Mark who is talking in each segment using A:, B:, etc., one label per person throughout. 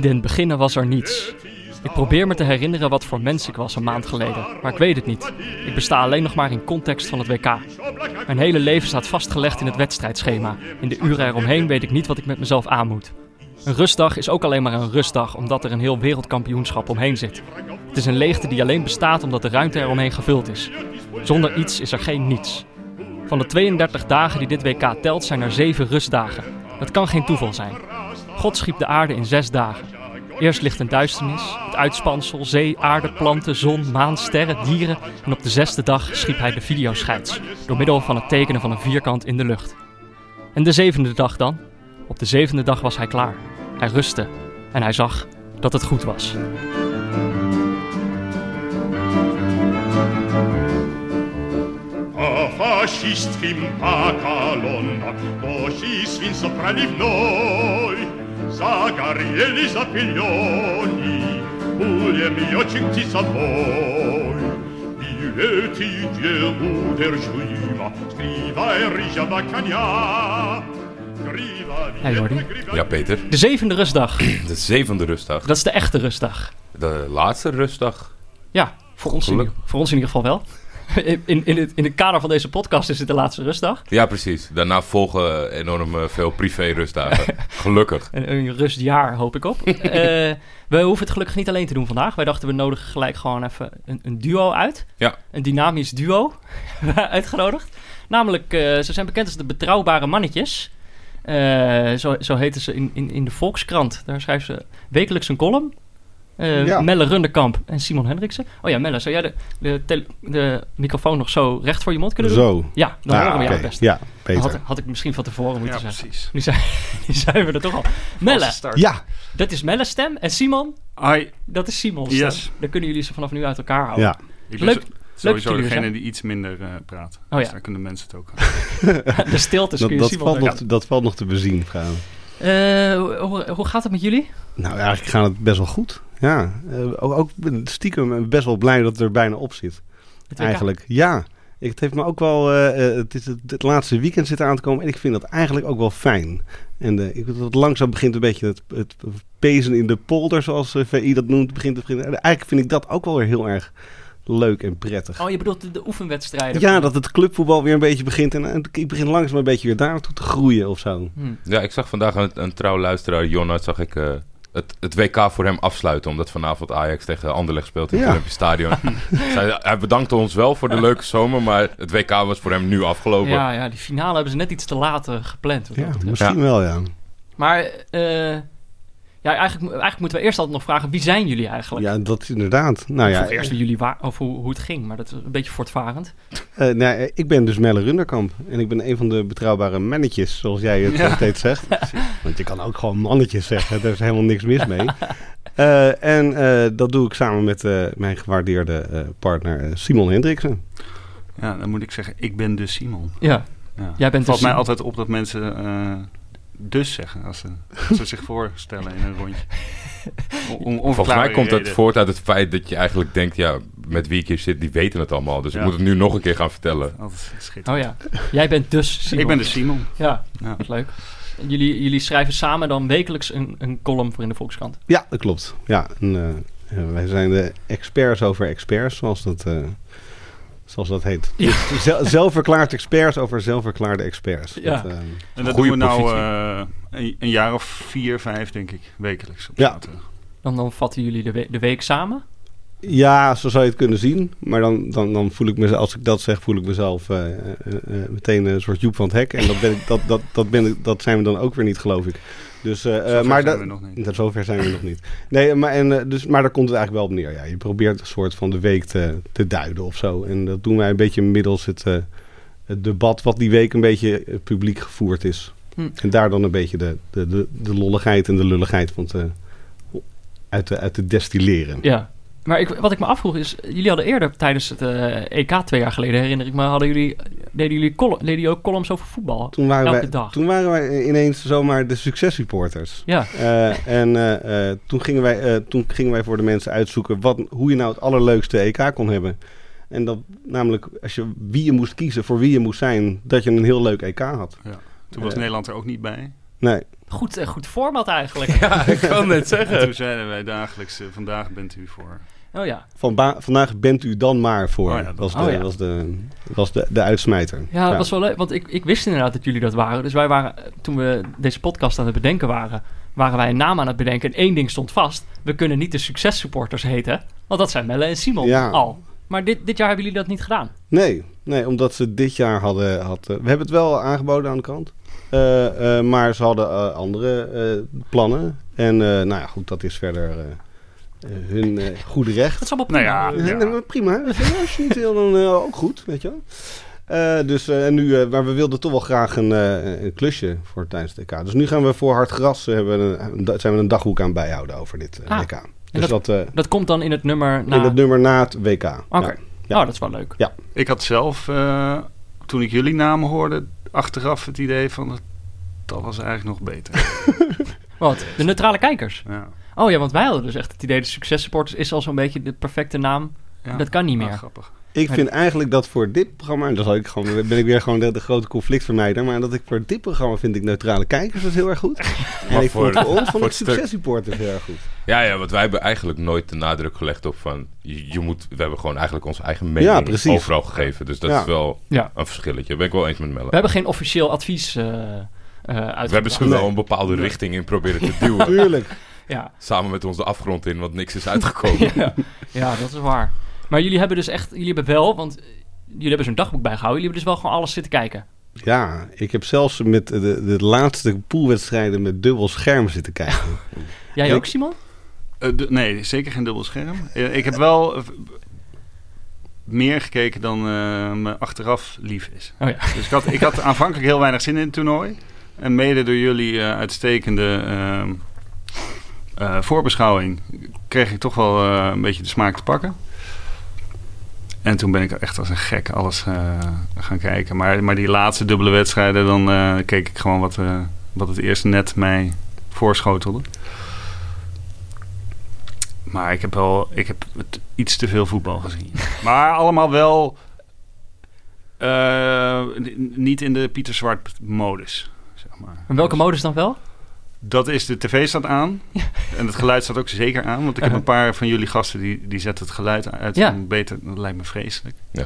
A: den beginnen was er niets. Ik probeer me te herinneren wat voor mens ik was een maand geleden, maar ik weet het niet. Ik besta alleen nog maar in context van het WK. Mijn hele leven staat vastgelegd in het wedstrijdschema. In de uren eromheen weet ik niet wat ik met mezelf aan moet. Een rustdag is ook alleen maar een rustdag omdat er een heel wereldkampioenschap omheen zit. Het is een leegte die alleen bestaat omdat de ruimte eromheen gevuld is. Zonder iets is er geen niets. Van de 32 dagen die dit WK telt zijn er 7 rustdagen. Dat kan geen toeval zijn. God schiep de aarde in 6 dagen. Eerst ligt een duisternis, het uitspansel, zee, aarde, planten, zon, maan, sterren, dieren. En op de zesde dag schiep hij de videoscheids, door middel van het tekenen van een vierkant in de lucht. En de zevende dag dan? Op de zevende dag was hij klaar. Hij rustte en hij zag dat het goed was.
B: фашистским по колоннам
C: Oh,
B: Божьи свинца проливной Загорели запыленный Пулеметчик тисовой И эти неудержимо
C: e
B: Кривая рыжего коня
A: Hey, Jordi.
D: Ja, Peter.
A: De zevende rustdag,
D: De zevende rustdag.
A: dat is de echte rustdag.
D: De laatste rustdag.
A: Ja, voor ons, in,
D: Geluk.
A: voor ons in ieder geval wel. In, in, in, het, in het kader van deze podcast is het de laatste rustdag.
D: Ja, precies. Daarna volgen enorm eh, veel privé-rustdagen. Gelukkig.
A: Een, een rustjaar, hoop ik op. Eh, we hoeven het gelukkig niet alleen te doen vandaag. Wij dachten, we nodigen gelijk gewoon even een, een duo uit.
D: Ja.
A: Een dynamisch duo hebben we uitgenodigd. Namelijk, eh, ze zijn bekend als de Betrouwbare Mannetjes. Eh, zo, zo heten ze in, in, in de Volkskrant. Daar schrijven ze wekelijks een column. Eh,
E: Ja.
A: Melle Runderkamp en Simon Hendriksen. Oh ja, Melle, zou jij de, de, tele- de microfoon nog zo recht voor je mond kunnen doen?
E: Zo.
A: Ja, dan
E: Ah,
A: horen we jou
E: oké.
A: het best.
E: Ja,
A: Had,
E: beter.
A: had ik misschien van tevoren moeten
C: Ja,
A: zeggen.
C: precies.
A: Nu zijn, nu zijn we er toch al. Melle,
C: Vaste start.
E: Ja,
A: dat is Melle's stem. En Simon,
C: Hi,
A: dat is Simon's stem.
C: Yes.
A: Dan kunnen jullie ze vanaf nu uit elkaar houden.
E: ja.
C: ik ben
A: Leuk-
C: zo-
A: dat
C: sowieso
A: jullie er
C: degene
A: zijn.
C: die iets minder eh, praat.
A: Oh, ja.
C: Dus daar kunnen mensen het ook aan.
A: De stiltes dus
E: Dat,
A: kun je
E: dat,
A: Simon
E: valt nog,
A: horen.
E: te- dat valt nog te bezien, vrouw.
A: Eh, hoe, hoe gaat het met jullie?
E: Nou, eigenlijk gaat het best wel goed. Ja, eh, ook, ook stiekem best wel blij dat het er bijna op zit.
A: Het WK?
E: Eigenlijk, ja. Ik- Het heeft me ook wel. eh, eh, het, is het, het laatste weekend zit aan te komen en ik vind dat eigenlijk ook wel fijn. En eh, ik, dat langzaam begint een beetje het, het pezen in de polder, zoals eh, VI dat noemt, begint te beginnen. En Eigenlijk vind ik dat ook wel weer heel erg leuk en prettig.
A: Oh, je bedoelt de, de oefenwedstrijden?
E: Ja, dat het clubvoetbal weer een beetje begint en, en ik begin langzaam een beetje weer daartoe te groeien of zo.
A: Hm.
D: Ja, ik zag vandaag een, een trouw luisteraar, Jonat, zag ik eh, het, het WK voor hem afsluiten. Omdat vanavond Ajax tegen Anderlecht speelt in het
E: Ja.
D: Olympisch Stadion. Zij- hij bedankte ons wel voor de leuke zomer, maar het WK was voor hem nu afgelopen.
A: Ja, ja, die finale hebben ze net iets te laat eh, gepland. wat dat
E: Ja,
A: betreft.
E: misschien
D: Ja.
E: wel, ja.
A: Maar eh, ja, eigenlijk, mo- eigenlijk moeten we eerst altijd nog vragen, wie zijn jullie eigenlijk?
E: Ja, dat is inderdaad. Nou
A: Of
E: ja,
A: eerst wie jullie waren, of hoe, hoe het ging, maar dat is een beetje voortvarend.
E: eh, nou, eh, ik ben dus Melle Runderkamp en ik ben een van de betrouwbare mannetjes, zoals jij het eh,
C: Ja.
E: steeds zegt. Want je kan ook gewoon mannetjes zeggen, daar is helemaal niks mis mee. Eh, en eh, dat doe ik samen met eh, mijn gewaardeerde eh, partner eh, Simon Hendriksen.
C: Ja, dan moet ik zeggen, ik ben dus Simon.
A: Ja,
C: Ja.
A: jij bent
C: valt
A: dus
C: mij altijd op dat mensen eh, dus zeggen als ze, als ze zich voorstellen in een rondje. O- om
D: Volgens mij
C: onverklaarbare
D: komt het
C: reden.
D: voort uit het feit dat je eigenlijk denkt, ja, met wie ik hier zit, die weten het allemaal. Dus ik
C: Ja.
D: moet het nu nog een keer gaan vertellen.
C: Altijd schitterend.
A: Oh ja, jij bent dus Simon.
C: ik ben dus Simon.
A: Ja,
C: Ja.
A: wat leuk. En Jullie, jullie schrijven samen dan wekelijks een, een column voor in de Volkskrant.
E: Ja, dat klopt. Ja, en, eh, eh, wij zijn de experts over experts, zoals dat, eh, zoals dat heet.
A: Ja.
E: Dus zel- zelfverklaard experts over zelfverklaarde experts.
A: Ja.
E: Dat, eh,
C: En dat
D: Goeie
C: doen we nou
D: positie.
C: eh, een, een jaar of vier, vijf, denk ik, wekelijks. Op
E: Ja.
C: zaterdag.
A: Dan, dan vatten jullie de, we- de week samen.
E: Ja, zo zou je het kunnen zien. Maar dan, dan, dan voel ik mezelf, als ik dat zeg, voel ik mezelf eh, eh, eh, meteen een soort Joep van het Hek. En dat, ben ik, dat, dat, dat, ben ik, dat zijn we dan ook weer niet, geloof ik. Dus, eh, eh,
C: Zover
E: maar
C: zijn
E: dat-
C: we nog niet.
E: dat- zover zijn we nog niet. Nee, maar, en, eh, dus, maar daar komt het eigenlijk wel op neer. Ja, je probeert een soort van de week te, te duiden of zo. En dat doen wij een beetje middels het, eh, het debat wat die week een beetje eh, publiek gevoerd is.
A: Hm.
E: En daar dan een beetje de, de, de, de lolligheid en de lulligheid van te, uit, te, uit te destilleren.
A: Ja. Maar ik, wat ik me afvroeg is, jullie hadden eerder tijdens het eh, EK twee jaar geleden, herinner ik me, hadden jullie, deden, jullie col- deden jullie ook columns over voetbal?
E: Toen waren,
A: Elke
E: wij,
A: dag.
E: toen waren wij ineens zomaar de succesreporters.
A: Ja,
E: Eh, en eh, eh, toen, gingen wij, eh, toen gingen wij voor de mensen uitzoeken wat, hoe je nou het allerleukste EK kon hebben. En dat namelijk als je, wie je moest kiezen, voor wie je moest zijn, dat je een heel leuk EK had.
C: Toen was
E: Eh.
C: Nederland er ook niet bij.
E: Nee.
A: Goed, eh, goed format eigenlijk.
D: Ja, ik kan net
C: En
D: zeggen.
C: toen zeiden wij dagelijks, eh, vandaag bent u voor.
A: Oh ja.
E: Van ba- vandaag bent u dan maar voor.
C: Oh ja, dat-
E: was de,
A: oh ja.
E: was de, was de, de uitsmijter.
A: Ja, dat was wel leuk. Want ik, ik wist inderdaad dat jullie dat waren. Dus wij waren, eh, toen we deze podcast aan het bedenken waren, waren wij een naam aan het bedenken. En één ding stond vast. We kunnen niet de successupporters heten. Want dat zijn Melle en Simon
E: Ja.
A: al. Maar dit, dit jaar hebben jullie dat niet gedaan.
E: Nee, nee, omdat ze dit jaar hadden... Had, eh, we hebben het wel aangeboden aan de kant. Eh, eh, maar ze hadden eh, andere eh, plannen. En eh, nou ja, goed, dat is verder eh, eh, hun eh, goede recht.
A: Dat is allemaal
C: Nou
A: prima.
C: ja,
E: Ja. nee, maar prima. Weet je wel. Als je niet wil, dan eh, ook goed, weet je wel. Eh, dus, eh, en nu, eh, maar we wilden toch wel graag een, eh, een klusje voor tijdens het EK. Dus nu gaan we voor hard gras, eh, hebben we een, een- zijn we een dagboek aan bijhouden over dit eh,
A: Ah,
E: EK. Dus dat, eh,
A: Dat komt dan in het nummer na...
E: in het nummer na het Nou, WK.
A: Oké.
E: Ja. ja.
A: Oh, dat is wel leuk.
C: Ik had zelf, eh, toen ik jullie namen hoorde, achteraf het idee van dat was eigenlijk nog beter.
A: Wat? De neutrale kijkers.
C: Ja.
A: Oh ja, want wij hadden dus echt het idee... de successupporters is al zo'n beetje de perfecte naam.
C: Ja.
A: Dat kan niet
C: Ah,
A: meer.
C: grappig.
E: Ik
A: Maar
E: vind eigenlijk dat voor dit programma, en dan zal ik gewoon, ben ik weer gewoon de, de grote conflictvermijder, maar dat ik voor dit programma vind ik neutrale kijkers dat is heel erg goed. En
D: Maar
E: ik vond
D: voor-
E: voor ons
D: voor
E: vond ik
D: het stuk-
E: successreporters heel erg goed.
D: Ja, ja, want wij hebben eigenlijk nooit de nadruk gelegd op van... Je, je moet, we hebben gewoon eigenlijk onze eigen
E: Ja,
D: mening
E: precies.
D: overal gegeven. Dus dat
E: Ja.
D: is wel
A: Ja.
D: een verschilletje. Ben ik wel eens met Melle.
A: We hebben geen officieel advies eh eh,
D: We hebben ze
A: uitgebracht.
D: wel een bepaalde richting in proberen te duwen.
E: Tuurlijk.
A: Ja.
D: Samen met ons de afgrond in, want niks is uitgekomen.
A: ja. ja, dat is waar. Maar jullie hebben dus echt, jullie hebben wel, want eh, jullie hebben zo'n dagboek bijgehouden, jullie hebben dus wel gewoon alles zitten kijken.
E: Ja, ik heb zelfs met de, de laatste poolwedstrijden met dubbel scherm zitten kijken.
A: Jij
E: Ik-
A: ook, Simon?
C: Eh, d- nee, zeker geen dubbel scherm. Eh, ik heb wel eh, v- meer gekeken dan eh, me achteraf lief is.
A: Oh ja.
C: Dus ik had, ik had aanvankelijk heel weinig zin in het toernooi. En mede door jullie eh, uitstekende ehm, eh, voorbeschouwing kreeg ik toch wel eh, een beetje de smaak te pakken. En toen ben ik echt als een gek alles eh, gaan kijken. Maar, maar die laatste dubbele wedstrijden, dan eh, keek ik gewoon wat, eh, wat het eerste net mij voorschotelde. Maar ik heb wel ik heb het iets te veel voetbal gezien. Maar allemaal wel eh, n- niet in de Pieter Zwart modus. Zeg maar.
A: En welke modus dan wel?
C: Dat is, de tv staat aan. En het geluid staat ook zeker aan. Want ik heb een paar van jullie gasten die, die zetten het geluid uit.
A: Uh-huh. Ja.
C: om Beter, dat lijkt me vreselijk.
D: Ja.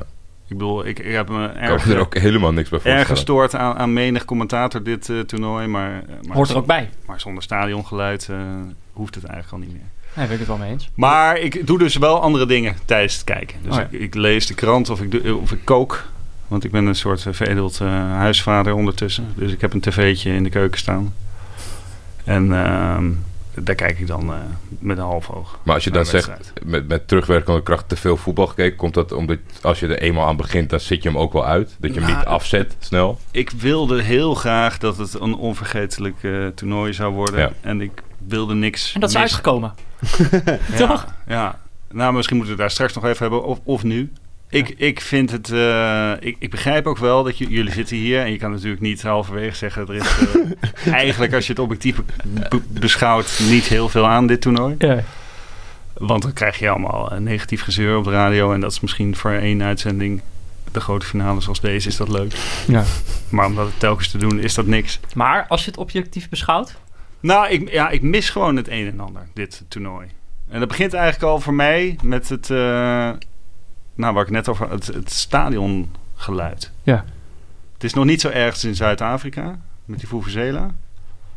C: Ik bedoel, ik, ik heb me
D: Ik kan
C: erg,
D: me er ook helemaal niks bij
C: erg
D: voorstellen.
C: gestoord aan, aan menig commentator dit eh, toernooi. Maar, eh, maar,
A: Hoort er ook bij.
C: maar zonder stadiongeluid eh, hoeft het eigenlijk al niet meer.
A: Daar ben ik het wel mee eens.
C: Maar ik doe dus wel andere dingen tijdens het kijken. Dus
A: Oh ja.
C: ik, ik lees de krant of ik, doe, of ik kook. Want ik ben een soort eh, veredeld eh, huisvader ondertussen. Dus ik heb een tv'tje in de keuken staan. En ehm, daar kijk ik dan eh, met een half oog.
D: Maar als je
C: naar
D: dan
C: de
D: zegt,
C: wedstrijd.
D: met, met terugwerkende kracht te veel voetbal gekeken, komt dat omdat als je er eenmaal aan begint, dan zit je hem ook wel uit. Dat je hem
C: Nou,
D: niet afzet snel.
C: Ik wilde heel graag dat het een onvergetelijk eh, toernooi zou worden.
D: Ja.
C: En ik wilde niks.
A: En dat is
C: missen.
A: uitgekomen.
C: Ja,
A: Toch?
C: Ja. Nou, misschien moeten we het daar straks nog even hebben. Of, of nu. Ik, ik vind het... eh, ik, ik begrijp ook wel dat j- jullie zitten hier... en je kan natuurlijk niet halverwege zeggen... er is eh, eigenlijk, als je het objectief be- be- beschouwt... niet heel veel aan dit toernooi.
A: Ja.
C: Want dan krijg je allemaal eh, negatief gezeur op de radio... en dat is misschien voor één uitzending... de grote finale zoals deze is dat leuk.
A: Ja.
C: Maar om dat telkens te doen is dat niks.
A: Maar als je het objectief beschouwt,
C: Nou, ik, ja, ik mis gewoon het een en ander, dit toernooi. En dat begint eigenlijk al voor mij met het, eh, nou, waar ik net over het, het stadiongeluid.
A: Ja.
C: Het is nog niet zo erg in Zuid-Afrika, met die Vuvuzela.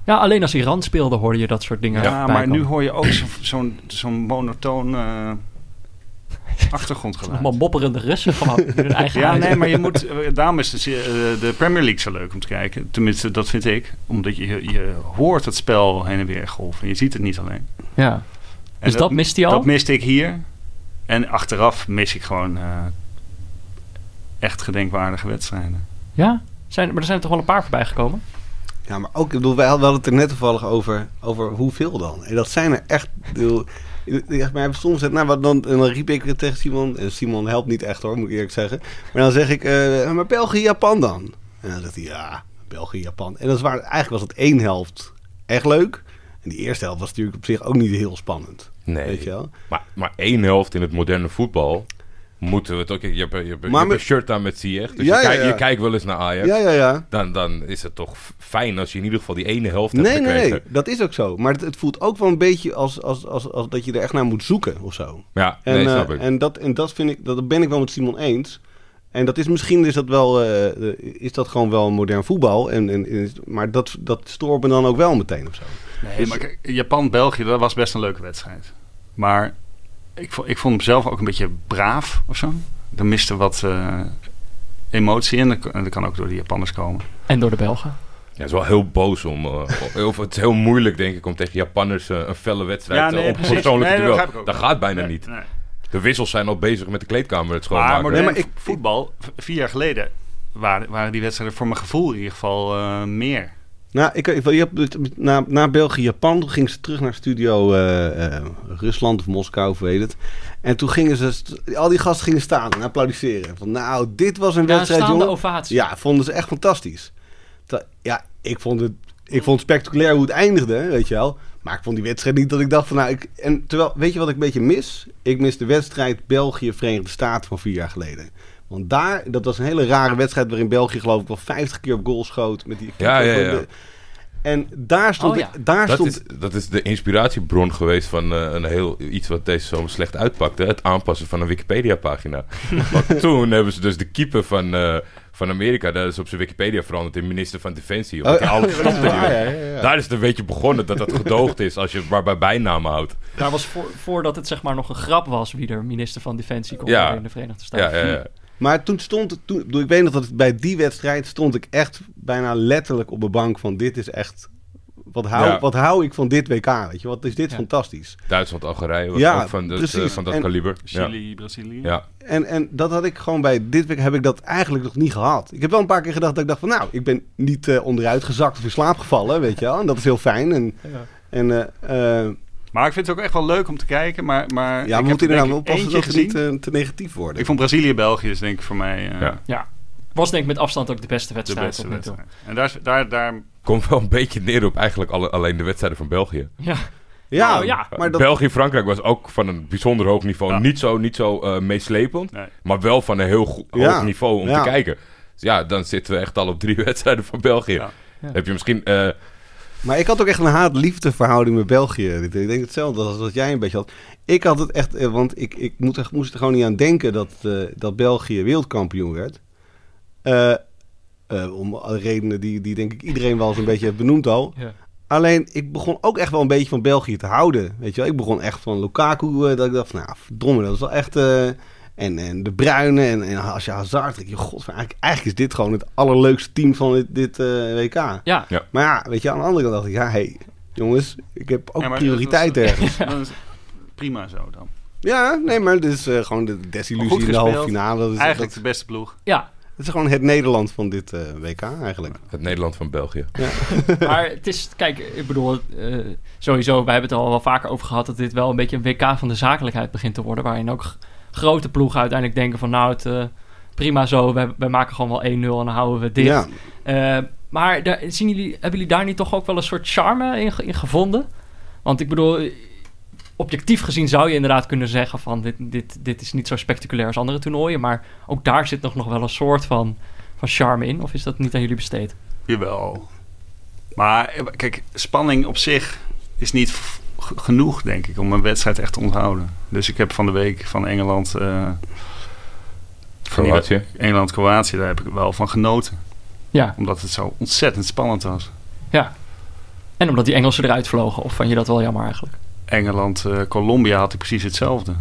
A: ja, alleen als Iran speelde hoorde je dat soort dingen.
C: Ja,
A: voorbij
C: maar nu
A: komen.
C: hoor je ook zo- zo'n zo'n monotoon eh, achtergrondgeluid.
A: Allemaal mopperende Russen van hun eigen
C: Ja,
A: huis.
C: nee, maar je moet. eh, Daarom is de, se- eh, de Premier League zo leuk om te kijken. Tenminste, dat vind ik. Omdat je, je hoort het spel heen en weer golven. Je ziet het niet alleen.
A: Ja.
C: En
A: Dus dat, mist hij al?
C: Dat miste ik hier. En achteraf mis ik gewoon eh, echt gedenkwaardige wedstrijden.
A: Ja? Zijn, maar er zijn er toch wel een paar voorbij gekomen?
E: Ja, maar ook, ik bedoel, wij hadden het er net toevallig over, over hoeveel dan. En dat zijn er echt, ik bedoel, ik- ik- maar soms, nou, wat dan, en dan riep ik het tegen Simon, en Simon helpt niet echt hoor, moet ik eerlijk zeggen. Maar dan zeg ik, eh, maar België, Japan dan? En dan zegt hij, ja, België, Japan. En dat is waar, eigenlijk was het één helft echt leuk. En die eerste helft was natuurlijk op zich ook niet heel spannend,
D: Nee.
E: weet je wel.
D: Maar, maar één helft in het moderne voetbal moeten we het ook. Je hebt, je hebt, je hebt
E: Maar met-
D: een shirt aan met Ziyech. Dus
E: Ja,
D: je,
E: ja,
D: kijkt-
E: ja.
D: je kijkt wel eens naar Ajax.
E: Ja, ja, ja.
D: Dan, dan is het toch fijn als je in ieder geval die ene helft hebt
E: Nee, nee,
D: gekregen.
E: nee, dat is ook zo. Maar het, het voelt ook wel een beetje als, als, als, als dat je er echt naar moet zoeken of zo.
D: Ja,
E: En,
D: nee,
E: eh,
D: snap ik.
E: en, dat, en dat vind ik, dat ben ik wel met Simon eens. En dat is misschien is dat wel, eh, eh, is dat gewoon wel modern voetbal. En, en, en is- maar dat, dat stoort me dan ook wel meteen of zo.
C: Nee, maar kijk, Japan-België, dat was best een leuke wedstrijd. Maar ik vond, ik vond hem zelf ook een beetje braaf of zo. Er miste wat eh, emotie in. Dat, kan- dat kan ook door de Japanners komen.
A: En door de Belgen.
D: Ja, het is wel heel boos om... eh, of het is heel moeilijk, denk ik, om tegen Japanners eh, een felle wedstrijd
C: Ja,
D: ja,
C: nee,
D: op
C: precies.
D: persoonlijk
C: Nee, dat
D: duel.
C: begrijp ik ook.
D: Dat, gaat bijna
C: Nee,
D: niet.
C: nee.
D: De wissels zijn al bezig met de kleedkamer het
C: Maar,
D: schoonmaken.
C: modern
E: Nee, maar ik-
C: vo- voetbal, v- vier jaar geleden, waren, waren die wedstrijden voor mijn gevoel in ieder geval eh, meer.
E: Nou, ik, ik, je hebt- na, na België-Japan ging ze terug naar studio eh, eh, Rusland of Moskou, of weet het. En toen gingen ze, st- al die gasten gingen staan en applaudisseren. Van nou, dit was een
A: Ja, een
E: wedstrijd,
A: staande
E: jongen.
A: ovatie.
E: Ja, vonden ze echt fantastisch. Ter- ja, ik vond het, ik vond het spectaculair hoe het eindigde, weet je wel. Maar ik vond die wedstrijd niet dat ik dacht van nou... Ik, en terwijl, weet je wat ik een beetje mis? Ik mis de wedstrijd België-Verenigde Staten van vier jaar geleden. Want daar, dat was een hele rare wedstrijd waarin België geloof ik wel 50 keer op goal schoot. Met die
D: Ja, ja, ja.
E: En daar stond
A: Oh,
E: ik,
A: ja.
E: daar
D: Dat
E: stond
D: is, dat is de inspiratiebron geweest van eh, een heel, iets wat deze zomer slecht uitpakte. Het aanpassen van een Wikipedia-pagina. Want toen hebben ze dus de keeper van, eh, van Amerika... dat is op zijn Wikipedia veranderd in minister van Defensie. Omdat hij alles
E: dat is
D: stopte.
E: waar, Oh, ja, ja, ja.
D: Daar is het een beetje begonnen dat dat gedoogd is... als je het maar bij bijnamen houdt.
A: Daar was voor, voordat het zeg maar nog een grap was wie er minister van Defensie kon
D: Ja.
A: worden in de Verenigde Staten.
D: Ja,
C: hm.
D: ja, ja.
E: Maar toen stond het, toen, ik bedoel, ik weet nog dat het bij die wedstrijd stond ik echt bijna letterlijk op de bank van dit is echt, wat hou,
D: Ja.
E: wat hou ik van dit WK, weet je, wat is dit
A: Ja.
E: fantastisch.
D: Duitsland-Algerije was
E: Ja,
D: ook van, dat, eh,
E: precies.
D: van dat
E: En-
D: kaliber. Ja.
C: Chili, Brazilië.
D: Ja.
E: En, en dat had ik gewoon bij dit WK heb ik dat eigenlijk nog niet gehad. Ik heb wel een paar keer gedacht dat ik dacht van nou, ik ben niet eh, onderuit gezakt of in slaap gevallen, weet je wel. En dat is heel fijn. En, en, eh, eh,
C: Maar ik vind het ook echt wel leuk om te kijken. Maar, maar
E: ja,
C: ik
E: we
C: heb
E: moeten
C: er denk
E: inderdaad wel
C: ik
E: oppassen
C: eentje
E: dat we niet
C: gezien.
E: eh, te negatief worden.
C: Ik vond Brazilië-België is denk ik voor mij eh,
D: Ja.
A: Ja. Was denk ik met afstand ook de beste
C: de
A: wedstrijd
C: beste
A: tot nu toe.
C: wedstrijd. En daar, is- daar, daar
D: Komt wel een beetje neer op eigenlijk alle, alleen de wedstrijden van België.
A: Ja.
E: ja,
A: Nou, ja.
E: maar dat,
D: België-Frankrijk was ook van een bijzonder hoog niveau.
C: Ja.
D: Niet zo, niet zo eh, meeslepend,
C: Nee.
D: maar wel van een heel go-
E: Ja.
D: hoog niveau om
E: Ja.
D: te kijken. Dus ja, dan zitten we echt al op drie wedstrijden van België.
C: Ja.
A: Ja.
D: Heb je misschien... eh,
E: Maar ik had ook echt een haat-liefde verhouding met België. Ik denk hetzelfde als wat jij een beetje had. Ik had het echt, eh, want ik, ik moet er- moest er gewoon niet aan denken dat, eh, dat België wereldkampioen werd. Eh, eh, om redenen die, die denk ik iedereen wel eens een beetje heeft benoemd al.
A: Ja.
E: Alleen, ik begon ook echt wel een beetje van België te houden. Weet je wel, ik begon echt van Lukaku. eh, dat ik dacht, van, nou, verdomme, dat is wel echt... eh, en, en de Bruyne en, en als je Hazard. Ik, denk, god, eigenlijk, eigenlijk is dit gewoon het allerleukste team van dit, dit eh, WK.
A: Ja.
D: Ja.
E: Maar ja, weet je, aan de andere kant dacht ik, ja, hé, hey, jongens, ik heb ook
C: Ja, maar
E: prioriteit
C: dat is-
E: ergens. Dus
C: dat is prima zo dan.
E: Ja, nee, maar dit is eh, gewoon de
C: Goed
E: desillusie in de
C: gespeeld.
E: halve finale. Dat is,
C: Eigenlijk
E: dat,
C: de beste ploeg.
A: Ja,
E: dat is gewoon het Nederland van dit eh, WK eigenlijk.
D: het Nederland van België.
A: maar het is, kijk, ik bedoel, eh, sowieso, wij hebben het er al wel vaker over gehad dat dit wel een beetje een WK van de zakelijkheid begint te worden. Waarin ook g- grote ploegen uiteindelijk denken van, nou, het, eh, prima zo, wij, wij maken gewoon wel 1-0 en dan houden we dit.
E: Ja,
A: Eh, maar daar, zien jullie, hebben jullie daar niet toch ook wel een soort charme in, ge- in gevonden? Want ik bedoel, objectief gezien zou je inderdaad kunnen zeggen van dit, dit, dit is niet zo spectaculair als andere toernooien. Maar ook daar zit nog, nog wel een soort van, van charme in. Of is dat niet aan jullie besteed?
C: Jawel. Maar eh, kijk, spanning op zich is niet v- g- genoeg, denk ik, om een wedstrijd echt te onthouden. Dus ik heb van de week van Engeland... eh, van die
D: Kroatië.
C: wed- Engeland-Kroatië, daar heb ik wel van genoten.
A: Ja.
C: Omdat het zo ontzettend spannend was.
A: En omdat die Engelsen eruit vlogen. Of vond je dat wel jammer eigenlijk?
C: Engeland-Colombia eh, had ik precies hetzelfde.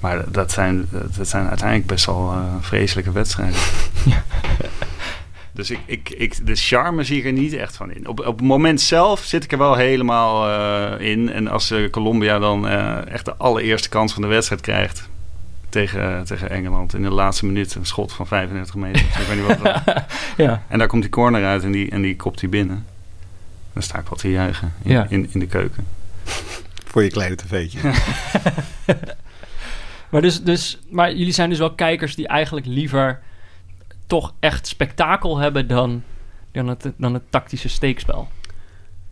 C: Maar dat- dat zijn, dat zijn uiteindelijk best wel eh, vreselijke wedstrijden. Dus ik, ik, ik, de charme zie ik er niet echt van in. Op, op het moment zelf zit ik er wel helemaal eh, in. En als eh, Colombia dan eh, echt de allereerste kans van de wedstrijd krijgt tegen, eh, tegen Engeland. In de laatste minuut een schot van 35 meter. ik weet niet wat het was.
A: Ja.
C: En daar komt die corner uit en die, en die kopt die binnen. Dan sta ik wat te juichen in,
A: Ja.
C: in, in de keuken.
E: voor je kleine tv'tje.
A: Maar, dus, dus, maar jullie zijn dus wel kijkers die eigenlijk liever toch echt spektakel hebben dan, dan, het, dan het tactische steekspel.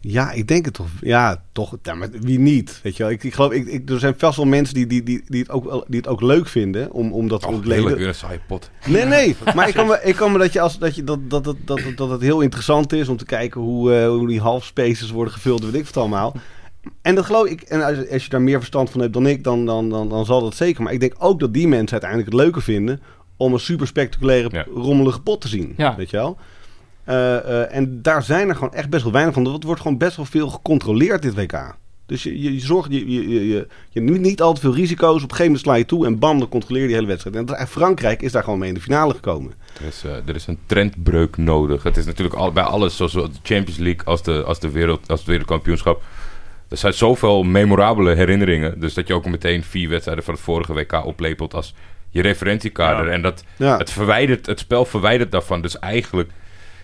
E: Ja, ik denk het toch. Ja, toch. Ja, maar wie niet? Weet je wel? Ik, ik geloof, ik, ik, er zijn vast wel mensen die, die, die, die, het, ook, wel- die het ook leuk vinden om, om dat te
D: Oh,
E: ontleden.
D: heerlijk, weer een saaie pot.
E: Nee, nee. Maar ik kan me, ik kan me dat, je als, dat, je, dat, dat, dat, dat, dat het heel interessant is om te kijken hoe, eh, hoe die half spaces worden gevuld, weet ik het allemaal. En dat geloof ik. En als, als je daar meer verstand van hebt dan ik, dan, dan, dan, dan zal dat zeker. Maar ik denk ook dat die mensen uiteindelijk het leuker vinden om een super spectaculaire,
D: Ja.
E: rommelige pot te zien.
A: Ja.
E: Weet je wel? Eh, eh, en daar zijn er gewoon echt best wel weinig van. Er wordt gewoon best wel veel gecontroleerd dit WK. Dus je, je, je zorgt, je, je, je, je, je neemt niet al te veel risico's. Op een gegeven moment sla je toe en bam, dan controleer je die hele wedstrijd. En dat- Frankrijk is daar gewoon mee in de finale gekomen.
D: Er is, eh, er is een trendbreuk nodig. Het is natuurlijk al, bij alles, zoals de Champions League als, de, als, de wereld, als het wereldkampioenschap. Er zijn zoveel memorabele herinneringen. Dus dat je ook meteen vier wedstrijden van het vorige WK oplepelt als je referentiekader.
C: Ja.
D: En dat,
E: Ja.
D: het, verwijdert, het spel verwijdert daarvan. Dus eigenlijk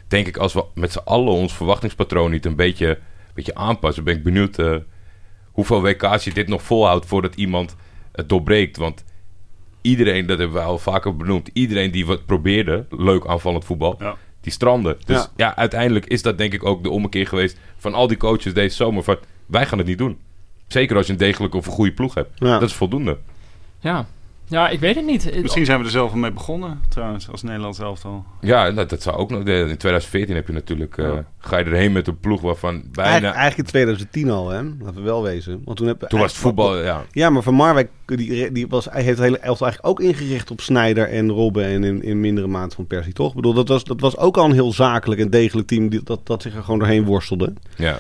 D: denk ik, als we met z'n allen ons verwachtingspatroon niet een beetje, een beetje aanpassen, ben ik benieuwd eh, hoeveel WK's je dit nog volhoudt voordat iemand het doorbreekt. Want iedereen, dat hebben we al vaker benoemd, iedereen die wat probeerde, leuk aanvallend voetbal,
C: Ja.
D: die strandde. Dus
E: Ja.
D: ja. uiteindelijk is dat denk ik ook de ommekeer geweest van al die coaches deze zomer. Van, wij gaan het niet doen. Zeker als je een degelijke of een goede ploeg hebt.
E: Ja.
D: Dat is voldoende.
A: Ja. ja, ik weet het niet. Het-
C: Misschien zijn we er zelf al mee begonnen, trouwens, als Nederlands elftal.
D: Ja, dat, dat zou ook nog. In 2014 heb je natuurlijk. eh,
C: Ja.
D: Ga je erheen met een ploeg waarvan bijna.
E: Eigen- eigenlijk in 2010 al, hè? laten we wel wezen. Want toen, heb,
D: Toen was het voetbal, ja.
E: Ja, maar Van Marwijk die, die was, hij heeft het hele elftal eigenlijk ook ingericht op Snijder en Robben en in, in mindere maat van Persie, toch? Ik bedoel, dat was, dat was ook al een heel zakelijk en degelijk team die, dat, dat zich er gewoon doorheen worstelde.
D: ja.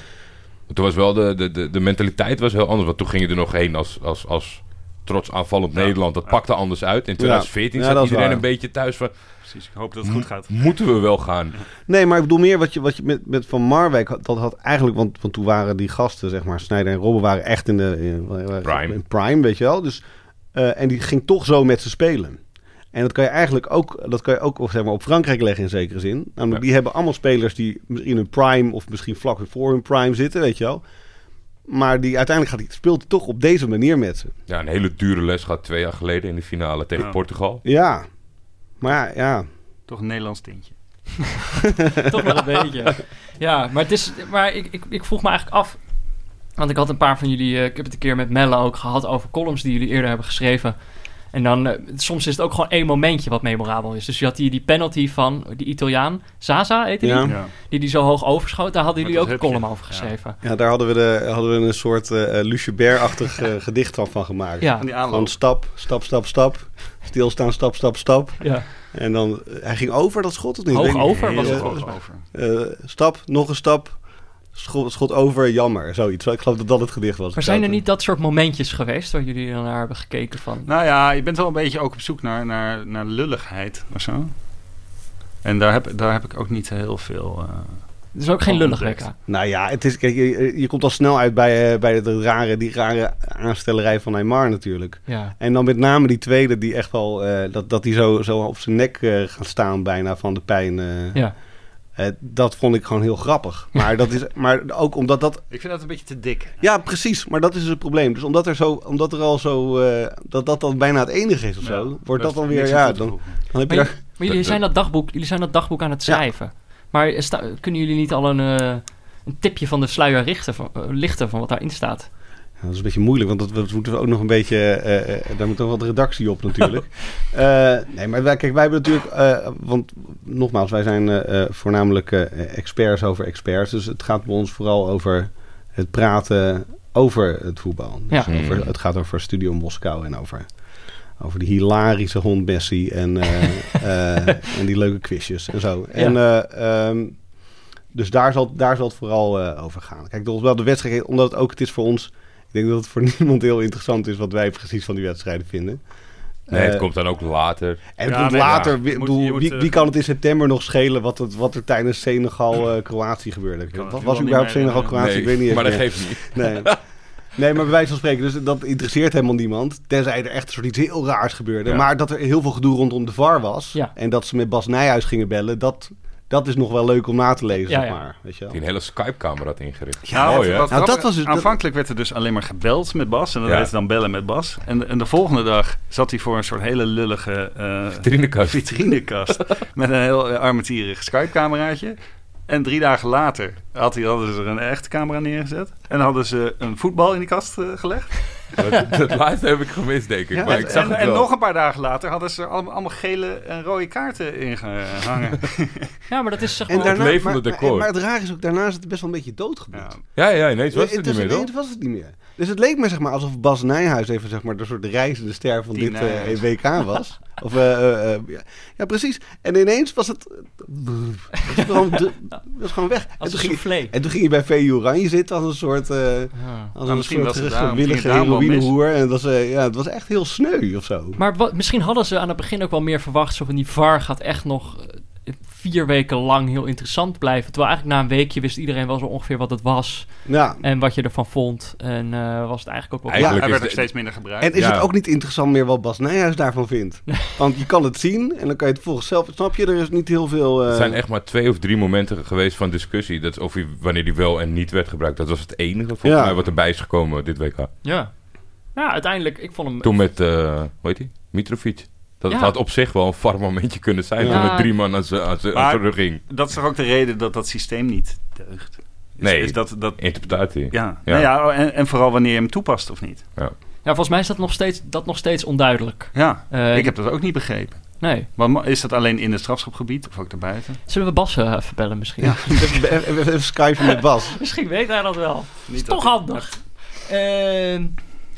D: Maar Toen was wel de, de, de, de mentaliteit was heel anders. Want toen ging je er nog heen als, als, als trots aanvallend Nederland. Dat pakte anders uit. In 2014
E: Ja,
D: zat
E: dat is
D: iedereen
E: waar.
D: een beetje thuis van...
C: Precies, ik hoop dat het goed gaat.
D: Moeten we wel gaan?
E: Nee, maar ik bedoel meer wat je, wat je met, met Van Marwijk had, dat had eigenlijk... Want, want toen waren die gasten, zeg maar, Snijder en Robben waren echt in de... in- waren-
D: Prime.
E: in prime, weet je wel. Dus, eh, en die ging toch zo met ze spelen. En dat kan je eigenlijk ook, dat kan je ook of zeg maar, op Frankrijk leggen in zekere zin. Namelijk,
D: Ja.
E: die hebben allemaal spelers die in hun prime... of misschien vlak weer voor hun prime zitten, weet je wel. Maar die uiteindelijk gaat, die- speelt hij toch op deze manier met ze.
D: Ja, een hele dure les gaat twee jaar geleden in de finale tegen
C: Ja.
D: Portugal.
E: Ja, maar ja... ja.
C: Toch een Nederlands tintje.
A: Toch wel een beetje. Ja, maar, het is, maar ik, ik, ik vroeg me eigenlijk af. Want ik had een paar van jullie. eh, ik heb het een keer met Melle ook gehad over columns die jullie eerder hebben geschreven. En dan, eh, soms is het ook gewoon één momentje wat memorabel is. Dus je had die, die penalty van die Italiaan, Zaza heette die,
E: Ja.
C: Ja.
A: die die zo hoog overschoot. Daar hadden
C: Met
A: jullie ook
C: dat
A: een column
C: hupje.
A: over geschreven.
E: Ja, daar hadden we, de, hadden we een soort eh Lucebert-achtig eh, gedicht van, van gemaakt.
A: Ja.
C: Aan die
E: Gewoon
C: aanloop.
E: stap, stap, stap, stap. Stilstaan, stap, stap, stap.
A: Ja.
E: En dan, eh, hij ging over dat schot of niet?
A: Hoog
E: Weet ik niet.
A: over was
C: Heel
A: het
E: eh,
C: hoog
A: volgens mij.
C: over.
E: Eh, stap, nog een stap. Schot, schot over, jammer. Zoiets. Ik geloof dat dat het gedicht was.
A: Maar zijn er niet dat soort momentjes geweest waar jullie dan naar hebben gekeken van?
C: Nou ja, je bent wel een beetje ook op zoek naar, naar, naar lulligheid of zo. En daar heb, daar heb ik ook niet heel veel... eh,
A: Het is ook geen lullig
C: Ontdekt.
A: WK.
E: Nou ja, het is, kijk, je, je komt al snel uit bij, eh, bij de rare, die rare aanstellerij van Neymar natuurlijk.
A: Ja.
E: En dan met name die tweede, die echt wel, eh, dat, dat die zo, zo op zijn nek eh, gaat staan bijna van de pijn. eh.
A: Ja.
E: Eh, dat vond ik gewoon heel grappig. Maar, dat is, maar ook omdat dat
C: ik vind dat een beetje te dik.
E: Ja, precies. Maar dat is dus het probleem. Dus omdat er, zo, omdat er al zo... eh, dat dat dan bijna het enige is of zo... wordt dat dan weer... Ja, dan, dan heb je
A: Maar,
E: daar-
A: maar jullie, zijn dat dagboek, jullie zijn dat dagboek aan het schrijven. Maar is da- kunnen jullie niet al een, eh, een tipje van de sluier richten van, eh, lichten van wat daarin staat?
E: Ja, dat is een beetje moeilijk, want dat, dat moeten we ook nog een beetje... eh, eh, daar moet ook wat redactie op natuurlijk. Eh, nee, maar wij, kijk, wij hebben natuurlijk... eh, want nogmaals, wij zijn eh, eh, voornamelijk eh, experts over experts. Dus het gaat bij ons vooral over het praten over het voetbal. Dus
A: Ja.
E: over, het gaat over Studio Moskou en over... Over die hilarische hond Messi en, eh, eh, en die leuke quizjes en zo. En, eh, ehm, dus daar zal, daar zal het vooral eh, over gaan. Kijk, dat is wel de wedstrijd, omdat het ook het is voor ons... Ik denk dat het voor niemand heel interessant is wat wij precies van die wedstrijden vinden.
D: Nee, het
E: Eh,
D: komt dan ook later.
E: En het
C: Ja,
E: komt
C: nee,
E: later,
C: ja.
E: wie,
C: Je moet-
E: bedoel,
C: je moet,
E: wie,
C: eh,
E: wie kan het in september nog schelen wat, het, wat er tijdens Senegal-Kroatië gebeurde?
C: kan het
E: Wat
C: nu
E: was
C: al niet
E: überhaupt
C: meer
E: Senegal-Kroatië?
D: Nee,
E: ik weet niet.
D: maar dat
E: eens meer.
D: geeft niet.
E: Nee. nee, maar bij wijze van spreken, dus dat interesseert helemaal niemand. Tenzij er echt een soort iets heel raars gebeurde.
D: Ja.
E: Maar dat er heel veel gedoe rondom de VAR was
A: Ja.
E: en dat ze met Bas Nijhuis gingen bellen, dat, dat is nog wel leuk om na te lezen,
A: Ja,
E: zeg
A: ja.
E: maar. Weet je wel.
D: Die een hele Skype-camera had ingericht.
C: Ja,
D: Mooi,
C: wat- wat
D: hè?
E: Nou,
C: grappig-
E: dat was dus- dat-
C: aanvankelijk werd er dus alleen maar gebeld met Bas. En dan
D: Ja.
C: werd dan bellen met Bas. En, en de volgende dag zat hij voor een soort hele lullige eh,
D: Vitrinekast.
C: vitrinekast. met een heel eh, armetierig Skype-cameraatje. En drie dagen later had hij, hadden ze er een echte camera neergezet. En hadden ze een voetbal in die kast eh, gelegd.
D: Dat, dat laatste heb ik gemist, denk ik.
E: Ja,
D: maar
C: en,
D: ik zag
C: en,
D: het
C: en
D: wel.
C: nog een paar dagen later hadden ze er allemaal, allemaal gele en rode kaarten in gehangen.
A: Ja, maar dat is zeg
E: En
A: maar...
E: daarna,
D: levende
E: maar, maar-
D: decor.
E: Maar, het raar is ook, daarna is het best wel een beetje doodgebloed.
C: ja.
D: Ja, ja, ineens was
E: Nee,
D: het er niet meer, toch?
E: was, nee, het was het niet meer. Dus het leek me zeg maar, alsof Bas Nijhuis even zeg maar, de soort reizende ster van
C: Die
E: dit eh,
C: Nijhuis.
E: WK was. Of, eh, eh, eh, ja. ja, precies. En ineens was het... Het was gewoon, de- het was gewoon weg. En
A: Als een
E: toen, ging,
A: soufflé.
E: en toen ging je bij VU Oranje zitten als een soort... eh,
A: Ja.
E: als
C: Maar
E: een
C: misschien
E: soort
C: was het daarom- ging
E: gewillige
C: het daarom wel mis.
E: heroïnehoer. En het was, eh, ja, het was echt heel sneu of zo.
A: Maar wat, misschien hadden ze aan het begin ook wel meer verwacht. Zo van die VAR gaat echt nog eh, vier weken lang heel interessant blijven. Terwijl eigenlijk na een weekje wist iedereen wel zo ongeveer wat het was.
E: Ja.
A: En wat je ervan vond. En eh, was het eigenlijk ook wel...
D: Eigenlijk
C: Hij
D: is
C: werd ook
D: de-
C: steeds minder gebruikt.
E: En is
D: Ja.
E: het ook niet interessant meer wat Bas Nijhuis daarvan vindt? Want je kan het zien en dan kan je het volgens zelf... Snap je, er is niet heel veel... eh,
D: Er zijn echt maar twee of drie momenten geweest van discussie. Dat is of hij, wanneer die wel en niet werd gebruikt. Dat was het enige volgens
E: Ja.
D: mij wat erbij is gekomen dit WK.
A: Ja. Ja, uiteindelijk, ik vond hem...
D: Toen met, eh hoe heet hij? Mitrovic. Dat
A: Ja.
D: had op zich wel een far momentje kunnen zijn.
A: Ja.
D: Toen met drie man aan zijn aan zijn- aan
C: Maar-
D: zijn rug ging.
C: Dat is toch ook de reden dat dat systeem niet deugt? Is,
D: Nee.
C: Is dat, dat,
D: Interpretatie.
C: ja.
D: Ja.
C: Nou ja en, en vooral wanneer je hem toepast of niet.
A: Ja, volgens mij is dat nog steeds, dat nog steeds onduidelijk.
C: Ja,
A: Eh,
C: ik heb dat ook niet begrepen.
A: Nee.
C: Maar ma- is dat alleen in het strafschopgebied of ook daarbuiten?
A: Zullen we Bas eh, even bellen misschien?
E: Ja, even, even, even skypen met Bas.
A: Misschien weet hij dat wel.
C: Niet
A: Toch
C: dat-
A: handig. Ehm,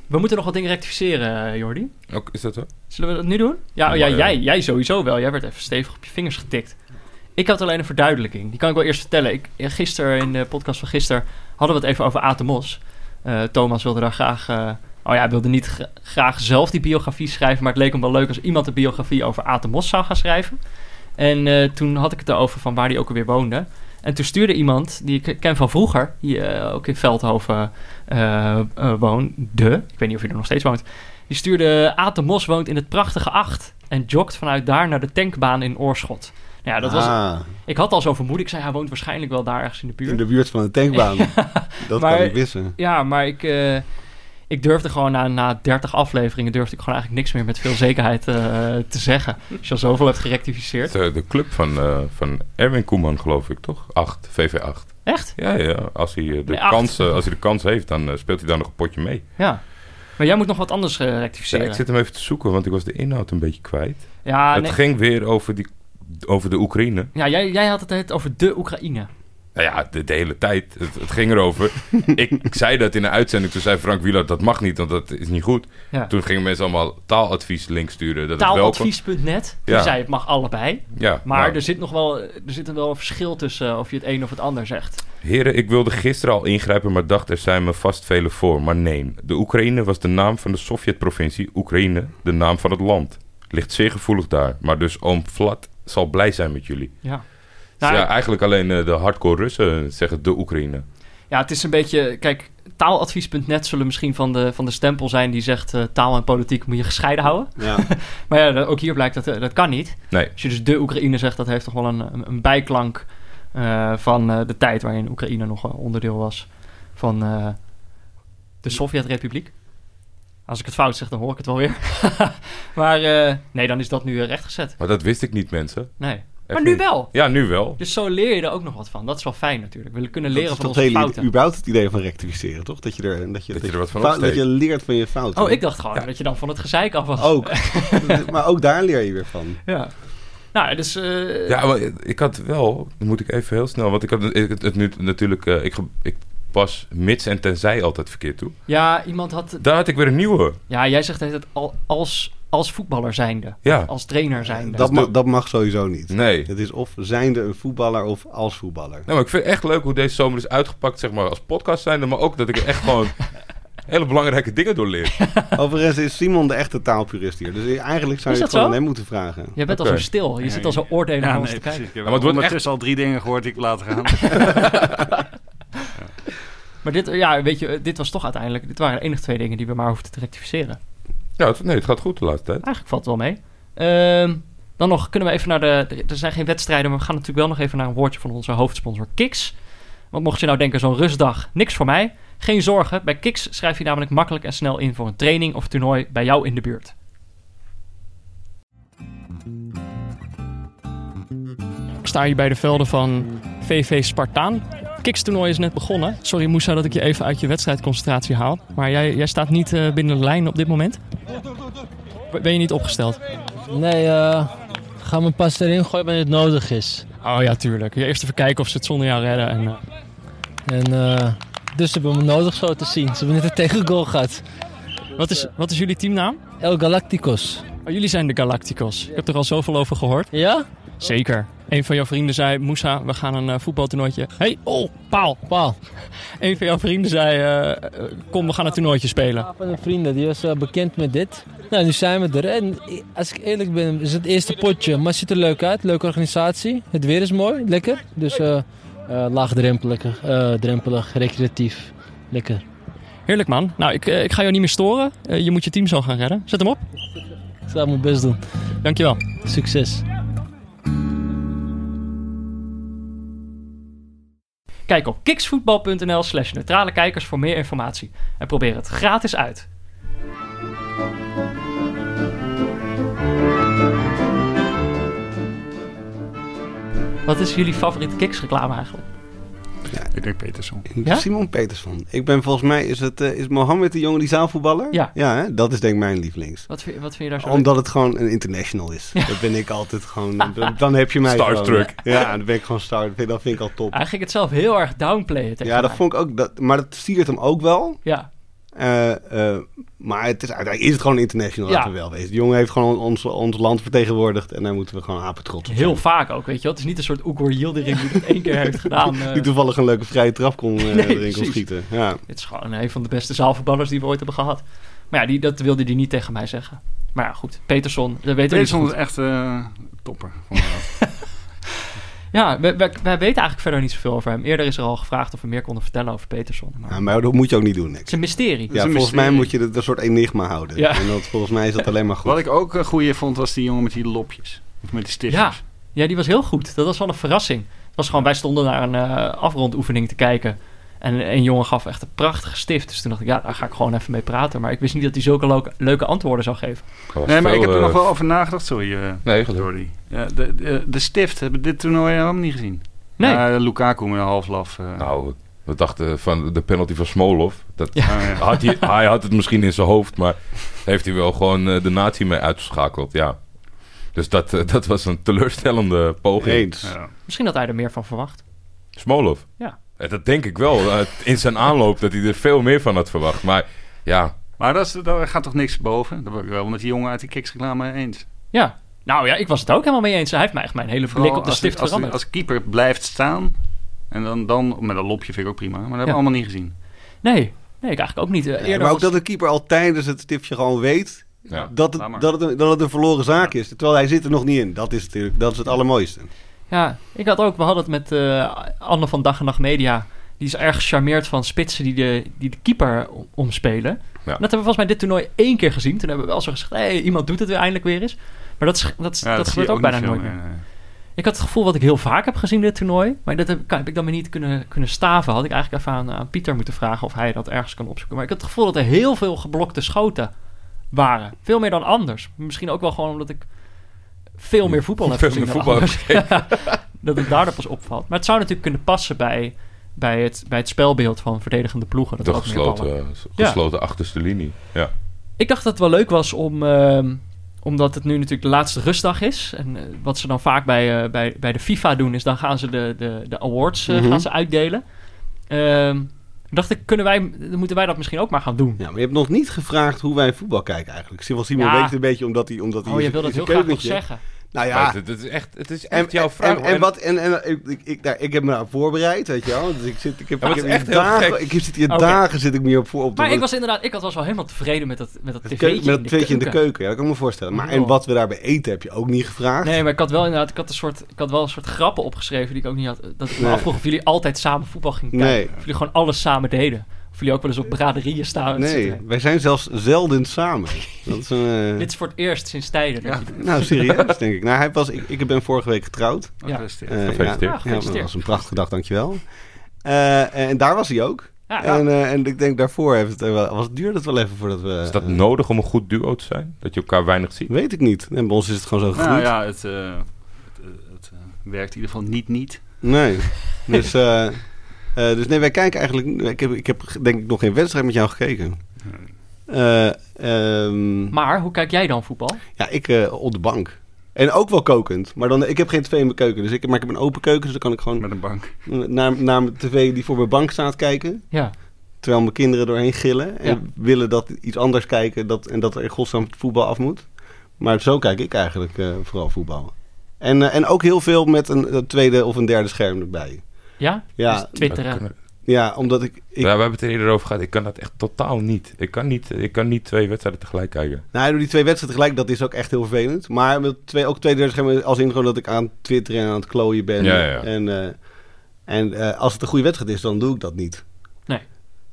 A: we moeten nog wat dingen rectificeren, eh, Jordi.
D: Ook, is dat zo?
A: Zullen we dat nu doen? Ja, oh ja
D: Maar, eh,
A: jij, jij sowieso wel. Jij werd even stevig op je vingers getikt. Ik had alleen een verduidelijking. Die kan ik wel eerst vertellen. Ik, eh, gisteren, in de podcast van gisteren, hadden we het even over Atemos. Eh Thomas wilde daar graag... eh, oh ja, hij wilde niet gra- graag zelf die biografie schrijven... maar het leek hem wel leuk als iemand een biografie over Atemos zou gaan schrijven. En eh, toen had ik het erover van waar hij ook alweer woonde. En toen stuurde iemand, die ik ken van vroeger... die eh, ook in Veldhoven eh, eh, woonde. Ik weet niet of hij er nog steeds woont. Die stuurde Aten Mos woont in het prachtige Acht en jogt vanuit daar naar de tankbaan in Oorschot. Nou ja, dat was,
E: Ah,
A: ik had al zo vermoed. Ik zei, hij woont waarschijnlijk wel daar ergens in de buurt.
E: in de buurt van de tankbaan. Dat
A: Maar-
E: kan ik wissen.
A: Ja, maar ik, eh, ik durfde gewoon na, na 30 afleveringen... durfde ik gewoon eigenlijk niks meer met veel zekerheid eh, te zeggen. Als je al zoveel hebt gerectificeerd.
D: Het is, eh, de club van, eh, van Erwin Koeman, geloof ik, toch? 8, VV8.
A: Echt?
D: Ja, ja. Als hij, eh, de,
A: Nee, acht.
D: kans, eh, als hij de kans heeft, dan eh, speelt hij daar nog een potje mee.
A: Ja. Maar jij moet nog wat anders eh,
D: Ja,
A: rectificeren.
D: ik zit hem even te zoeken, want ik was de inhoud een beetje kwijt.
A: Ja,
D: het
A: Ah, nee.
D: ging weer over, die, over de Oekraïne.
A: ja jij, jij had het net over de Oekraïne.
D: Nou ja, de, de hele tijd. Het, het ging erover. ik, ik zei dat in een uitzending. Toen zei Frank Wielard, dat mag niet, want dat is niet goed.
A: Ja.
D: Toen gingen mensen allemaal taaladvies links sturen. Dat het wel kon.
A: Taaladvies.net. Die
D: Ja.
A: zei, het mag allebei.
D: Ja,
A: Maar dus-
D: nou,
A: er, zit nog wel, er zit er wel een verschil tussen eh, of je het een of het ander zegt.
D: Heren, ik wilde gisteren al ingrijpen, maar dacht er zijn me vast velen voor. Maar nee, de Oekraïne was de naam van de Sovjet-provincie. Oekraïne, de naam van het land. Ligt zeer gevoelig daar. Maar dus oom Vlad zal blij zijn met jullie.
A: Ja.
D: Dus
A: Nou,
D: ja, eigenlijk alleen eh, de hardcore Russen zeggen de Oekraïne.
A: ja, het is een beetje... Kijk, taaladvies.net zullen misschien van de, van de stempel zijn... die zegt eh, taal en politiek moet je gescheiden houden.
E: Ja.
A: Maar ja, dat- ook hier blijkt dat eh, dat kan niet.
D: Nee.
A: Als je dus de Oekraïne zegt, dat heeft toch wel een, een- een bijklank... eh, van eh, de tijd waarin Oekraïne nog een onderdeel was van eh, de Sovjet-republiek. Als ik het fout zeg, dan hoor ik het wel weer. maar eh, nee, dan is dat nu eh, rechtgezet.
D: Maar dat wist ik niet, mensen.
A: Nee. Maar
D: Echt
A: nu
D: niet.
A: wel.
D: Ja, nu wel.
A: Dus zo leer je er ook nog wat van. Dat is wel fijn natuurlijk. We kunnen leren
E: dat is
A: van
E: toch
A: onze
E: hele,
A: fouten.
E: überhaupt het idee van rectificeren, toch? Dat je er, dat je,
D: je er wat van
E: fout-
D: opsteekt.
E: dat je leert van je fouten.
A: Oh, ik dacht gewoon dat je dan van het gezeik af was.
E: Ook. maar ook daar leer je weer van.
A: Ja. Nou, dus... eh,
D: Ja, maar ik had wel, dan moet ik even heel snel, want ik had ik- het, het nu natuurlijk, eh, ik, ge- ik pas mits en tenzij altijd verkeerd toe.
A: ja, iemand had...
D: Daar had ik weer een nieuwe.
A: Ja, jij zegt het al, als, als voetballer zijnde.
D: Ja.
C: Oh.
A: Als trainer zijnde. Dus
E: Dat, ma- dat mag sowieso niet.
D: Dus Nee.
E: Het is of zijnde een voetballer of als voetballer.
D: Nou, maar ik vind het echt leuk hoe deze zomer is uitgepakt, zeg maar, als podcast zijnde, maar ook dat ik er echt gewoon hele belangrijke dingen door leer.
E: Overigens is Simon de echte taalpurist hier. Dus eigenlijk zou
A: Is
E: je
A: dat
E: het gewoon
A: zo?
E: aan hem moeten vragen.
A: Jij bent al
D: Oké.
A: zo stil. Je
C: Ja,
A: zit al zo oordelend naar
C: Ja,
A: ons
C: nee,
A: te kijken.
C: precies. Ik heb
D: maar het wordt
C: ondertussen al drie dingen gehoord die ik laat gaan.
A: Maar dit, eh, ja, weet je, dit was toch uiteindelijk... Dit waren de enige twee dingen die we maar hoefden te rectificeren.
D: Ja, het, nee, het gaat goed de laatste tijd.
A: Eigenlijk valt het wel mee. Ehm, dan nog kunnen we even naar de. Er zijn geen wedstrijden, maar we gaan natuurlijk wel nog even naar een woordje van onze hoofdsponsor Kiks. Want mocht je nou denken, zo'n rustdag, niks voor mij. Geen zorgen, bij Kiks schrijf je namelijk makkelijk en snel in voor een training of toernooi bij jou in de buurt. Ik sta hier bij de velden van VV Spartaan. Kikstoernooi is net begonnen. Sorry Moussa dat ik je even uit je wedstrijdconcentratie haal. Maar jij, jij staat niet eh, binnen de lijn op dit moment? Ben je niet opgesteld?
F: Nee, eh, ga mijn pas erin gooien wanneer het nodig is.
A: Oh ja, tuurlijk. Je eerst even kijken of ze het zonder jou redden. En, eh,
F: En, eh, dus ze hebben me nodig zo te zien. Ze hebben net een tegengoal gehad.
A: wat, is, wat is jullie teamnaam?
F: El Galacticos.
A: Oh, jullie zijn de Galacticos. Ik heb er al zoveel over gehoord.
F: Ja?
A: Zeker. Een van jouw vrienden zei, Moussa, we gaan een eh, voetbaltoernooitje. hey, oh, paal.
F: Paal.
A: Een van jouw vrienden zei, eh, eh, kom, we gaan een toernooitje spelen.
F: Van een vrienden, die was eh, bekend met dit. Nou, nu zijn we er. En i- als ik eerlijk ben, is het eerste potje. Maar het ziet er leuk uit. Leuke organisatie. Het weer is mooi. Lekker. Dus eh eh, laagdrempelig, eh, drempelig, recreatief. Lekker.
A: Heerlijk, man. Nou, ik, eh, ik ga jou niet meer storen. Eh, je moet je team zo gaan redden. Zet hem op.
F: Ik zal mijn best doen.
A: Dankjewel.
F: Succes.
A: Kijk op kiksvoetbal.nl slash neutrale kijkers voor meer informatie. En probeer het gratis uit. Wat is jullie favoriete kiksreclame eigenlijk?
C: Ik denk Peterson.
A: Ja?
E: Simon Petersson. Ik ben volgens mij, is, het, eh, is Mohammed de jongen die zaalvoetballer?
A: Ja.
E: Ja, hè? dat is denk ik mijn lievelings.
A: Wat vind, wat vind je daar zo leuk
E: Omdat het gewoon een international is. Dat ben ik altijd gewoon. dan- Dan heb je mij.
D: Starstruck.
E: gewoon. Ja, dan ben ik gewoon star. Dat vind, dat vind ik al top.
A: Hij ging het zelf heel erg downplayen tegen
E: Ja, dat
A: mij.
E: vond ik ook. Dat, maar dat siert hem ook wel.
A: Ja,
E: Eh, eh, maar het is, uiteindelijk is het gewoon international,
A: Ja.
E: laten we wel wezen. De jongen heeft gewoon ons, ons land vertegenwoordigd en daar moeten we gewoon apen trots op
A: heel
E: zijn.
A: vaak ook, weet je wel. Het is niet een soort Oekur Yildirim die het één keer heeft gedaan. eh.
E: Die toevallig een leuke vrije trap kon, eh, erin kon
A: precies.
E: schieten. Ja.
A: het is gewoon een van de beste zaalvoetballers die we ooit hebben gehad. Maar ja, die, dat wilde hij niet tegen mij zeggen. Maar ja, goed. Peterson, dat weten we niet zo
C: Peterson
A: goed.
C: is echt eh, topper. vond ik wel.
A: Ja, wij, wij, wij weten eigenlijk verder niet zoveel over hem. Eerder is er al gevraagd of we meer konden vertellen over Peterson. Maar...
E: Ja, maar dat moet je ook niet doen,
A: Het
E: niks.
A: is een mysterie.
C: is
E: Ja,
C: een
E: volgens mij
C: mysterie.
E: moet je het een soort enigma houden.
A: Ja.
E: En dat, volgens mij is dat alleen maar goed.
C: Wat ik ook een goeie vond, was die jongen met die lopjes. Of met die
A: Ja.
C: stiftjes.
A: ja, die was heel goed. Dat was wel een verrassing. Het was gewoon, wij stonden naar een eh, afrondoefening te kijken. En een jongen gaf echt een prachtige stift. Dus toen dacht ik, ja, daar ga ik gewoon even mee praten. Maar ik wist niet dat hij zulke leuke, leuke antwoorden zou geven.
C: Nee, maar ik heb er nog wel eh, over nagedacht. Sorry, eh,
D: eh, Nee, geloof ik.
C: Jordi. Ja, de, de, de stift hebben dit toernooi helemaal niet gezien.
A: Nee,
C: Ja, Lukaku met een half laf. eh.
D: Nou, we dachten van de penalty van Smolov. Dat
A: Ja.
C: Ah, ja.
D: had hij, hij had het misschien in zijn hoofd, maar heeft hij wel gewoon eh, de natie mee uitgeschakeld. Ja. Dus dat, eh, dat was een teleurstellende poging.
E: Eens.
C: Ja.
A: misschien had hij er meer van verwacht.
D: Smolov.
A: Ja.
D: Eh, Dat denk ik wel. eh, in zijn aanloop dat hij er veel meer van had verwacht. Maar ja,
C: Maar dat is, daar gaat toch niks boven? Dat ben ik wel met die jongen uit die kiksreclame eens.
A: Ja. Nou ja, ik was het ook helemaal mee eens. Hij heeft mij echt mijn hele blik op de
C: als,
A: stift
C: als, als,
A: veranderd.
C: keeper blijft staan. En dan, dan met een lopje vind ik ook prima. Maar dat hebben
A: Ja.
C: we allemaal niet gezien.
A: Nee, nee, ik eigenlijk ook niet. Eh,
E: Ja,
A: eerder
E: maar ook
A: was-
E: dat de keeper al tijdens het tipje gewoon weet
D: Ja.
E: dat,
C: Laat
E: het,
C: maar.
E: dat, het, een- dat het een verloren zaak is. Terwijl hij zit er nog niet in. Dat is, natuurlijk, dat is het allermooiste.
A: Ja, ik had ook, we hadden het met eh, Anne van Dag en Nacht Media. Die is erg gecharmeerd van spitsen die de, die de keeper o- omspelen.
D: Ja.
A: En Dat hebben we volgens mij dit toernooi één keer gezien. Toen hebben we wel zo gezegd, hey, iemand doet het weer eindelijk weer eens. Maar dat, is- dat, is-
C: Ja,
A: dat,
C: zie
A: gebeurt
C: je
A: ook, bijna
C: niet veel
A: nooit meer.
C: meer, nee.
A: Ik had het gevoel wat ik heel vaak heb gezien dit toernooi. Maar dat heb, kan- heb ik dan weer niet kunnen, kunnen staven. Had ik eigenlijk even aan, aan Pieter moeten vragen of hij dat ergens kan opzoeken. Maar ik had het gevoel dat er heel veel geblokte schoten waren. Veel meer dan anders. Misschien ook wel gewoon omdat ik veel meer voetbal heb
D: Veel
A: gezien
D: meer
A: dan
D: voetbal
A: anders. dat het daardoor pas opvalt. Maar het zou natuurlijk kunnen passen bij, bij, het, bij het spelbeeld van verdedigende ploegen. Dat
D: de
A: er ook meer ballen-
D: gesloten, eh,
A: Ja.
D: gesloten achterste linie. Ja.
A: ik dacht dat het wel leuk was om. ehm, omdat het nu natuurlijk de laatste rustdag is. En eh, wat ze dan vaak bij, eh, bij, bij de FIFA doen, is dan gaan ze de, de, de awards eh,
E: Mhm.
A: gaan ze uitdelen. Ehm, dacht ik, kunnen wij, dan moeten wij dat misschien ook maar gaan doen.
E: Ja, maar je hebt nog niet gevraagd hoe wij voetbal kijken eigenlijk. Simon Simon
A: Ja.
E: weet het een beetje omdat hij... Omdat hij
A: oh, je
E: is-
A: wil dat
E: is een
A: heel graag nog
E: keukentje.
A: zeggen.
E: Nou
D: Maar
E: ja,
D: het, het is echt, het is echt
E: En,
D: jouw
E: en-
D: vraag.
E: en,
D: hoor.
E: en wat, en, en, ik, ik, ik, nou, ik heb me daar voorbereid, weet je wel. Dus ik zit, ik heb,
D: Ja, maar
E: ik heb
D: het
E: hier
D: is echt heel
E: dagen,
D: gek.
E: ik zit hier
A: Oké.
E: dagen zit ik me op voor op
A: Maar ik was inderdaad, ik had was wel helemaal tevreden met dat, met dat
E: het
A: tv'tje
E: keu- met dat
A: in, de
E: tweetje in de
A: keuken.
E: keuken, ja, dat kan ik me voorstellen. Maar en
A: Joh.
E: wat we daarbij eten heb je ook niet gevraagd.
A: Nee, maar ik had wel inderdaad, ik had, een soort, ik had wel een soort grappen opgeschreven die ik ook niet had. eh, Dat ik me
E: Nee.
A: afvroeg of jullie altijd samen voetbal gingen kijken.
E: nee,
A: Of jullie gewoon alles samen deden. Of jullie ook wel eens op braderieën staan. en
E: nee,
A: zitten.
E: wij zijn zelfs zelden samen. Dat is een, eh,
A: Dit is voor het eerst sinds tijden. dat
C: Ja.
A: je dit-
E: Nou, serieus denk ik. Nou, hij was, ik, ik ben vorige week getrouwd.
C: Dat
A: Ja.
C: is het.
E: Eh,
D: Gefeliciteerd.
E: ja,
A: Ja,
E: ja,
A: gefeliciteerd.
E: dat was een prachtige dag, dankjewel. Eh en daar was hij ook.
A: Ja,
E: En, eh, en ik denk daarvoor heeft het, er wel- was, duurde het wel even voordat we...
D: Is dat nodig om een goed duo te zijn? Dat je elkaar weinig ziet?
A: Nou
E: Weet ik niet. En bij ons is het gewoon zo
C: Nou
E: gegroeid.
C: ja, het, eh, het, eh, het, eh, werkt in ieder geval niet niet.
E: Nee. Dus, eh, eh, dus nee, wij kijken eigenlijk... Ik heb, ik heb denk ik nog geen wedstrijd met jou gekeken. Eh, ehm,
A: Maar hoe kijk jij dan voetbal?
E: ja, ik eh, op de bank. En ook wel kokend. Maar dan, ik heb geen tv in mijn keuken. Dus ik, maar ik heb een open keuken, dus dan kan ik gewoon
C: Met een bank.
E: naar, naar mijn tv die voor mijn bank staat kijken.
A: Ja.
E: Terwijl mijn kinderen doorheen gillen. En
A: Ja.
E: willen dat iets anders kijken dat, en dat er in godsnaam het voetbal af moet. Maar zo kijk ik eigenlijk eh, vooral voetbal. En, eh, en ook heel veel met een, een tweede of een derde scherm erbij.
A: Ja?
E: Ja.
A: Dus twitteren.
E: Ja, omdat ik... ik
D: Ja, we hebben het er eerder over gehad. Ik kan dat echt totaal niet. Ik kan niet, ik kan niet twee wedstrijden tegelijk kijken.
E: Nou, door die twee wedstrijden tegelijk, dat is ook echt heel vervelend. Maar met twee, ook twee derde schermen als in gewoon dat ik aan Twitter en aan het klooien ben.
D: Ja, ja.
E: En, eh, en eh, als het een goede wedstrijd is, dan doe ik dat niet.
A: Nee.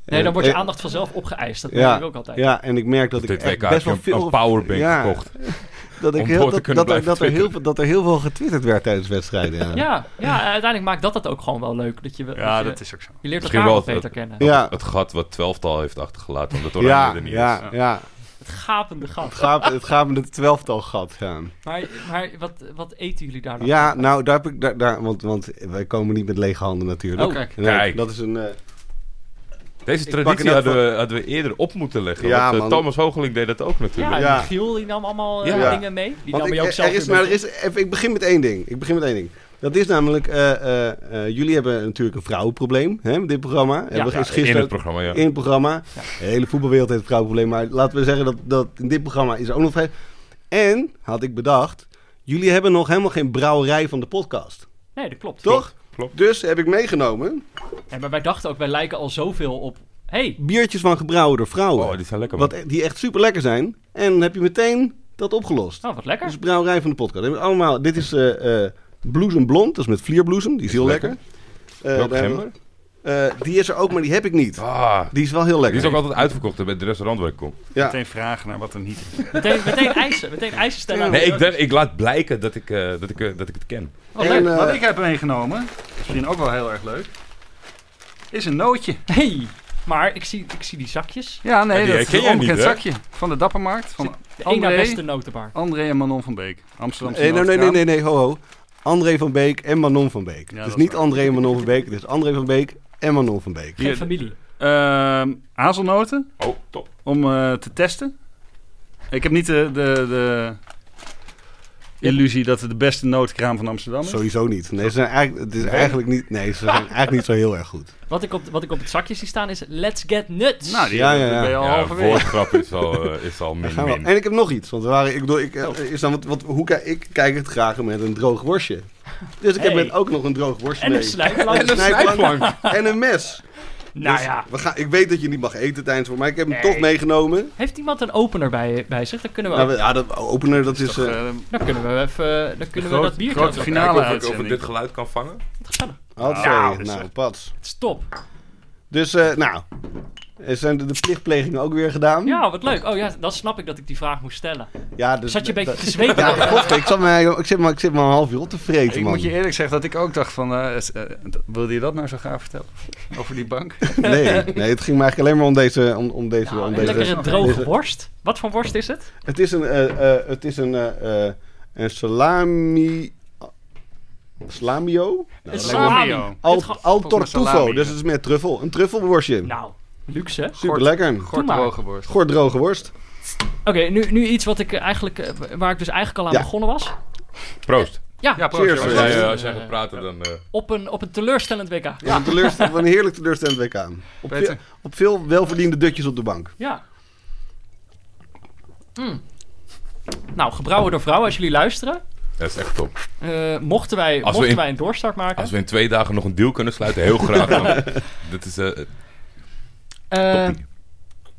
A: Nee, dan wordt je
E: Eh,
A: aandacht vanzelf opgeeist. Dat
E: ja,
A: denk ik ook altijd.
E: Ja, en ik merk dat
D: Dit
E: ik echt
D: WK
E: best
D: heb
E: wel
D: ik een,
E: veel...
D: een powerbank
E: Ja,
D: gekocht.
E: dat, ik
D: om
E: heel,
D: door te
E: dat,
D: kunnen
E: dat, er,
D: blijven
E: dat, er heel,
D: twitteren.
E: veel- dat er heel veel getwitterd werd tijdens wedstrijden. Ja.
A: Ja, ja, uiteindelijk maakt dat het ook gewoon wel leuk. Dat je, dat
C: Ja,
A: je,
C: dat is ook zo.
A: je leert
D: Misschien
A: elkaar wel
D: wel
A: beter
D: dat-
A: kennen.
E: Ja.
D: Het gat wat twelftal heeft achtergelaten, omdat Oranje
E: Ja,
D: er niet is.
E: ja, ja.
A: Het gapende gat.
E: Het gaat, het gaat met het twelftal gat, ja.
A: Maar, maar wat, wat eten jullie daar dan?
E: Ja, nou, daar heb ik... Daar, daar, want, want wij komen niet met lege handen natuurlijk.
A: Oh, kijk.
E: Nee,
D: Kijk.
E: Dat is een... eh,
D: Deze
E: pak
D: traditie
E: het
D: hadden
E: van-
D: we, hadden we eerder op moeten leggen.
E: Ja,
D: want, eh,
E: man.
D: Thomas Hogeling deed dat ook
A: Ja,
D: natuurlijk.
E: Ja.
A: Giel die nam allemaal eh,
E: Ja.
A: dingen mee. Die
E: Want
A: nam
E: ik,
A: je ook
E: er
A: zelf
E: is,
A: weer
E: maar er
A: mee.
E: is, even, ik begin met één ding. Ik begin met één ding. Dat is namelijk, eh, eh, eh, jullie hebben natuurlijk een vrouwenprobleem hè, met dit programma. Hebben we
A: Ja,
E: gisteren
D: in het
E: ook-
D: programma, ja.
E: in het programma. De hele voetbalwereld heeft een vrouwenprobleem. Maar laten we zeggen dat, dat in dit programma is er ook nog vrij. En, had ik bedacht, jullie hebben nog helemaal geen brouwerij van de podcast.
A: Nee, dat klopt.
E: Toch?
D: klopt.
E: Dus heb ik meegenomen
A: Ja, maar wij dachten ook, wij lijken al zoveel op... hey,
E: biertjes van gebrouwen door vrouwen.
D: Oh, die zijn lekker, man.
E: wat, e-, die echt super lekker zijn. En dan heb je meteen dat opgelost.
A: nou wat lekker.
E: Dat is brouwerij van de podcast. Hebben we Allemaal, dit is eh eh bloesemblond, dat is met vlierbloesem, die is heel lekker.
D: lekker.
E: Eh,
D: Welke
E: daar hebben we- eh, die is er ook, maar die heb ik niet.
D: Ah,
E: Oh. Die is wel heel
D: die
E: lekker.
D: is ook altijd uitverkocht hè, bij het restaurant waar ik kom.
E: ja.
C: Meteen vragen naar wat er niet is.
A: Meteen, meteen eisen. Meteen eisen stellen. aan
D: Nee,
A: de
D: ik, dacht, ik laat blijken dat ik, eh, dat, ik, eh, dat ik het ken.
A: Oh,
E: En,
A: leuk.
E: eh,
C: Wat ik heb meegenomen, misschien ook wel heel erg leuk, is een nootje.
A: Hey, maar ik zie, ik zie die zakjes.
C: Ja, nee,
D: Ja, die
C: dat is
D: herken
C: een
D: jij niet,
C: onbekend
D: hè?
C: zakje van de Dappermarkt. Van
A: De ene
C: André,
A: beste notenbar.
C: André en Manon van Beek. Amsterdam.
E: Eh, nee, nee, nee, nee, nee, ho, ho. André van Beek en Manon van Beek.
C: Ja,
E: Het
C: dat
E: is
C: is
E: niet
C: waar.
E: André en Manon van Beek, het is André van Beek en Manon van Beek.
A: Geen
C: Hier,
A: familie.
C: Ehm, hazelnoten
D: Oh, top.
C: om eh, te testen. Ik heb niet de, de, de illusie dat het de beste notenkraam van Amsterdam is.
E: Sowieso niet. Nee, ze zijn eigenlijk, het is eigenlijk niet, nee, ze zijn eigenlijk niet zo heel erg goed.
A: Wat ik, op, wat ik op het zakje zie staan is Let's Get Nuts.
C: Nou, die
E: Ja, ja,
C: daar
E: ja.
C: ben je al
D: Ja,
C: halverwege.
D: woordgrap is al, eh, is al
E: Daar
D: min,
E: gaan we.
D: min.
E: En ik heb nog iets, want we waren, ik bedoel, ik,
C: Oh.
E: eh, is dan, wat, wat, hoe kijk, ik kijk het graag met een droog worstje. Dus ik heb
A: Hey.
E: met ook nog een droog worstje
A: en
E: mee.
A: een slijplank.
E: En een snijplank. en een mes.
A: nou
E: Dus
A: ja.
E: we gaan, ik weet dat je niet mag eten tijdens voor, maar ik heb hem
A: Nee.
E: toch meegenomen.
A: Heeft iemand een opener bij, bij zich? Dan kunnen we,
E: Nou, we- ja, dat opener, dat is...
C: Toch,
E: eh,
C: eh,
A: dan kunnen we even dan kunnen we
C: grote-
A: dat bier
C: grote
A: kopen.
C: finale.
D: Kijken of ik- of, ik
C: uitzending.
D: dit geluid kan vangen.
A: Gezellig.
E: hoppakee,
C: Ja, dat is
E: nou,
C: echt-
E: pats.
A: Het is top.
E: Dus, eh, nou, er zijn de, de plichtplegingen ook weer gedaan.
A: Ja, wat leuk. Oh ja, dan snap ik dat ik die vraag moest stellen.
E: Ja, dus,
A: Zat je een beetje
E: dat-
A: te zweten?
E: Ja, god, ik, zat me, ik, zit maar, ik zit maar een half uur op te vreten,
C: ik
E: man.
C: moet je eerlijk zeggen dat ik ook dacht van, eh, is- eh, d- wilde je dat nou zo graag vertellen? Over die bank?
E: nee, nee, het ging me eigenlijk alleen maar om deze... Om, om deze,
A: Nou,
E: om
A: een
E: deze
A: lekkere droge
E: deze-
A: worst. Wat voor worst is het?
E: Het is een, eh, eh, het is een, eh, eh, een salami... Nou, Slamio?
A: een
C: salami.
E: Al,
A: Het ge-
E: al
C: volgens mij
E: tortufo,
C: salami,
E: dus
C: ja.
E: het is met truffel. Een truffelworstje.
A: Nou, luxe. hè?
E: Super lekker.
C: Gort
A: maar.
C: droge worst.
E: Goor droge worst.
A: Oké, nu, nu iets wat ik eh, eigenlijk, eh, waar ik dus eigenlijk al aan
E: Ja.
A: begonnen was.
D: Proost.
A: Ja,
C: Ja, proost,
E: Cheers.
C: jongens.
D: Als
E: Ja,
D: jij,
E: ja.
D: eh, als jij gaat praten, dan... eh,
A: op, een, op een teleurstellend WK.
E: Ja. Een, teleurst- een heerlijk teleurstellend WK. Op veel,
C: Peter.
E: op veel welverdiende dutjes op de bank.
A: Ja. Mm. Nou, gebrouwen door vrouwen, als jullie luisteren.
D: dat is echt top.
A: eh, mochten wij,
D: we
A: mochten
D: in-
A: wij een doorstart maken.
D: Als we in twee dagen nog een deal kunnen sluiten, heel graag. man. dat is... eh,
A: Eh,
D: Toppie.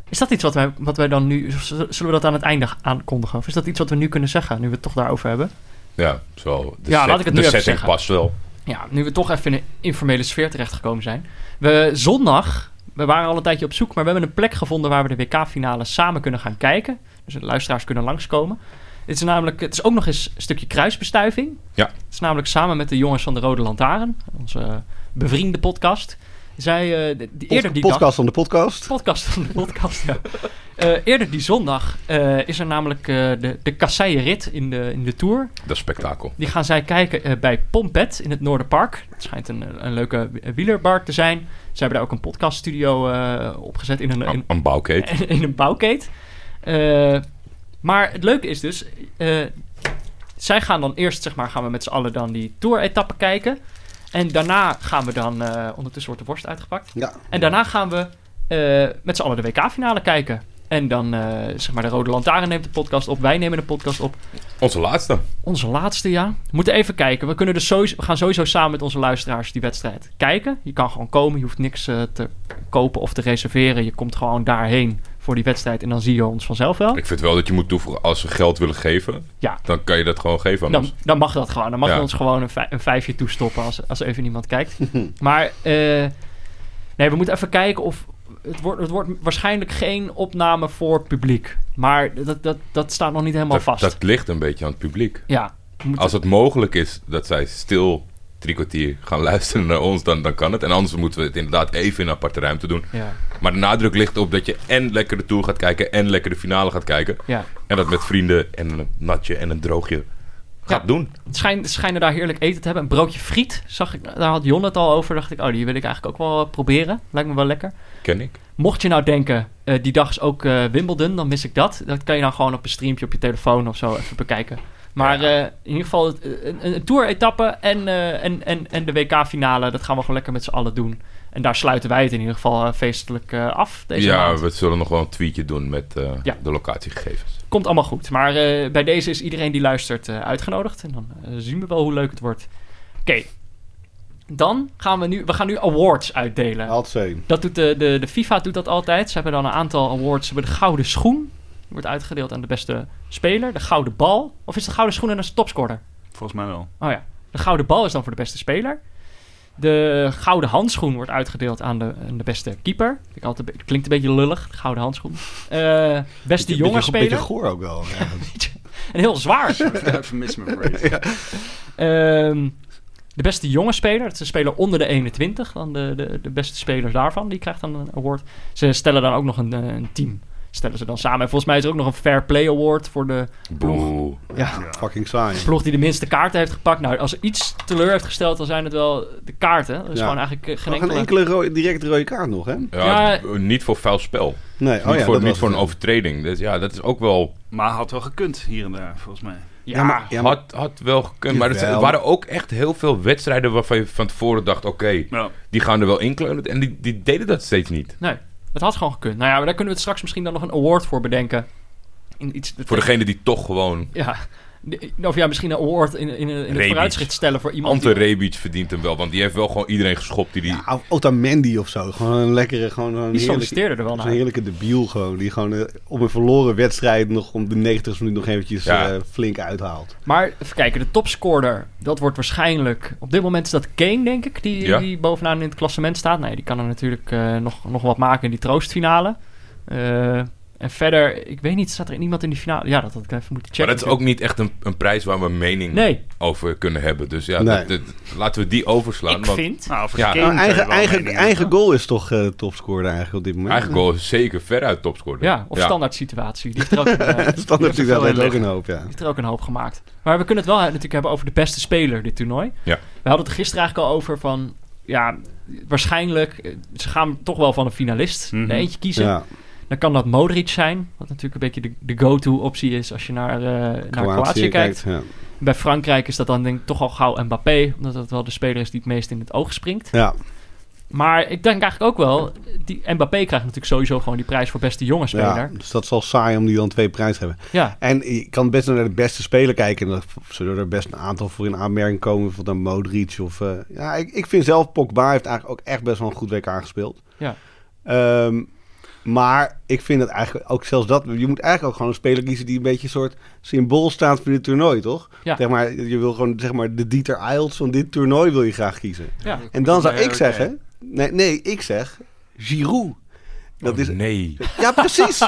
A: is dat iets wat wij, wat wij dan nu... z- Zullen we dat aan het einde aankondigen? Of is dat iets wat we nu kunnen zeggen, nu we het toch daarover hebben?
D: ja, zo. De,
A: Ja,
D: set-
A: laat ik het
D: de
A: nu even
D: setting
A: zeggen.
D: past wel.
A: Ja, nu we toch even in een informele sfeer terechtgekomen zijn. We zondag, we waren al een tijdje op zoek, maar we hebben een plek gevonden waar we de WK-finale samen kunnen gaan kijken. Dus de luisteraars kunnen langskomen. Het is namelijk, het is ook nog eens een stukje kruisbestuiving.
D: Ja.
A: Het is namelijk samen met de jongens van de Rode Lantaarn, onze bevriende podcast. Zij, eh, de- die- eerder die dag...
E: podcast van de podcast.
A: Podcast van de podcast, ja. Eh, eerder die zondag eh, is er namelijk eh, de, de kasseien-rit in de, in de Tour.
D: Dat is spektakel.
A: Die gaan zij kijken eh, bij Pompet in het Noorderpark. Het schijnt een, eh, een leuke wi- wielerbar te zijn. Ze hebben daar ook een podcaststudio eh, opgezet in Eh, een, in,
D: Een, een bouwkeet.
A: in, een bouwkeet. Eh, maar het leuke is dus... eh, zij gaan dan eerst, zeg maar, gaan we met z'n allen dan die Tour-etappe kijken. En daarna gaan we dan... eh, ondertussen wordt de worst uitgepakt.
E: Ja.
A: En daarna gaan we eh, met z'n allen de WK-finale kijken. En dan, eh, zeg maar, de Rode Lantaarn neemt de podcast op. Wij nemen de podcast op.
D: Onze laatste.
A: Onze laatste, ja. We moeten even kijken. We, kunnen dus sowieso, we gaan sowieso samen met onze luisteraars die wedstrijd kijken. Je kan gewoon komen. Je hoeft niks eh, te kopen of te reserveren. Je komt gewoon daarheen voor die wedstrijd. En dan zie je ons vanzelf wel.
D: Ik vind wel dat je moet toevoegen, als ze geld willen geven,
A: Oh. Ja.
D: dan kan je dat gewoon geven aan
A: Dan,
D: ons.
A: dan mag dat gewoon. Dan mag
D: Ja.
A: je ons gewoon een, vij- een vijfje toestoppen als, als even niemand kijkt. maar eh, nee, we moeten even kijken of... Het wordt, het wordt waarschijnlijk geen opname voor publiek. Maar dat, dat, dat staat nog niet helemaal
D: Dat,
A: vast.
D: dat ligt een beetje aan het publiek.
A: Ja, we moeten-
D: Als het mogelijk is dat zij stil drie kwartier gaan luisteren naar ons, dan, dan kan het. En anders moeten we het inderdaad even in een aparte ruimte doen.
A: ja,
D: Maar de nadruk ligt op dat je en lekker de Tour gaat kijken en lekker de finale gaat kijken.
A: ja.
D: En dat met vrienden en een natje en een droogje gaat
A: Ja.
D: doen.
A: Het schijn, ze schijnen daar heerlijk eten te hebben. Een broodje friet, zag ik, daar had Jon het al over. dacht ik, oh, die wil ik eigenlijk ook wel eh, proberen. Lijkt me wel lekker.
D: Ken ik.
A: Mocht je nou denken, eh, die dag is ook eh, Wimbledon, dan mis ik dat. Dat kan je dan gewoon op een streampje op je telefoon of zo even bekijken. Maar eh, in ieder geval het- een, een- een tour-etappe en, eh, en, en, en de WK-finale, dat gaan we gewoon lekker met z'n allen doen. En daar sluiten wij het in ieder geval eh, feestelijk eh, af deze
D: ja,
A: maand.
D: we zullen nog wel een tweetje doen met eh,
A: Ja.
D: de locatiegegevens.
A: Komt allemaal goed. Maar eh, bij deze is iedereen die luistert eh, uitgenodigd. En dan eh, zien we wel hoe leuk het wordt. Oké. Dan gaan we nu... We gaan nu awards uitdelen.
E: Alt zijn.
A: Dat doet de, de, de FIFA doet dat altijd. Ze hebben dan een aantal awards. Ze hebben de Gouden Schoen. Die wordt uitgedeeld aan de beste speler. De Gouden Bal. Of is de Gouden Schoen en dat is de topscorer?
C: Volgens mij wel.
A: Oh ja. De Gouden Bal is dan voor de beste speler. De Gouden Handschoen wordt uitgedeeld aan de, aan de beste keeper. Vind Ik altijd, een be- klinkt een beetje lullig, de Gouden Handschoen. Eh, beste jonge
E: Een beetje
A: speler.
E: goor ook wel. Ja.
A: En heel zwaar.
C: Euphemisme phrase.
A: Ehm, de beste jonge speler, dat is een speler onder de 21, dan de, de, de beste spelers daarvan, die krijgt dan een award. Ze stellen dan ook nog een, eh, een team, stellen ze dan samen. En volgens mij is er ook nog een Fair Play Award voor de
D: Boe.
A: ja,
E: Fucking saai.
A: ploeg die de minste kaarten heeft gepakt. Nou, als er iets teleur heeft gesteld, dan zijn het wel de kaarten. Er is
E: Ja.
A: gewoon eigenlijk eh, geen
E: Nog een
A: enkele...
E: enkele rode, direct rode kaart nog, hè? Nee,
D: Ja,
A: Ja.
D: d- Niet voor vuil spel.
E: oh ja,
D: niet
E: dat
D: voor, niet
E: was
D: voor een
E: het.
D: overtreding. Dus ja, dat is ook wel...
C: Maar had wel gekund hier en daar, volgens mij.
A: Ja,
E: Ja, maar, ja, maar-
D: had, had wel gekund. Maar er z-
E: Jawel.
D: waren ook echt heel veel wedstrijden waarvan je van tevoren dacht... Oké,
C: Ja.
D: die gaan er wel in kleunen. En die, die deden dat steeds niet.
A: nee, het had gewoon gekund. Nou ja, maar daar kunnen we het straks misschien dan nog een award voor bedenken. In iets,
D: Voor degene die toch gewoon...
A: Ja, de- of ja, misschien een award in, in, in het
D: Rebic.
A: vooruitzicht stellen voor iemand...
D: Ante
A: die-
D: Rebic verdient hem wel. Want die heeft wel gewoon iedereen geschopt die die...
E: ja, of Otamendi of zo. Gewoon een lekkere, gewoon een
A: Die
E: heerlijke,
A: solliciteerde er wel
E: zo'n
A: naar.
E: heerlijke debiel gewoon. Die gewoon eh, op een verloren wedstrijd nog om de 90 minuut nog eventjes
D: Ja.
E: eh, flink uithaalt.
A: Maar even kijken, de topscorer, dat wordt waarschijnlijk... Op dit moment is dat Kane, denk ik, die,
D: Ja.
A: die bovenaan in het klassement staat. Nee, die kan er natuurlijk eh, nog, nog wat maken in die troostfinale. Eh, en verder, ik weet niet, staat er iemand in die finale? Ja, dat had ik even moeten checken.
D: maar dat is ook niet echt een, een prijs waar we een mening
A: Nee,
D: over kunnen hebben. Dus ja,
E: Nee.
D: dat- dat- laten we die overslaan.
A: ik
D: want
A: vind...
C: Nou, voor
D: Ja.
C: Kane
E: Nou,
C: zou je
E: eigen
C: wel
E: eigen,
C: meningen
E: eigen
C: hebben.
E: goal is toch eh topscorer eigenlijk op dit moment.
D: eigenlijk wel zeker veruit topscorer.
A: Ja, of standaard situatie. Die heeft er ook, eh, die heeft
C: Je
E: Standaard
C: hebt er
E: natuurlijk wel
C: veel in
E: ook een hoop, ja.
A: er ook een hoop gemaakt. Maar we kunnen het wel natuurlijk hebben over de beste speler, dit toernooi.
D: Ja.
A: We hadden het er gisteren eigenlijk al over van... Ja, waarschijnlijk, eh, ze gaan toch wel van een finalist
C: Mhm.
A: er eentje kiezen.
E: Ja,
A: Dan kan dat Modric zijn, wat natuurlijk een beetje de, de go-to optie is als je naar, eh, naar
E: Kroatië
A: Kroatië kijkt.
E: Ja.
A: Bij Frankrijk is dat dan denk ik toch al gauw Mbappé, omdat dat wel de speler is die het meest in het oog springt.
E: ja.
A: Maar ik denk eigenlijk ook wel, die Mbappé krijgt natuurlijk sowieso gewoon die prijs voor beste jonge
E: Ja,
A: speler.
E: dus dat is al saai om die dan twee prijzen te hebben.
A: Ja,
E: En je kan best naar de beste speler kijken. En dan zullen er best een aantal voor in aanmerking komen. Van dan Modric of... eh, ja, ik, ik vind zelf Pogba heeft eigenlijk ook echt best wel een goed WK gespeeld.
A: Ja.
E: Ehm, maar ik vind het eigenlijk ook zelfs dat... Je moet eigenlijk ook gewoon een speler kiezen die een beetje een soort symbool staat voor dit toernooi, toch?
A: Ja.
E: Zeg maar, je wil gewoon zeg maar de Dieter Eilt van dit toernooi wil je graag kiezen.
A: ja.
E: En dan zou
C: Nee,
E: ik
C: oké.
E: zeggen... Nee, nee, ik zeg Giroud. Dat
D: Oh,
E: is,
D: nee.
E: ja, precies.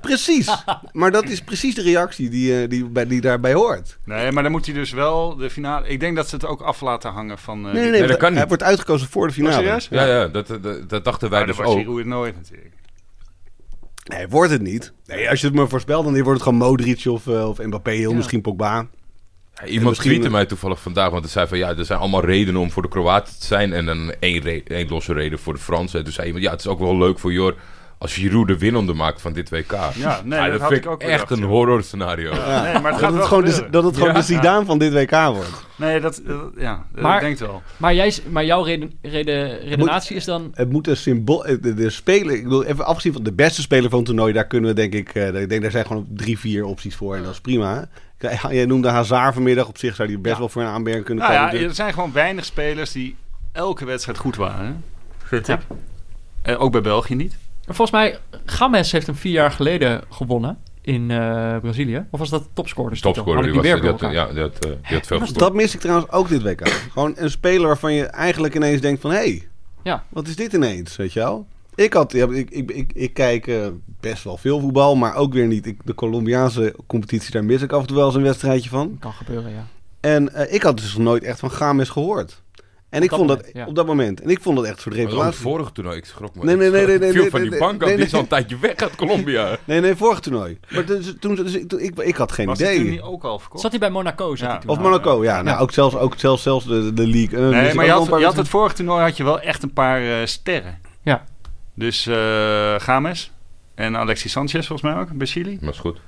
E: precies. Maar dat is precies de reactie die, eh, die, bij, die daarbij hoort.
C: Nee, maar dan moet hij dus wel de finale... Ik denk dat ze het ook af laten hangen van... eh,
E: Nee, nee,
C: die-
E: nee,
D: dat
E: want
D: kan
E: hij
D: niet.
E: wordt uitgekozen voor de finale.
C: Oh, serieus?
D: Ja, ja, dat, dat, dat dachten wij
C: Maar
D: dus
C: dan wordt
D: ook.
C: Giroud het nooit natuurlijk.
E: Nee, wordt het niet. Nee, als je het me voorspelt, dan wordt het gewoon Modric of, eh, of Mbappé of
F: Ja.
E: misschien Pogba.
D: Iemand
E: misschien-
D: tweette mij toevallig vandaag, want hij zei van ja, er zijn allemaal redenen om voor de Kroaten te zijn en dan één, re- één losse reden voor de Fransen. En toen zei iemand, ja, het is ook wel leuk voor Jor als Giroud de winnende maakt van dit WK.
C: Ja, nee, dat had
D: vind
C: ik ook
D: echt
C: bedacht,
D: een
C: joh.
D: horror scenario.
C: Ja, Nee, maar het gaat
E: Dat het,
C: wel
E: gewoon de,
C: gebeuren.
E: dat het gewoon
D: Ja.
E: de Zidane van dit WK wordt.
C: Nee, dat... dat- ja, dat
A: Maar-
C: ik denk het wel.
A: Maar, jij, s- maar jouw reden, reden, redenatie is dan...
E: Het moet een symbool... eh, De, de speler... Ik bedoel, even afgezien van de beste speler van het toernooi... daar kunnen we denk ik... eh, ik denk daar zijn gewoon drie, vier opties voor. En dat is prima. Kijk, Jij noemde Hazard vanmiddag. Op zich zou die best
A: Ja.
E: wel voor een aanmerking kunnen
C: Nou ja,
E: komen.
C: er zijn gewoon weinig spelers die elke wedstrijd goed waren. hè.
A: Ja.
C: Eh, ook bij België niet.
A: Volgens mij, Games heeft hem vier jaar geleden gewonnen in eh, Brazilië. Of was dat topscorer? Dus
D: Topscorer, die,
A: die
D: was,
A: weer
D: die,
A: door
D: had,
A: elkaar.
D: ja, die, had, eh, die had veel gescoord.
E: dat mis ik trouwens ook dit WK. Gewoon een speler waarvan je eigenlijk ineens denkt van... Hé, hey,
A: Ja.
E: wat is dit ineens? Weet je wel? Ik, had, ja, ik, ik, ik, ik kijk eh, best wel veel voetbal, maar ook weer niet. Ik, de Colombiaanse competitie, daar mis ik af en toe wel eens een wedstrijdje van.
A: Kan gebeuren, ja.
E: En eh, ik had dus nog nooit echt van Games gehoord. En ik
A: dat
E: vond dat
A: moment, ja.
E: op dat moment. En ik vond dat echt een soort
D: Maar ook het
E: revelatie.
D: vorige toernooi, ik schrok me.
E: Nee, nee,
D: ik
E: nee,
D: schrok-
E: nee, nee,
D: viel
E: nee,
D: van die
E: nee,
D: bank af,
E: nee,
D: die is al
E: nee.
D: een tijdje weg uit Colombia.
E: Nee, nee, vorig toernooi. Maar dus, toen, dus, ik, toen- ik, ik had geen
C: Was
E: idee.
C: die toen niet ook al verkocht?
A: Zat hij bij Monaco? Zat
C: Ja.
A: hij toen
E: Of
A: al?
E: Monaco, ja. Nou,
A: Ja.
E: ook zelfs, ook zelfs, zelfs de, de league. eh, dus
C: Nee,
E: ik
C: maar je
E: had
C: had,
E: wel
C: je
E: een
C: had
E: paar-
C: het vorige toernooi had je wel echt een paar eh, sterren.
A: Ja.
C: Dus eh Games en Alexis Sanchez volgens mij ook, bij Chili.
D: Maar is goed.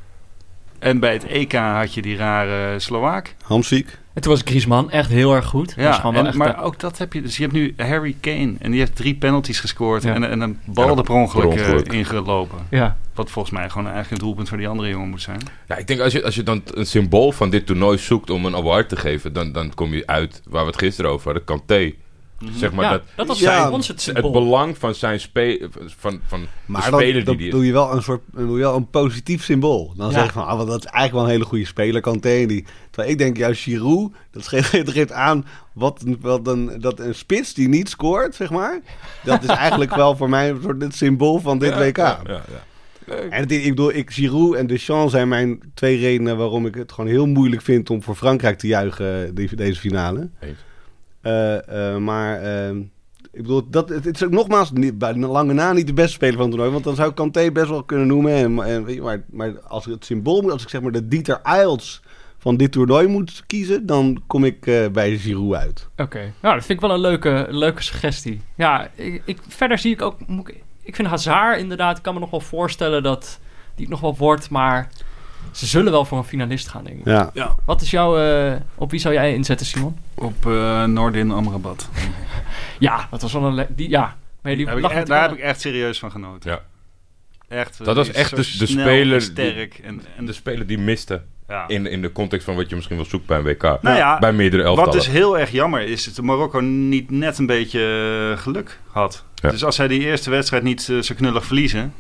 C: En bij het EK had je die rare Slovaak.
E: Hamziek.
A: En toen was Griezmann echt heel erg goed. Dat was
C: Ja,
A: gewoon wel
C: en-
A: echt,
C: maar
A: eh,
C: ook dat heb je. Dus je hebt nu Harry Kane en die heeft drie penalties gescoord
A: Ja.
C: en, en een
D: Ja,
C: bal er per ongeluk,
D: per ongeluk.
C: eh, ingelopen.
A: ja.
C: Wat volgens mij gewoon eigenlijk een doelpunt voor die andere jongen moet zijn.
D: Ja, ik denk als je, als je dan een symbool van dit toernooi zoekt om een award te geven, dan, dan kom je uit waar we het gisteren over hadden, Kanté.
E: Mhm.
D: Zeg maar
A: ja,
D: dat,
A: dat, was
E: Ja,
A: voor ons het
D: het
A: symbool.
D: belang van zijn spe van, van de
E: Maar
D: speler
E: dan, dan
D: die die
E: doe je wel een soort dan doe je wel een positief symbool. Dan
A: Ja.
E: zeg je van, ah, want dat is eigenlijk wel een hele goede speler, Kanté. Die, terwijl ik denk, juist Giroud, dat geeft, dat geeft aan wat, een- wat een, dat een spits die niet scoort, zeg maar. Dat is eigenlijk wel voor mij een soort het symbool van dit
D: Ja,
E: WK.
D: ja, ja, ja.
E: En het- ik bedoel, ik, Giroud en Deschamps zijn mijn twee redenen waarom ik het gewoon heel moeilijk vind om voor Frankrijk te juichen eh, die- deze finale.
D: Eens.
E: Eh, eh, maar eh, ik bedoel, dat, het, het is ook nogmaals niet, bij lange na niet de beste speler van het toernooi. Want dan zou ik Kanté best wel kunnen noemen. En, en, weet je, maar, maar als ik het symbool moet, als ik zeg maar de Dieter Eils van dit toernooi moet kiezen, dan kom ik eh, bij Giroud uit.
A: Oké, nou, dat vind ik wel een leuke, leuke suggestie. Ja, ik, ik, verder zie ik ook... moet Ik ik vind Hazard inderdaad, ik kan me nog wel voorstellen dat die het nog wel wordt, maar ze zullen wel voor een finalist gaan, denk ik.
E: Ja.
A: Wat is jouw... eh, op wie zou jij inzetten, Simon?
C: Op eh, Noordin Amrabat.
A: Ja, dat was wel een... le- Die, ja, maar die
C: Daar, heb ik,
A: lag
C: echt-
A: met-
C: daar heb ik echt serieus van genoten.
D: Ja.
C: Echt, eh,
D: Dat was
C: die is
D: echt dus
C: zo
D: de- de
C: snel
D: speler
C: en
D: die- dus-
C: Sterk en, en
D: En de speler die miste
C: ja.
D: in, in de context van wat je misschien wel zoekt bij een WK.
C: Nou ja,
D: bij meerdere elftallen.
C: Wat dus heel erg jammer is, dat Marokko niet net een beetje eh, geluk had.
D: Ja.
C: Dus als zij die eerste wedstrijd niet eh, zo knullig verliezen...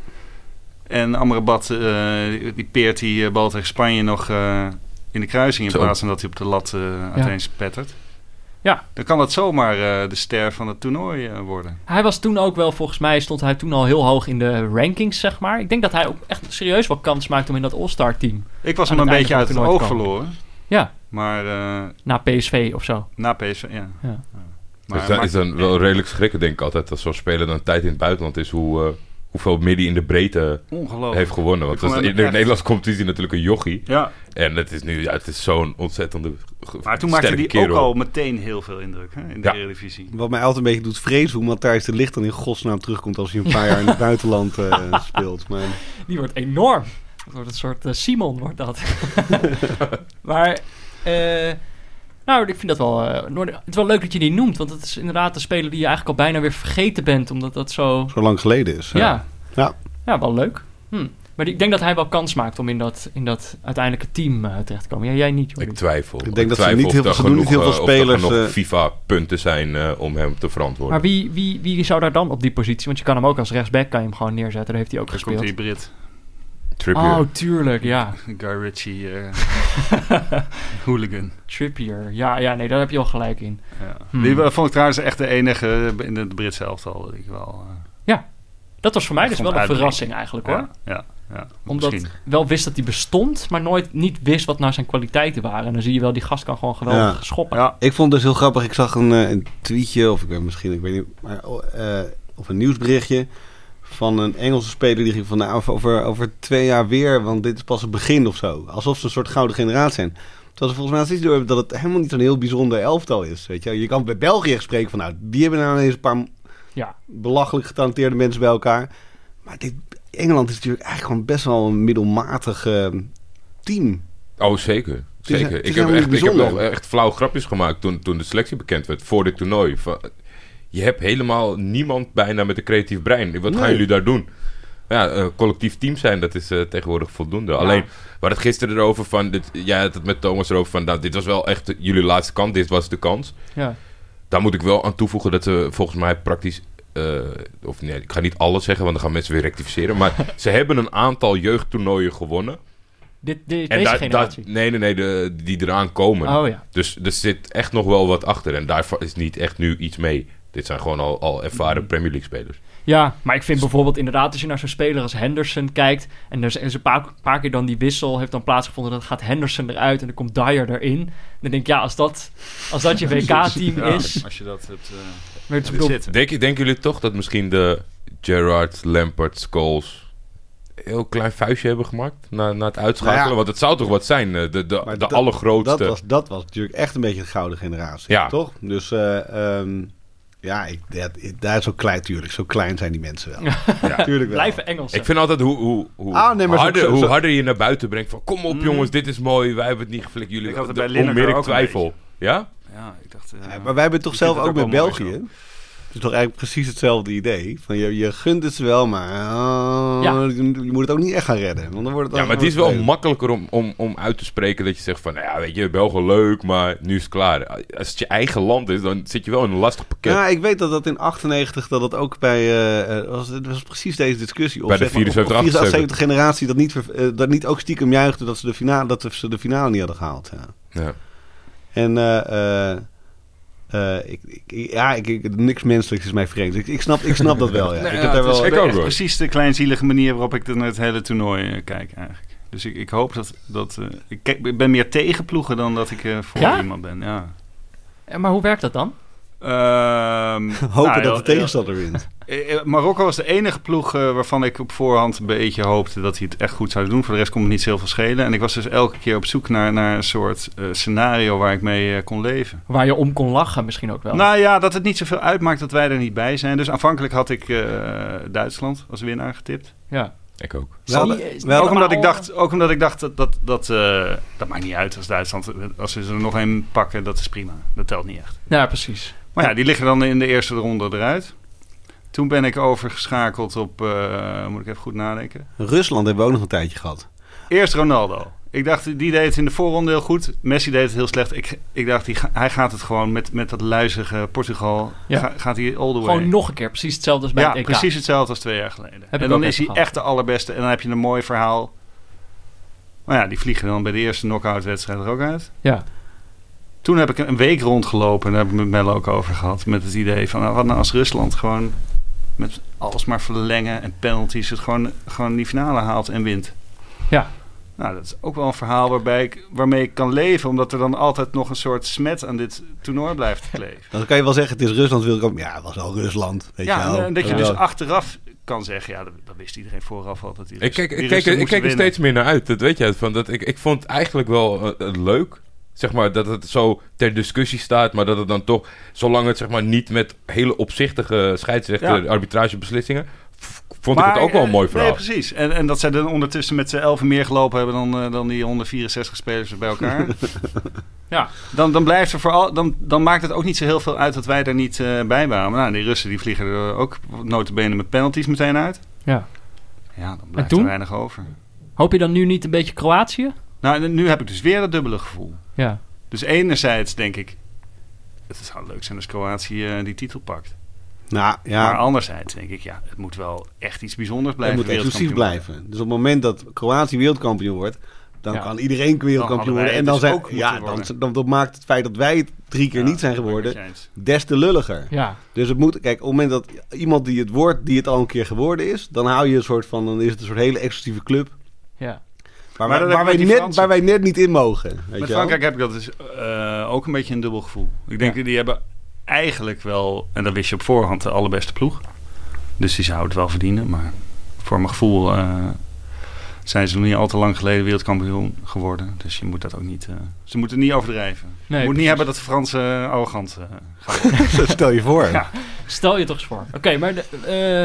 C: en Amrabat, eh, die- die peert die eh, bal tegen Spanje nog eh, in de kruising... in
D: Zo.
C: plaats van dat hij op de lat eh uiteen spettert...
A: Ja.
C: dan kan dat zomaar eh, de ster van het toernooi eh, worden.
A: Hij was toen ook wel, volgens mij stond hij toen al heel hoog in de rankings, zeg maar. Ik denk dat hij ook echt serieus wel kans maakt om in dat All-Star team.
C: Ik was
A: Aan
C: hem een
A: het
C: beetje
A: einde
C: uit
A: van
C: het
A: het
C: oog
A: toernooi te
C: verloren.
A: Ja,
C: Maar eh,
A: na PSV of zo.
C: na PSV, ja.
A: Ja.
C: Maar
D: dus
C: hij
D: dat is
C: maakt-
D: dan wel redelijk schrikken, denk ik altijd, als zo'n speler dan een tijd in het buitenland is, hoe, eh, hoeveel midden in de breedte
C: ongelooflijk.
D: heeft gewonnen.
C: Oh. Ik
D: Want
C: vond
D: dat is-
C: hem
D: in de
C: echt-
D: Nederlandse competitie natuurlijk een jochie.
C: Ja,
D: En het is nu, ja, het is zo'n ontzettende ge-
C: maar toen maakte
D: sterke
C: hij
D: kerel.
C: ook al meteen heel veel indruk hè, in de
D: Ja.
C: Eredivisie.
E: Wat mij altijd een beetje doet vrezen hoe Matthijs de Licht dan in godsnaam terugkomt als hij een paar jaar in het buitenland eh, speelt. Maar
A: Die wordt enorm. Dat wordt een soort eh, Simon, wordt dat. maar, eh, nou, ik vind dat wel... eh, Noorden- het is wel leuk dat je die noemt, want het is inderdaad een speler die je eigenlijk al bijna weer vergeten bent, omdat dat zo...
E: zo lang geleden is.
A: Ja, ja.
E: Ja.
A: wel leuk. Hm. Maar die- ik denk dat hij wel kans maakt om in dat, in dat uiteindelijke team eh, terecht te komen. Ja, jij niet, Jordi.
D: Ik twijfel.
E: Ik denk dat ze
D: twijfel
E: niet
D: of
E: heel veel-
D: er
E: ze doen niet
D: genoeg,
E: heel
D: eh,
E: veel
D: of er
E: spelers,
D: genoeg
E: eh,
D: FIFA-punten zijn eh, om hem te verantwoorden.
A: Maar wie, wie, wie zou daar dan op die positie? Want je kan hem ook als rechtsback kan je hem gewoon neerzetten. Daar heeft hij ook
C: Daar komt die
A: gespeeld.
C: Brit.
D: Trippier.
A: Oh, tuurlijk, ja.
C: Guy Ritchie eh, hooligan.
A: Trippier. Ja, ja, nee, daar heb je al gelijk in.
C: Ja.
A: Hmm.
C: Die eh, vond ik trouwens echt de enige in het Britse elftal. die Ik wel, eh,
A: Ja. Dat was voor mij
C: Ik
A: dus
C: vond
A: wel een
C: het uitblinken.
A: verrassing eigenlijk hoor.
C: Ja, ja, ja.
A: Omdat ik
C: Misschien.
A: wel wist dat hij bestond, maar nooit niet wist wat nou zijn kwaliteiten waren. En dan zie je wel, die gast kan gewoon geweldig
E: Ja.
A: schoppen.
C: Ja,
E: Ik vond het dus heel grappig. Ik zag een, eh, een tweetje, of ik weet misschien, ik weet niet, maar, eh, of een nieuwsberichtje van een Engelse speler die ging van nou, over- over, over twee jaar weer, want dit is pas het begin of zo. Alsof ze een soort gouden generatie zijn. Terwijl ze volgens mij steeds door hebben dat het helemaal niet zo'n heel bijzonder elftal is. Weet je? wel. je kan bij België spreken van nou, die hebben nou ineens een paar
A: Ja.
E: belachelijk getalenteerde mensen bij elkaar. Maar dit, Engeland is natuurlijk eigenlijk gewoon best wel een middelmatig eh, team.
D: Oh, zeker.
E: is-
D: Zeker.
E: het is
D: ik, heb
E: helemaal
D: echt,
E: niet
D: ik heb
E: bijzonder.
D: nog echt flauw grapjes gemaakt toen, toen de selectie bekend werd voor dit toernooi. Van, je hebt helemaal niemand bijna met een creatief brein. Wat gaan
E: Nee.
D: jullie daar doen? Ja, eh, collectief team zijn, dat is eh, tegenwoordig voldoende. Alleen, we hadden het gisteren erover van... Dit, jij had het met Thomas erover van... Nou, dit was wel echt jullie laatste kans. Dit was de kans.
A: Ja.
D: Daar moet ik wel aan toevoegen dat ze volgens mij praktisch... eh, of nee, ik ga niet alles zeggen, want dan gaan mensen weer rectificeren. Maar ze hebben een aantal jeugdtoernooien gewonnen.
A: Dit, dit-
D: En
A: deze
D: daar-
A: generatie.
D: daar- nee, nee, nee, de, die eraan komen.
A: oh ja.
D: Dus er zit echt nog wel wat achter. En daarvan is niet echt nu iets mee. Dit zijn gewoon al, al ervaren
A: Mm.
D: Premier League spelers.
A: Ja, maar ik vind bijvoorbeeld inderdaad, als je naar zo'n speler als Henderson kijkt. En er is, er is een paar, paar keer dan die wissel heeft dan plaatsgevonden. Dan gaat Henderson eruit en dan komt Dyer erin. Dan denk ik, ja, als dat, als dat je WK-team
C: Ja,
A: is.
C: als je dat hebt eh,
A: Maar het is
C: hebt
A: bedoel-
C: zitten.
D: Denk, denken jullie toch dat misschien de Gerrard, Lampard, Scholes... een heel klein vuistje hebben gemaakt na, na het uitschakelen?
E: Nou ja.
D: Want het zou toch wat zijn? eh, De, de, de
E: dat-
D: allergrootste.
E: Dat was, dat was natuurlijk echt een beetje de gouden generatie,
D: Ja.
E: toch? Dus eh, ehm, ja, ik, dat, ik- daar is zo klein, tuurlijk. Zo klein zijn die mensen wel.
D: Ja.
E: Tuurlijk wel.
A: Blijven Engelsen.
D: Ik vind altijd hoe, hoe, hoe,
E: Ah, nee, maar zo-
D: harder,
E: zo-
D: hoe
E: zo-
D: harder je naar buiten brengt van... Kom op
C: Mm.
D: jongens, dit is mooi. Wij hebben het niet geflikt. Jullie
C: Ik had het
D: de
C: bij Lineker
D: onmiddellijke
C: ook een
D: twijfel. Ja?
C: Ja, ik dacht... eh,
E: Ja, maar wij hebben toch
C: Ik
E: zelf
C: vind
E: ook,
C: het
E: met
C: ook wel mooi
E: België. Het is toch eigenlijk precies hetzelfde idee. Van je, je gunt het ze wel, maar eh,
A: Ja.
E: je, je moet het ook niet echt gaan redden. Want dan wordt het
D: Ja,
E: ook-
D: maar het is wel
E: vervelend.
D: makkelijker om, om, om uit te spreken dat je zegt van... Nou ja, weet je, België leuk, maar nu is het klaar. Als het je eigen land is, dan zit je wel in een lastig pakket.
E: Ja, ik weet dat dat in 98, dat dat ook bij, eh, eh, was, het was precies deze discussie. Of
D: Bij de
E: zeg maar, of- of
D: 74,
E: 74 generatie dat niet, ver- eh, dat niet ook stiekem juichte dat ze de finale, dat ze de finale niet hadden gehaald. Ja.
D: Ja.
E: En eh, eh, eh, ik, ik- ja, ik, ik- niks menselijks is mij vreemd. Ik, ik, snap, ik snap dat wel. Ja.
C: Nou ja,
E: ik heb daar
C: het is
E: wel.
D: Ik
C: echt
D: ook, hoor.
C: precies de kleinzielige manier waarop ik er naar het hele toernooi eh, kijk eigenlijk. Dus ik, ik hoop dat... dat eh, ik, kijk, ik ben meer tegen ploegen dan dat ik eh, voor
A: Ja?
C: iemand ben. Ja.
A: Eh, Maar hoe werkt dat dan?
C: Ehm,
E: Hopen
C: nou,
E: dat
C: heel-
E: de tegenstander wint.
C: Eh, eh, Marokko was de enige ploeg eh, waarvan ik op voorhand een beetje hoopte dat hij het echt goed zou doen. Voor de rest kon het niet zoveel schelen. En ik was dus elke keer op zoek naar, naar een soort eh, scenario waar ik mee eh, kon leven.
A: Waar je om kon lachen misschien ook wel.
C: Nou ja, dat het niet zoveel uitmaakt dat wij er niet bij zijn. Dus aanvankelijk had ik eh, Duitsland als winnaar getipt.
A: ja.
D: Ik ook.
E: We hadden-
A: Zie je-
E: we hadden-
C: ook, omdat
A: maar-
C: ik dacht, ook omdat ik dacht dat dat, dat, eh, dat maakt niet uit als Duitsland. eh, Als ze er nog één pakken, dat is prima. Dat telt niet echt.
A: ja, precies.
C: Maar ja, die liggen dan in de eerste ronde eruit. Toen ben ik overgeschakeld op, eh, moet ik even goed nadenken.
E: Rusland hebben we ook nog een tijdje gehad.
C: Eerst Ronaldo. Ik dacht, die deed het in de voorronde heel goed. Messi deed het heel slecht. Ik, ik dacht, die, ga- hij gaat het gewoon met, met dat luizige Portugal.
A: Ja.
C: Ga- gaat hij all the way.
A: Gewoon nog een keer. Precies hetzelfde als bij
C: ja,
A: het EK.
C: precies hetzelfde als twee jaar geleden.
A: ik
C: en dan
A: ook
C: is
A: even
C: hij
A: gehad.
C: echt de allerbeste. En dan heb je een mooi verhaal. Maar ja, die vliegen dan bij de eerste knock-out wedstrijd er ook uit.
A: Ja.
C: Toen heb ik een week rondgelopen. En daar heb ik met Mel ook over gehad. Met het idee van, nou, wat nou als Rusland gewoon met alles maar verlengen en penalties. Het gewoon, gewoon die finale haalt en wint.
A: Ja.
C: Nou, dat is ook wel een verhaal waarbij ik, waarmee ik kan leven. Omdat er dan altijd nog een soort smet aan dit toernooi blijft kleven.
E: Dan kan je wel zeggen, het is Rusland wereldkampioen. Ja, het was al Rusland. Weet je
C: Ja,
E: wel.
C: en, en dat je
E: Ja.
C: dus achteraf kan zeggen... Ja, dat, dat wist iedereen vooraf al. Dat die
D: Ik
C: Russen-
D: kijk,
C: die
D: ik kijk,
C: Russen
D: ik
C: moesten
D: kijk er
C: winnen.
D: steeds meer naar uit. Dat weet je. Van dat ik, ik vond het eigenlijk wel eh, eh, leuk. Zeg maar dat het zo ter discussie staat. Maar dat het dan toch, zolang het zeg maar niet met hele opzichtige scheidsrechter
C: Ja.
D: arbitragebeslissingen. v- Vond ik
C: Maar,
D: het ook wel een
C: eh,
D: mooi verhaal.
C: Nee, precies. En, en dat zij dan ondertussen met z'n elfen meer gelopen hebben... dan, eh, dan die 164 spelers bij elkaar.
A: Ja.
C: Dan, dan, blijft er vooral, dan, dan maakt het ook niet zo heel veel uit dat wij er niet eh, bij waren. Maar nou, die Russen die vliegen er ook notabene met penalties meteen uit.
A: ja.
C: Ja, dan blijft
A: toen?
C: er weinig over.
A: Hoop je dan nu niet een beetje Kroatië?
C: Nou, en nu heb ik dus weer dat dubbele gevoel.
A: Ja.
C: Dus enerzijds denk ik, het zou leuk zijn als Kroatië eh, die titel pakt.
E: Nou ja,
C: Maar anderzijds denk ik, ja, het moet wel echt iets bijzonders
E: het
C: blijven.
E: moet exclusief
C: wereldkampioen.
E: blijven. Dus op het moment dat Kroatië wereldkampioen wordt... Dan
A: Ja.
E: kan iedereen
C: Dan hadden
E: wereldkampioen
C: wij
E: worden. En
C: het
E: dan,
C: dus
E: zijn,
C: ook moeten
E: ja, dan,
C: worden.
E: dan, dan maakt het feit dat wij het drie keer
C: Ja,
E: niet zijn
C: dat ben ik
E: geworden
C: met je eens.
E: des te lulliger.
A: Ja,
E: Dus het moet, kijk, op het moment dat iemand die het wordt, die het al een keer geworden is, dan hou je een soort van, dan is het een soort hele exclusieve club.
A: ja.
E: Waar,
C: Maar
E: wij-
C: dat
E: waar,
C: heb
E: wij,
C: ik met die
E: net,
C: Fransen.
E: waar wij net niet in mogen. Weet je
C: Met
E: wel?
C: Frankrijk heb ik dat dus, eh, ook een beetje een dubbel gevoel. Ik denk, die hebben eigenlijk wel, en dat wist je op voorhand, de allerbeste ploeg. Dus die zou het wel verdienen. Maar voor mijn gevoel eh, zijn ze nog niet al te lang geleden wereldkampioen geworden. Dus je moet dat ook niet... eh, ze moeten niet overdrijven.
A: Nee,
C: je moet
A: precies.
C: niet hebben dat de Fransen eh, arrogant eh, gaan.
E: Stel je voor.
C: Ja.
A: Stel je toch eens voor. Oké, maar de,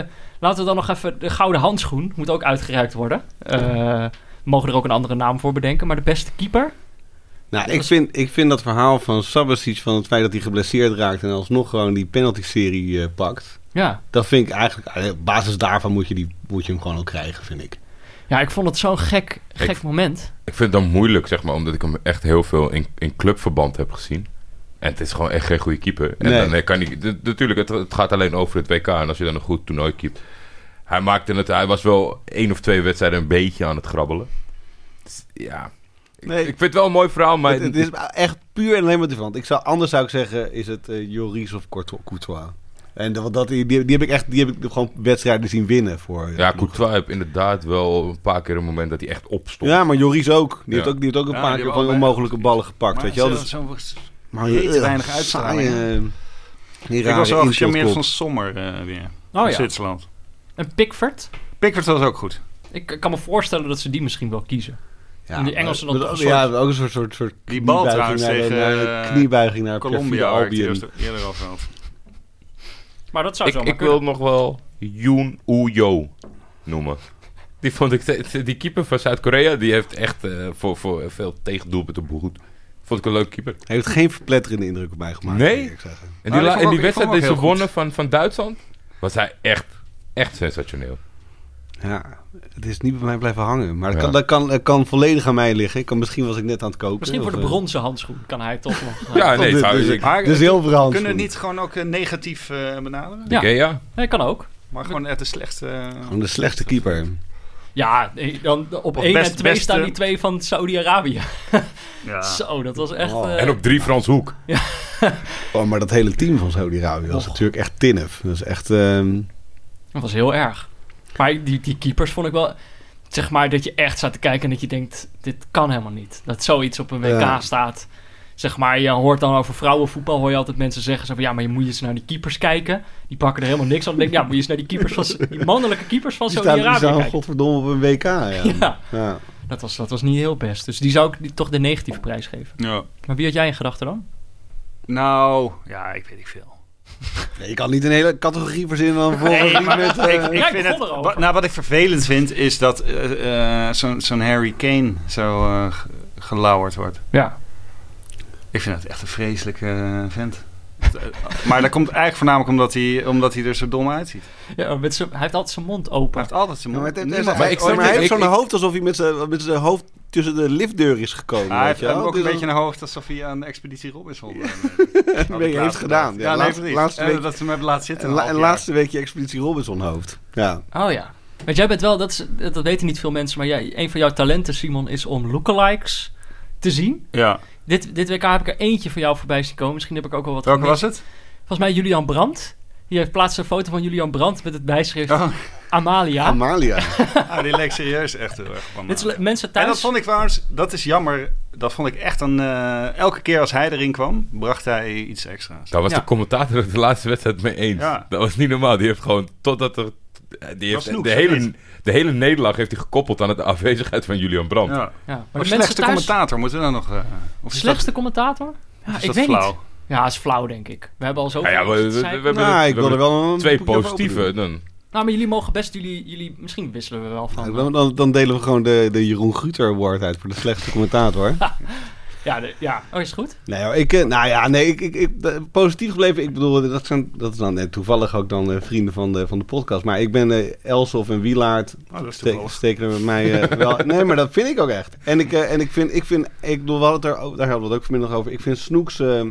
A: eh, laten we dan nog even... De gouden handschoen moet ook uitgereikt worden. Eh, we mogen er ook een andere naam voor bedenken. Maar de beste keeper?
E: Nou, ik vind, ik vind dat verhaal van Sabasic, van het feit dat hij geblesseerd raakt en alsnog gewoon die penalty-serie eh, pakt.
A: Ja.
E: Dat vind ik eigenlijk, eh, op basis daarvan moet je, die, moet je hem gewoon ook krijgen, vind ik.
A: Ja, ik vond het zo'n gek, gek
D: Ik-
A: moment.
D: Ik vind het dan moeilijk, zeg maar, omdat ik hem echt heel veel in, in clubverband heb gezien. En het is gewoon echt geen goede keeper. En
E: Nee.
D: dan eh, kan hij... d- Natuurlijk, het, het gaat alleen over het WK. En als je dan een goed toernooi keept... Hij maakte het... Hij was wel één of twee wedstrijden een beetje aan het grabbelen. Dus, ja. Ik,
E: Nee.
D: ik vind het wel een mooi verhaal, maar...
E: het, het is echt puur en alleen maar van. Ik zou, anders zou ik zeggen, is het eh, Joris of Courtois- Courtois. En dat, dat, die, die heb ik echt, die heb ik gewoon wedstrijden zien winnen voor. eh,
D: Ja,
E: ploegen.
D: Courtois heeft inderdaad wel een paar keer een moment dat hij echt opstond.
E: Ja, maar Joris ook. Die,
D: Ja.
E: heeft ook, die heeft ook een
C: Ja,
E: paar
C: die hebben
E: keer van
C: allebei-
E: onmogelijke ballen gepakt, weet je wel.
C: ze-
E: Dus,
C: zo-
E: maar
C: Weet
E: eh,
C: weinig
E: saaie,
C: uitstraling, hè?
E: eh, die
C: Ik
E: rare
C: was wel gecharmeerd
E: inschotgoal.
C: van Sommer eh, weer.
A: Oh
C: van
A: ja,
C: Zwitserland.
A: en Pickford.
C: Pickford was ook goed.
A: Ik kan me voorstellen dat ze die misschien wel kiezen. En die Engelsen dan
E: maar-
A: toch een
E: Ja,
A: soort-
E: ook een soort, soort, soort
C: Die bal
E: kniebuiging
C: trouwens
E: naar de-
C: tegen,
E: naar de
C: eh,
E: kniebuiging naar perfide
C: Colombia, waar ik het
E: Albion.
C: eerst- eerder over had.
A: Maar dat zou
D: Ik,
A: zo
D: ik wil nog wel Yoon Uyo noemen. Die vond ik... te- Die keeper van Zuid-Korea, die heeft echt eh, voor, voor veel tegendoelpunten behoed. Vond ik een leuk keeper.
E: Hij heeft geen verpletterende indruk op mij gemaakt.
D: Nee?
E: moet ik zeggen.
D: En
C: Maar
D: die,
C: ik
D: la-
C: vond
D: en
C: ook-
D: die
C: ik vond
D: wedstrijd
C: hem
D: die ze
C: ook heel
D: wonnen van, van Duitsland, was hij echt, echt sensationeel.
E: Ja, het is niet bij mij blijven hangen. Maar dat,
D: Ja.
E: kan, dat, kan, dat kan volledig aan mij liggen. Ik kan, misschien was ik net aan het koken.
A: Misschien voor de
E: of, eh,
A: bronzen handschoen kan hij toch nog.
D: Ja,
E: tot
D: Ah, nee,
E: dit,
D: zou-
E: dus
D: ik-
E: ik-
C: Maar
E: De zilveren handschoen.
C: kunnen we niet gewoon ook eh, negatief eh, benaderen?
A: Ja.
D: Oké, ja.
A: Hij kan ook.
C: Maar gewoon echt de slechtste... eh,
E: Gewoon de slechtste keeper.
A: Ja, nee, dan op
C: Of
A: 1
C: best-
A: en 2
C: beste-
A: staan die twee van Saudi-Arabië.
C: Ja.
A: Zo, dat was echt...
E: Oh.
A: eh,
D: En op drie Frans Hoek.
E: Oh, maar dat hele team van Saudi-Arabië was
C: Oh.
A: Och.
E: natuurlijk echt tinnef. Dat is echt... ehm,
A: Dat was heel erg. Maar die, die keepers vond ik wel... Zeg maar dat je echt staat te kijken en dat je denkt... Dit kan helemaal niet. Dat zoiets op een WK
E: Ja.
A: staat. Zeg maar, je hoort dan over vrouwenvoetbal... hoor je altijd mensen zeggen zo van... Ja, maar je moet je eens naar die keepers kijken. Die pakken er helemaal niks aan. Dan denk ik, ja, moet je eens naar die, keepers van, die mannelijke keepers van
E: die staan, die
A: Saudi-Arabië
E: staan
A: kijken.
E: godverdomme op een WK. Ja.
A: Ja,
E: Ja.
A: dat was, dat was niet heel best. Dus die zou ik die- toch de negatieve prijs geven.
C: Ja.
A: Maar wie had jij in gedachten dan?
C: Nou, ja, ik weet niet veel.
E: Nee, je kan niet een hele categorie verzinnen dan volgens
C: Nee,
E: die
C: maar
E: met... eh,
C: ik, ik
A: Jij
C: vind
A: begon
C: het,
A: erover.
C: wa- nou, wat ik vervelend vind, is dat eh, eh, zo'n zo'n Harry Kane zo eh, ge- gelauwerd wordt.
A: Ja.
C: Ik vind dat echt een vreselijke eh, vent. maar dat komt eigenlijk voornamelijk omdat hij, omdat hij er zo dom uitziet.
A: ja oh, met zijn- hij heeft altijd zijn mond
C: Hij
A: open.
C: heeft altijd zijn
E: Ja, maar
C: mond.
E: het- het-
C: Niemand-
E: maar hij
D: ik
E: heeft-
D: snap
E: maar hij
D: het.
E: heeft
D: Ik-
E: zo'n
D: ik-
E: hoofd alsof hij met zijn, met zijn hoofd tussen de liftdeur is gekomen.
C: Hij
E: weet
C: heeft
E: je wel?
C: ook
E: Dus
C: een
E: dat-
C: beetje een hoofd alsof hij aan de expeditie Robinson eh,
E: een
C: had
E: beetje heeft
C: laatst
E: gedaan. Ja,
C: nee,
E: laatste-
C: precies.
E: laatste
C: Eh,
E: week-
C: Dat ze hem hebben laten zitten.
E: Een,
C: een
E: la-
C: half
E: een
C: jaar.
E: laatste weekje Expeditie Robinson hoofd. Ja.
A: Oh ja. Want jij bent wel, dat, is, dat dat weten niet veel mensen, maar jij, een van jouw talenten, Simon, is om lookalikes te zien.
C: Ja.
A: Dit, dit WK heb ik er eentje van jou voorbij zien komen. Misschien heb ik ook wel wat.
C: Welke was
A: gemist.
C: het?
A: Volgens mij Julian Brandt. Die heeft plaatst een foto van Julian Brandt met het bijschrift
C: Oh.
A: Amalia.
E: Amalia.
C: Ah, die leek serieus echt heel erg van.
A: dit is
C: eh,
A: le- mensen
C: En dat
A: thuis.
C: vond ik trouwens, dat is jammer. Dat vond ik echt een. eh, elke keer als hij erin kwam, bracht hij iets extra's.
D: Daar was
A: Ja.
D: de commentator het de laatste wedstrijd mee eens.
C: Ja.
D: Dat was niet normaal. Die heeft gewoon, totdat er... Die heeft
C: snoeks,
D: de,
C: of
D: hele,
C: niet?
D: de hele nederlaag heeft hij gekoppeld aan de afwezigheid van Julian Brandt.
A: Ja,
C: Ja.
A: maar
C: Maar
A: de
C: de
A: mensen
C: slechtste
A: thuis.
C: commentator moeten we dan nog. eh, of is
A: Slechtste
C: dat-
A: commentator? Ja,
C: is
A: ik
C: dat
A: weet
C: flauw?
A: niet. Ja, is flauw, denk ik. We hebben al zoveel.
D: Nou ja, we, we- we
A: gezeik.
D: hebben
E: nou,
D: er-
E: ik
D: we
E: wil er
D: hebben
E: wel een
D: er twee
E: boekje over
D: positieve.
E: doen.
D: Dan.
A: Nou, maar jullie mogen best, jullie, jullie, misschien wisselen we wel van.
E: Ja, Dan, dan, dan delen we gewoon de, de Jeroen Guter Award uit voor de slechtste commentator.
A: Ja, de- ja. Oh, is het goed?
E: Nee, hoor, ik, eh, nou ja, nee, ik, ik, ik, eh, positief gebleven. Ik bedoel, dat, zijn, dat is dan net toevallig ook dan eh, vrienden van de, van de podcast. Maar ik ben eh Elsof en Wielaard
C: Oh, dat is
E: Ste-
C: toevallig.
E: steken er met mij eh, wel. Nee, maar dat vind ik ook echt. En ik, eh, en ik vind, ik vind, ik bedoel, we hadden het er, ook- daar hadden we het ook vanmiddag over. Ik vind Snoeks, eh,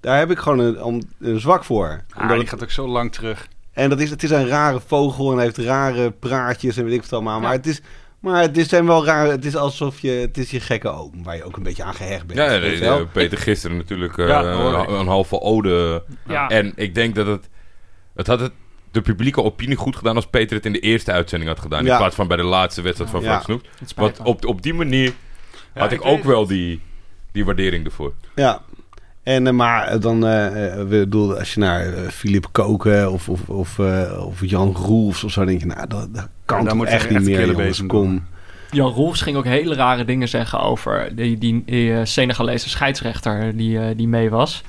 E: daar heb ik gewoon een, om- een zwak voor.
C: Ah,
E: Omdat
C: die
E: het-
C: gaat ook zo lang terug.
E: en dat is, het is een rare vogel en hij heeft rare praatjes en weet ik wat allemaal. Maar
A: Ja.
E: het is, Maar het is zijn wel raar. Het is alsof je, het is je gekke oom waar je ook een beetje aan gehecht bent.
D: Ja, ja,
E: weet je
D: de-
E: wel.
D: de- Peter gisteren natuurlijk eh,
C: Ja, hoor
D: een,
C: ik.
D: een halve ode.
A: Ja.
C: Eh,
D: En ik denk dat het... Het had het, de publieke opinie goed gedaan als Peter het in de eerste uitzending had gedaan.
E: Ja.
D: In plaats van bij de laatste wedstrijd van
E: Ja.
D: Frank Snoep.
A: Het spijt
D: Want
A: me.
D: op, op die manier
C: Ja,
D: had ik,
C: ik
D: ook
C: weet
D: wel die, die waardering ervoor.
E: Ja. En, eh, maar eh, dan, eh, eh, we bedoel, als je naar eh, Philip Koken of, of, of, eh, of Jan Roels of zo, dan denk je, nou, dat, dat kan
C: Ja, daar
E: toch
C: moet je
E: echt
C: echt
E: niet meer,
C: killen
E: jongens,
C: bezig
E: kom.
C: doen.
A: Jan Rolfs ging ook hele rare dingen zeggen over die, die, eh, Senegalese scheidsrechter die, eh, die mee was.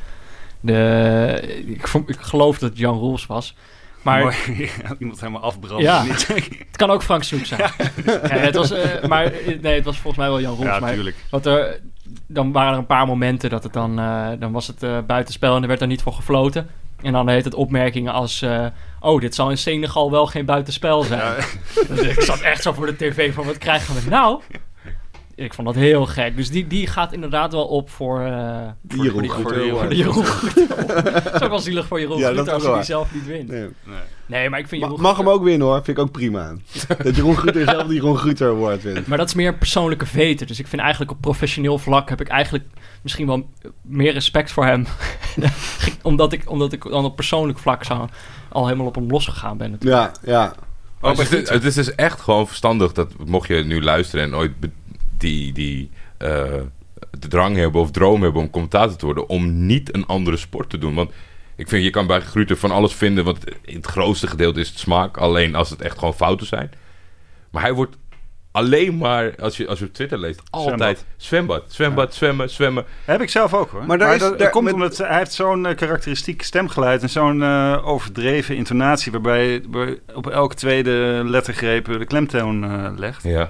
A: De, ik, vond- ik geloof dat het Jan Rolfs was. Maar
C: Mooi, iemand helemaal afbranden.
A: Ja.
C: Niet-
A: het kan ook Frank Soek zijn. Ja, het was, eh, maar eh, nee, het was volgens mij wel Jan Rolfs.
C: ja,
A: maar
C: natuurlijk.
A: Want er, dan waren er een paar momenten dat het dan, eh, dan was het eh, buitenspel en er werd daar niet voor gefloten. En dan heet het opmerkingen als, eh, oh, dit zal in Senegal wel geen buitenspel zijn. Dus ik zat echt zo voor de tv van, wat krijgen we nou? Ik vond dat heel gek. Dus die, die gaat inderdaad wel op voor, eh
E: Die Jeroen
A: voor,
E: Groeten.
A: voor, die- voor de Jeroen Groeten. Het is ook wel zielig voor Jeroen
E: Ja, dat
A: Groeten als
E: is wel
A: hij die
E: waar.
A: zelf niet wint.
E: Nee.
C: Nee.
A: Nee, maar ik vind
E: Ma-
A: Jeroen
E: Mag hem ook winnen hoor, vind ik ook prima. Dat Jeroen Gruter zelf die Jeroen Gruter Award wint.
A: Maar dat is meer een persoonlijke veten. Dus ik vind eigenlijk op professioneel vlak heb ik eigenlijk misschien wel meer respect voor hem. omdat, ik, omdat ik dan op persoonlijk vlak zo al helemaal op hem losgegaan ben. natuurlijk.
E: Ja, ja.
D: Maar het, is, het is dus echt gewoon verstandig dat mocht je nu luisteren en ooit be- die, die eh, de drang hebben of droom hebben om commentator te worden, om niet een andere sport te doen. Want ik vind, je kan bij Gruter van alles vinden, want in het grootste gedeelte is het smaak, alleen als het echt gewoon fouten zijn. Maar hij wordt alleen maar, als je, als je op Twitter leest, altijd zwembad, zwembad, zwemmen, zwemmen.
C: Heb ik zelf ook hoor.
E: Maar
C: Maar,
E: daar is-
C: dat, dat
E: daar-
C: komt
E: met-
C: omdat ze- hij heeft zo'n eh, karakteristiek stemgeluid en zo'n eh, overdreven intonatie waarbij waar- op elke tweede lettergreep de klemtoon eh, legt.
D: Ja.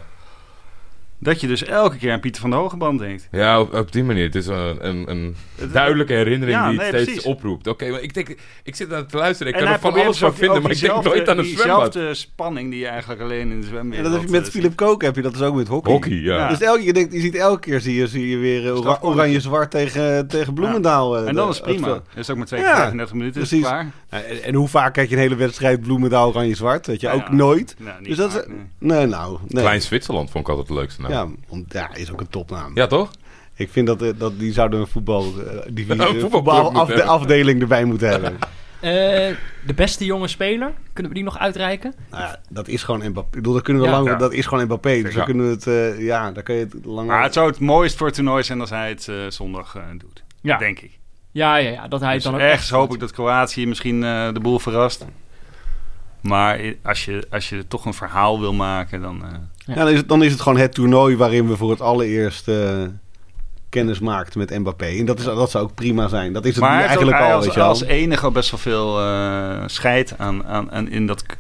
C: Dat je dus elke keer aan Pieter van der Hogeband denkt.
D: Ja, op, op die manier. Het is een, een, een duidelijke herinnering
C: Ja,
D: die het
C: nee,
D: steeds
C: precies.
D: oproept. Oké, maar ik denk, ik zit aan het luisteren. Ik
C: en
D: kan
C: hij
D: er van
C: probeert
D: alles
C: dus ook
D: van vinden,
C: ook
D: maar ik denk
C: diezelfde-
D: nooit aan een zwembad.
C: Diezelfde spanning die je eigenlijk alleen in de zwembad
E: En dat heb je
C: eh,
E: met Philip Koken, heb je dat dus ook met hockey.
D: Hockey, ja.
C: Ja.
E: Dus elke, je, denkt, je ziet elke keer zie je, zie je weer eh, ora-
C: Strafcorner.
E: oranje-zwart tegen, tegen Bloemendaal. eh,
C: En dan
E: de-
C: is het prima.
E: het
C: Dat is ook maar 2
E: Ja,
C: keer 35 minuten. Is het
E: precies.
C: klaar.
E: veld. En, en hoe vaak kijk je een hele wedstrijd Bloemendaal-oranje-zwart? Weet je,
C: Ja,
E: ook
C: ja.
E: nooit.
C: Nou, niet
E: Dus dat is,
C: vaak, nee.
E: nee, nou. Nee.
D: Klein Zwitserland vond ik altijd het leukste naam. Ja,
E: Ja, want ja, is ook een topnaam.
D: toch?
E: Ik vind dat, eh, dat die zouden een voetbal, eh, divisie,
D: Een
E: eh,
D: voetbalclub
E: voetbal
D: moeten
E: af- de
D: hebben.
E: afdeling erbij moeten hebben.
A: Eh, de beste jonge speler, kunnen we die nog uitreiken?
E: nou ja, dat is gewoon Mbappé. Ik bedoel, dat kunnen we
A: Ja.
E: lang,
C: Ja.
E: dat is gewoon Mbappé. Dus dan
D: Ja.
E: kunnen we het, eh, ja, daar kun je het lang.
C: Maar het zou het mooist voor het toernooi zijn als hij het eh, zondag eh, doet.
A: Ja,
C: Denk ik.
A: ja, ja, ja dat hij
C: Dus
A: het dan ook
C: ergens hoop
A: doet.
C: ik dat Kroatië misschien eh, de boel verrast. Maar i- als je, als je toch een verhaal wil maken, dan... eh,
E: ja. dan, is het, dan is het gewoon het toernooi waarin we voor het allereerst eh, kennis maakten met Mbappé. En dat, is, dat zou ook prima zijn. Dat is het
C: Maar
E: nu
C: hij heeft ook-
E: eigenlijk
C: hij
E: al,
C: als,
E: weet je wel.
C: als enige al best wel veel eh scheid aan, aan, aan in dat k-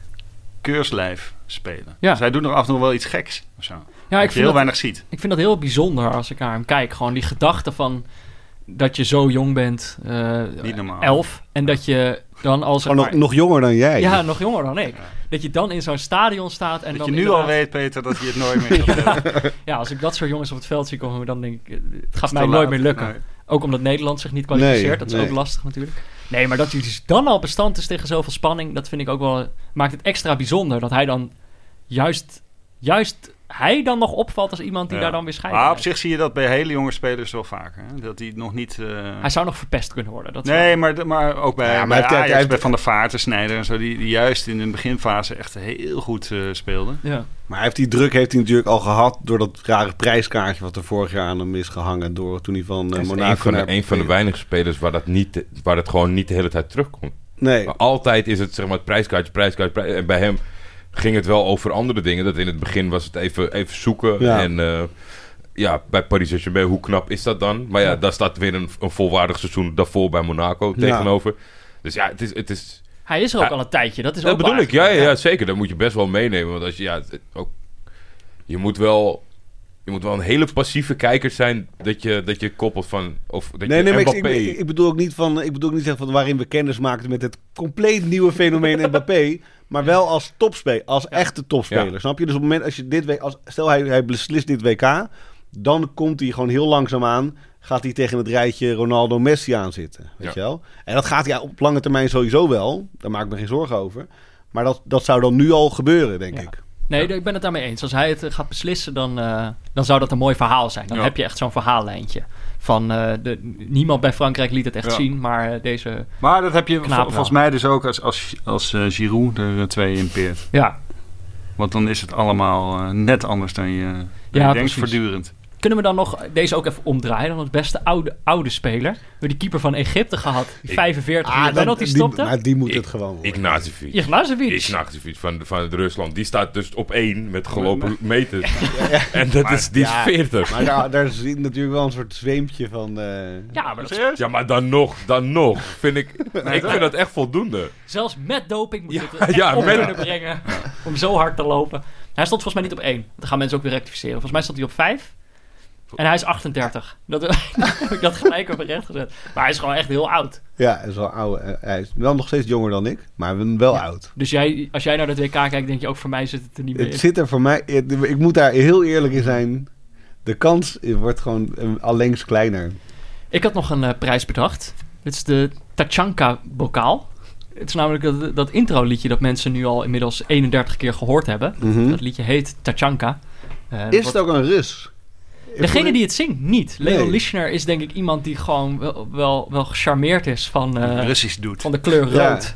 C: keurslijf spelen.
A: Ja.
C: Dus hij doet nog af en toe wel iets geks of zo.
A: Ja, ik
C: dat je heel
A: vind dat,
C: weinig ziet.
A: ik vind dat heel bijzonder als ik naar hem kijk. Gewoon die gedachte van dat je zo jong bent, eh,
C: Niet normaal.
A: elf, en dat je dan als...
E: Gewoon nog, nog jonger dan jij.
A: ja, nog jonger dan ik. Dat je dan in zo'n stadion staat en
C: dat
A: dan
C: je nu
A: inderdaad-
C: al weet, Peter, dat hij het nooit meer gaat doen.
A: Ja, als ik dat soort jongens op het veld zie komen, dan denk ik, eh, het gaat
C: Te
A: mij
C: laat.
A: nooit meer lukken.
C: Nee.
A: Ook omdat Nederland zich niet kwalificeert,
E: Nee,
A: dat is
E: nee.
A: ook lastig natuurlijk. Nee, maar dat hij dus dan al bestand is tegen zoveel spanning, dat vind ik ook wel, maakt het extra bijzonder. Dat hij dan juist, juist hij dan nog opvalt als iemand die
C: Ja.
A: daar dan weer scheidt.
C: Maar op zich zie je dat bij hele jonge spelers wel vaker. Hè? Dat die nog niet... eh,
A: Hij zou nog verpest kunnen worden. Dat is wel-
C: Nee, maar, de- maar ook bij,
E: Ja, maar
C: bij
E: hij heeft- hij
C: Ajax,
E: heeft-
C: bij Van der Vaart, de Snijder en zo, die, die juist in de beginfase echt heel goed eh, speelden.
A: ja.
E: Maar hij heeft die druk heeft hij natuurlijk al gehad door dat rare prijskaartje wat er vorig jaar aan hem is gehangen. Door toen hij van eh,
D: Hij is
E: Monaco
D: een van, de,
E: naar-
D: een van de weinige spelers waar, dat niet, waar dat gewoon niet de hele tijd terugkomt.
E: Nee,
D: Maar altijd is het zeg maar het prijskaartje, prijskaartje, prij- En bij hem ging het wel over andere dingen. Dat in het begin was het even, even zoeken.
E: Ja.
D: En eh, ja, bij Paris Saint-Germain, hoe knap is dat dan? Maar ja, daar staat weer een, een volwaardig seizoen daarvoor bij Monaco
E: Ja.
D: tegenover. Dus ja, het is... Het is
A: Hij is er ook
D: Ja.
A: al een tijdje, dat is
D: dat
A: ook
D: bedoel
A: waar.
D: ik, ja, ja, ja, zeker. Dat moet je best wel meenemen. Want als je, ja, het- ook, je moet wel... Je moet wel een hele passieve kijker zijn dat je, dat je koppelt van... Of dat
E: nee,
D: je
E: nee maar ik,
D: Mbappé...
E: ik, ik bedoel ook niet van, ik bedoel ook niet zeggen van waarin we kennis maakten met het compleet nieuwe fenomeen Mbappé. Maar wel als topspeler, als echte topspeler.
D: Ja.
E: Snap je? Dus op het moment als je dit week, als, stel hij, hij beslist dit WK, dan komt hij gewoon heel langzaam aan. Gaat hij tegen het rijtje Ronaldo Messi aan zitten. Weet
D: Ja.
E: je wel? En dat gaat hij op lange termijn sowieso wel. Daar maak ik me geen zorgen over. Maar dat, dat zou dan nu al gebeuren, denk
A: Ja.
E: ik.
A: Nee, ik ben het daarmee eens. Als hij het eh, gaat beslissen, dan, eh, dan zou dat een mooi verhaal zijn. Dan
C: Ja.
A: heb je echt zo'n verhaallijntje. Van, eh, de, niemand bij Frankrijk liet het echt
C: Ja.
A: zien, maar eh, deze...
C: Maar dat heb je
A: Knaap
C: vol-
A: wel.
C: volgens mij dus ook als, als, als eh, Giroud er eh, twee in peert.
A: Ja.
C: Want dan is het allemaal eh, net anders dan je, dan je
A: Ja,
C: denkt
A: precies.
C: voortdurend.
A: Kunnen we dan nog deze ook even omdraaien? Dan het beste oude, oude speler. We hebben die keeper van Egypte gehad. Die 45
D: Ah,
A: uur penalty
E: Ah, die,
A: stopte.
E: maar die moet
D: Ik-
E: het gewoon worden.
D: Ignacevic.
A: Ignatovic.
D: Ignacevic van, van Rusland. Die staat dus op één met gelopen meters. En dat is, die is
E: ja.
D: 40.
E: Maar daar, daar zit natuurlijk wel een soort zweempje van... eh,
A: Ja, maar dat is-
C: Serieus?
D: Ja, maar dan nog, dan nog. Vind ik, ik
C: dat-
D: vind dat echt voldoende.
A: zelfs met doping moet je het
D: Ja,
A: er echt
D: ja,
A: op
D: met-
A: kunnen brengen. Om zo hard te lopen. Hij stond volgens mij niet op 1. Dan gaan mensen ook weer rectificeren. Volgens mij stond hij op 5. En hij is 38. Dat heb ik dat gelijk op recht gezet. Maar hij is gewoon echt heel oud.
E: ja, hij is wel oude. eh, Hij is wel nog steeds jonger dan ik, maar wel oud.
A: Dus jij, als jij naar de WK kijkt, denk je ook voor mij zit het er niet meer
E: Het
A: in.
E: zit er voor mij... het- ik moet daar heel eerlijk in zijn. De kans wordt gewoon eh, allengs kleiner.
A: Ik had nog een eh, prijs bedacht. Dit is de Tachanka-bokaal. Het is namelijk dat, dat intro-liedje dat mensen nu al inmiddels 31 keer gehoord hebben.
E: Mhm.
A: Dat liedje heet Tachanka. Eh,
E: Is
A: wat-
E: het ook een Rus?
A: Degene die het zingt, niet. Leon
E: Nee.
A: Lischner is denk ik iemand die gewoon wel, wel, wel gecharmeerd is van, eh,
C: Russisch doet.
A: van de kleur
E: Ja.
A: rood.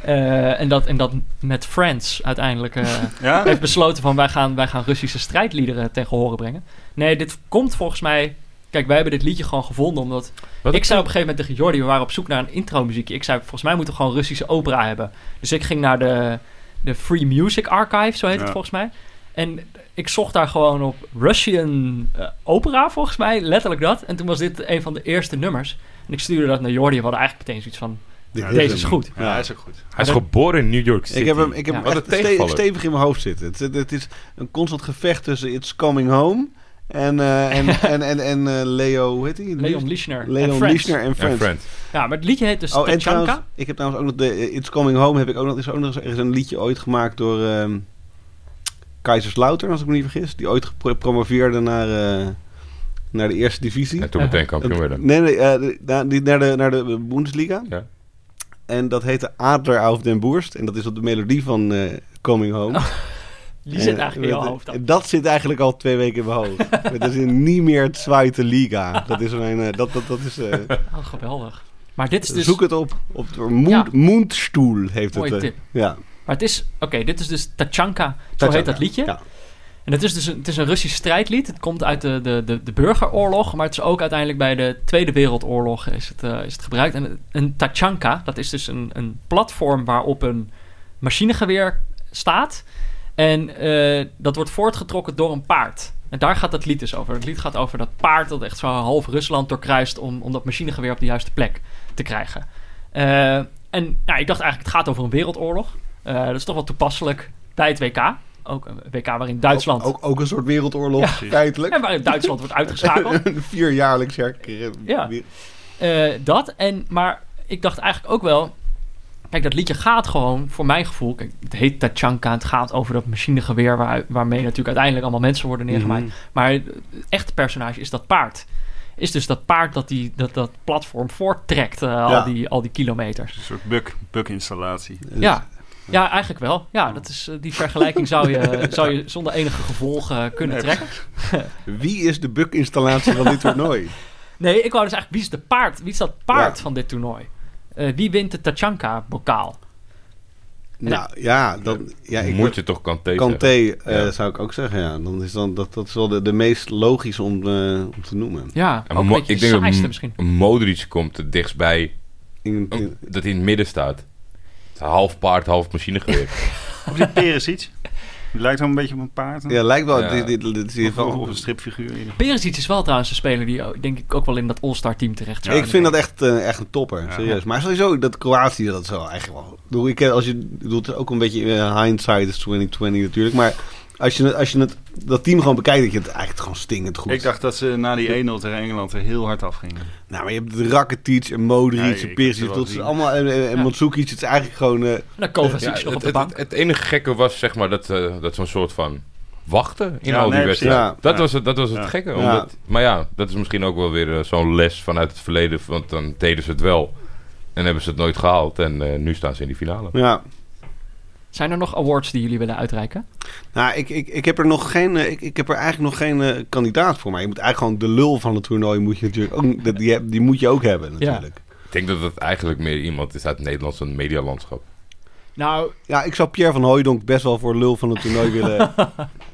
A: Eh, en, dat, en dat met Friends uiteindelijk eh,
C: Ja?
A: heeft besloten van wij gaan, wij gaan Russische strijdliederen tegen horen brengen. Nee, dit komt volgens mij... Kijk, wij hebben dit liedje gewoon gevonden omdat
D: Wat
A: ik zei op een gegeven moment tegen Jordi, we waren op zoek naar een intro-muziekje. Ik zei, volgens mij moeten we gewoon Russische opera hebben. Dus ik ging naar de, de Free Music Archive, zo heet het
C: Ja.
A: volgens mij. En ik zocht daar gewoon op Russian eh, opera, volgens mij, letterlijk dat. En toen was dit een van de eerste nummers. En ik stuurde dat naar Jordi en we hadden eigenlijk meteen zoiets van,
E: Dit
C: Ja,
E: is
A: deze
E: hem.
A: is goed.
C: Ja, hij is ook goed.
D: Hij is geboren in New York City.
E: Ik heb hem, ik heb
A: Ja.
E: hem
D: Wat
E: echt
D: een tegenvaller.
E: ste- stevig in mijn hoofd zitten. Het, het, het is een constant gevecht tussen It's Coming Home en, eh, en, en, en, en eh, Leo, hoe heet die?
A: Leon Lischner en
E: Leon
A: Friends.
E: Lischner en
D: Ja,
E: Friends.
D: friend.
A: Ja, maar het liedje heet dus
E: Oh, en
A: Tachanka.
E: trouwens, ik heb trouwens ook nog de eh, It's Coming Home, heb ik ook nog, is ook nog eens ergens een liedje ooit gemaakt door ehm Kaiserslautern, als ik me niet vergis. Die ooit gepromoveerde naar, eh, naar de eerste divisie.
D: En toen meteen kampioen werden.
E: Nee, nee, eh, de- na- die- naar, de, naar de Bundesliga.
D: Ja.
E: En dat heette Adler auf den Boerst. En dat is op de melodie van eh, Coming Home.
A: Oh, Die zit
E: Eh,
A: eigenlijk in
E: dat-
A: jouw hoofd. dan.
E: Dat zit eigenlijk al twee weken in mijn hoofd. dat is in niet meer het Zweite Liga. Dat is mijn... eh, dat, dat, dat is, eh,
A: Oh, geweldig. Maar dit is dus...
E: zoek het op. op de Moend,
A: Ja.
E: Moendstuhl heeft
A: Mooie
E: het. eh,
A: tip.
E: ja.
A: Maar het is... Oké, dit is dus Tachanka. Zo heet
E: Tachanka.
A: dat liedje.
E: Ja.
A: En het is dus een, het is een Russisch strijdlied. Het komt uit de, de, de, de burgeroorlog, maar het is ook uiteindelijk bij de Tweede Wereldoorlog is het, eh, is het gebruikt. En een tachanka, dat is dus een, een platform waarop een machinegeweer staat. En eh, dat wordt voortgetrokken door een paard. En daar gaat dat lied dus over. Het lied gaat over dat paard dat echt zo half Rusland doorkruist om, om dat machinegeweer op de juiste plek te krijgen. Eh, en nou, ik dacht eigenlijk, het gaat over een wereldoorlog. Eh, dat is toch wel toepasselijk bij het WK. Ook een WK waarin Duitsland...
E: Ook, ook een soort wereldoorlog, feitelijk.
A: En waarin Duitsland wordt uitgeschakeld.
E: Vierjaarlijks herkeren.
A: Ja. Eh, dat en, maar ik dacht eigenlijk ook wel. Kijk, dat liedje gaat gewoon, voor mijn gevoel. Kijk, het heet Tachanka. Het gaat over dat machinegeweer waar, waarmee natuurlijk uiteindelijk allemaal mensen worden neergemaaid. Maar het echte personage is dat paard. Is dus dat paard dat die, dat, dat platform voorttrekt, eh,
E: Ja. Dus-
A: al, die, al die kilometers.
C: Een soort bug, bug-installatie.
A: Ja. ja, eigenlijk wel. Ja, dat is, eh, die vergelijking zou je, zou je zonder enige gevolgen kunnen
C: Nee.
A: trekken.
E: Dus Wie is de bug-installatie van dit toernooi?
A: Nee, ik wou dus eigenlijk, wie is de paard? Wie is dat paard
E: Ja.
A: van dit toernooi? Eh, wie wint de Tachanka-bokaal?
E: nou ja, dan, ja ik
D: Moet je toch Kanté
E: Kanté
D: zeggen.
E: eh,
D: Ja.
E: zou ik ook zeggen, ja. Dan is dan, dat, dat is wel de, de meest logische om, eh, om te noemen.
A: Ja,
D: En
A: ook een
D: Mo-
A: beetje
D: ik denk dat
A: saaiste
D: M-
A: misschien.
D: Modric komt het dichtstbij
E: In-
D: eh,
E: in-
D: dat hij in het midden staat. Half paard, half machinegeweer.
C: Of die Perisic. Die lijkt wel een beetje op een paard. hè?
E: ja, lijkt wel.
D: Oh. Ja. Oh.
E: Dit, dit, dit, dit is in
C: Of,
E: ieder
C: of
E: geval-
C: een stripfiguur. in ieder
A: Perisic is wel trouwens een speler die ook- denk ik ook wel in dat All-Star team terecht zou
E: ik vind dat echt, eh, echt een topper,
C: Ja.
E: serieus. Maar sowieso, dat Kroatië, dat is wel eigenlijk wel... ik bedoel, Ik ken, als je, ik bedoel, het is ook een beetje eh, hindsight is 2020 natuurlijk. Maar als je, het- als je het, dat team gewoon bekijkt, dat je het eigenlijk gewoon stinkend goed...
C: geval. Ik dacht dat ze na die 1-0 tegen Engeland er heel hard afgingen.
E: Nou, maar je hebt Rakitic en Modric
C: Ja, ik
E: en
C: heb
E: Perisic,
C: ze wel
E: dat is
C: gezien.
E: allemaal... En, en, en
A: Ja.
E: Mandzukic, het is eigenlijk gewoon... eh,
A: En dan Kovacic
D: Ja,
A: nog op
D: het,
A: de
D: het,
A: bank.
D: het, het enige gekke was zeg maar dat, eh, dat zo'n soort van wachten in
C: Ja,
D: al die
C: nee,
D: wedstrijden.
E: precies.
C: Ja.
D: Dat, was het, dat was het
C: Ja.
D: gekke.
E: Ja.
D: Omdat, Maar ja, dat is misschien ook wel weer eh, zo'n les vanuit het verleden. Want dan deden ze het wel en hebben ze het nooit gehaald. En eh, nu staan ze in die finale.
E: ja,
A: Zijn er nog awards die jullie willen uitreiken?
E: Nou, ik, ik, ik heb er nog geen. eh, Ik, ik heb er eigenlijk nog geen eh, kandidaat voor. Maar je moet eigenlijk gewoon de lul van het toernooi moet je natuurlijk ook. dat- Die, heb- die moet je ook hebben, natuurlijk. Ja.
D: Ik denk dat het eigenlijk meer iemand is uit het Nederlandse medialandschap.
A: Nou,
E: ik zou Pierre van Hooijdonk best wel voor lul van het toernooi willen.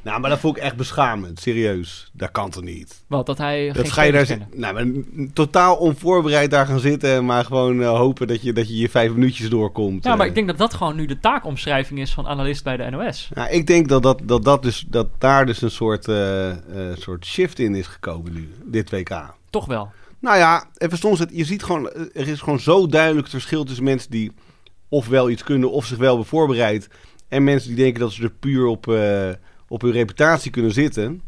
E: Nou, maar dat vond ik echt beschamend. Serieus. Dat kan toch niet?
A: wat, dat hij geen
E: Dat ga je daar
A: spelers
E: zitten. Nou, maar n- totaal onvoorbereid daar gaan zitten. Maar gewoon eh, hopen dat je, dat je je vijf minuutjes doorkomt.
A: Ja, maar
E: eh.
A: ik denk dat dat gewoon nu de taakomschrijving is van analist bij de NOS.
E: Nou, ik denk dat, dat, dat, dat, dus, dat daar dus een soort, eh, eh, soort shift in is gekomen nu, dit WK.
A: Toch wel.
E: Nou ja, even soms, het, je ziet gewoon, eh, er is gewoon zo duidelijk het verschil tussen mensen die ofwel iets kunnen of zich wel hebben voorbereid. En mensen die denken dat ze er puur op, eh, op hun reputatie kunnen zitten.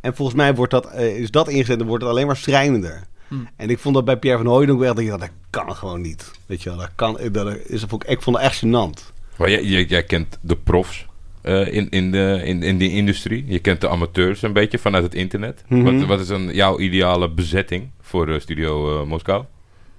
E: En volgens mij wordt dat, eh, is dat ingezet en wordt het alleen maar schrijnender.
A: Hmm.
E: En ik vond dat bij Pierre van Hooijdonk wel, dat, dat kan gewoon niet. Weet je wel, dat kan, eh, dat is, ik vond het echt gênant.
D: Maar jij, jij, jij kent de profs eh, in, in, de, in, in die industrie. Je kent de amateurs een beetje vanuit het internet.
E: Mhm.
D: Wat, wat is een, jouw ideale bezetting voor eh, Studio eh, Moskou?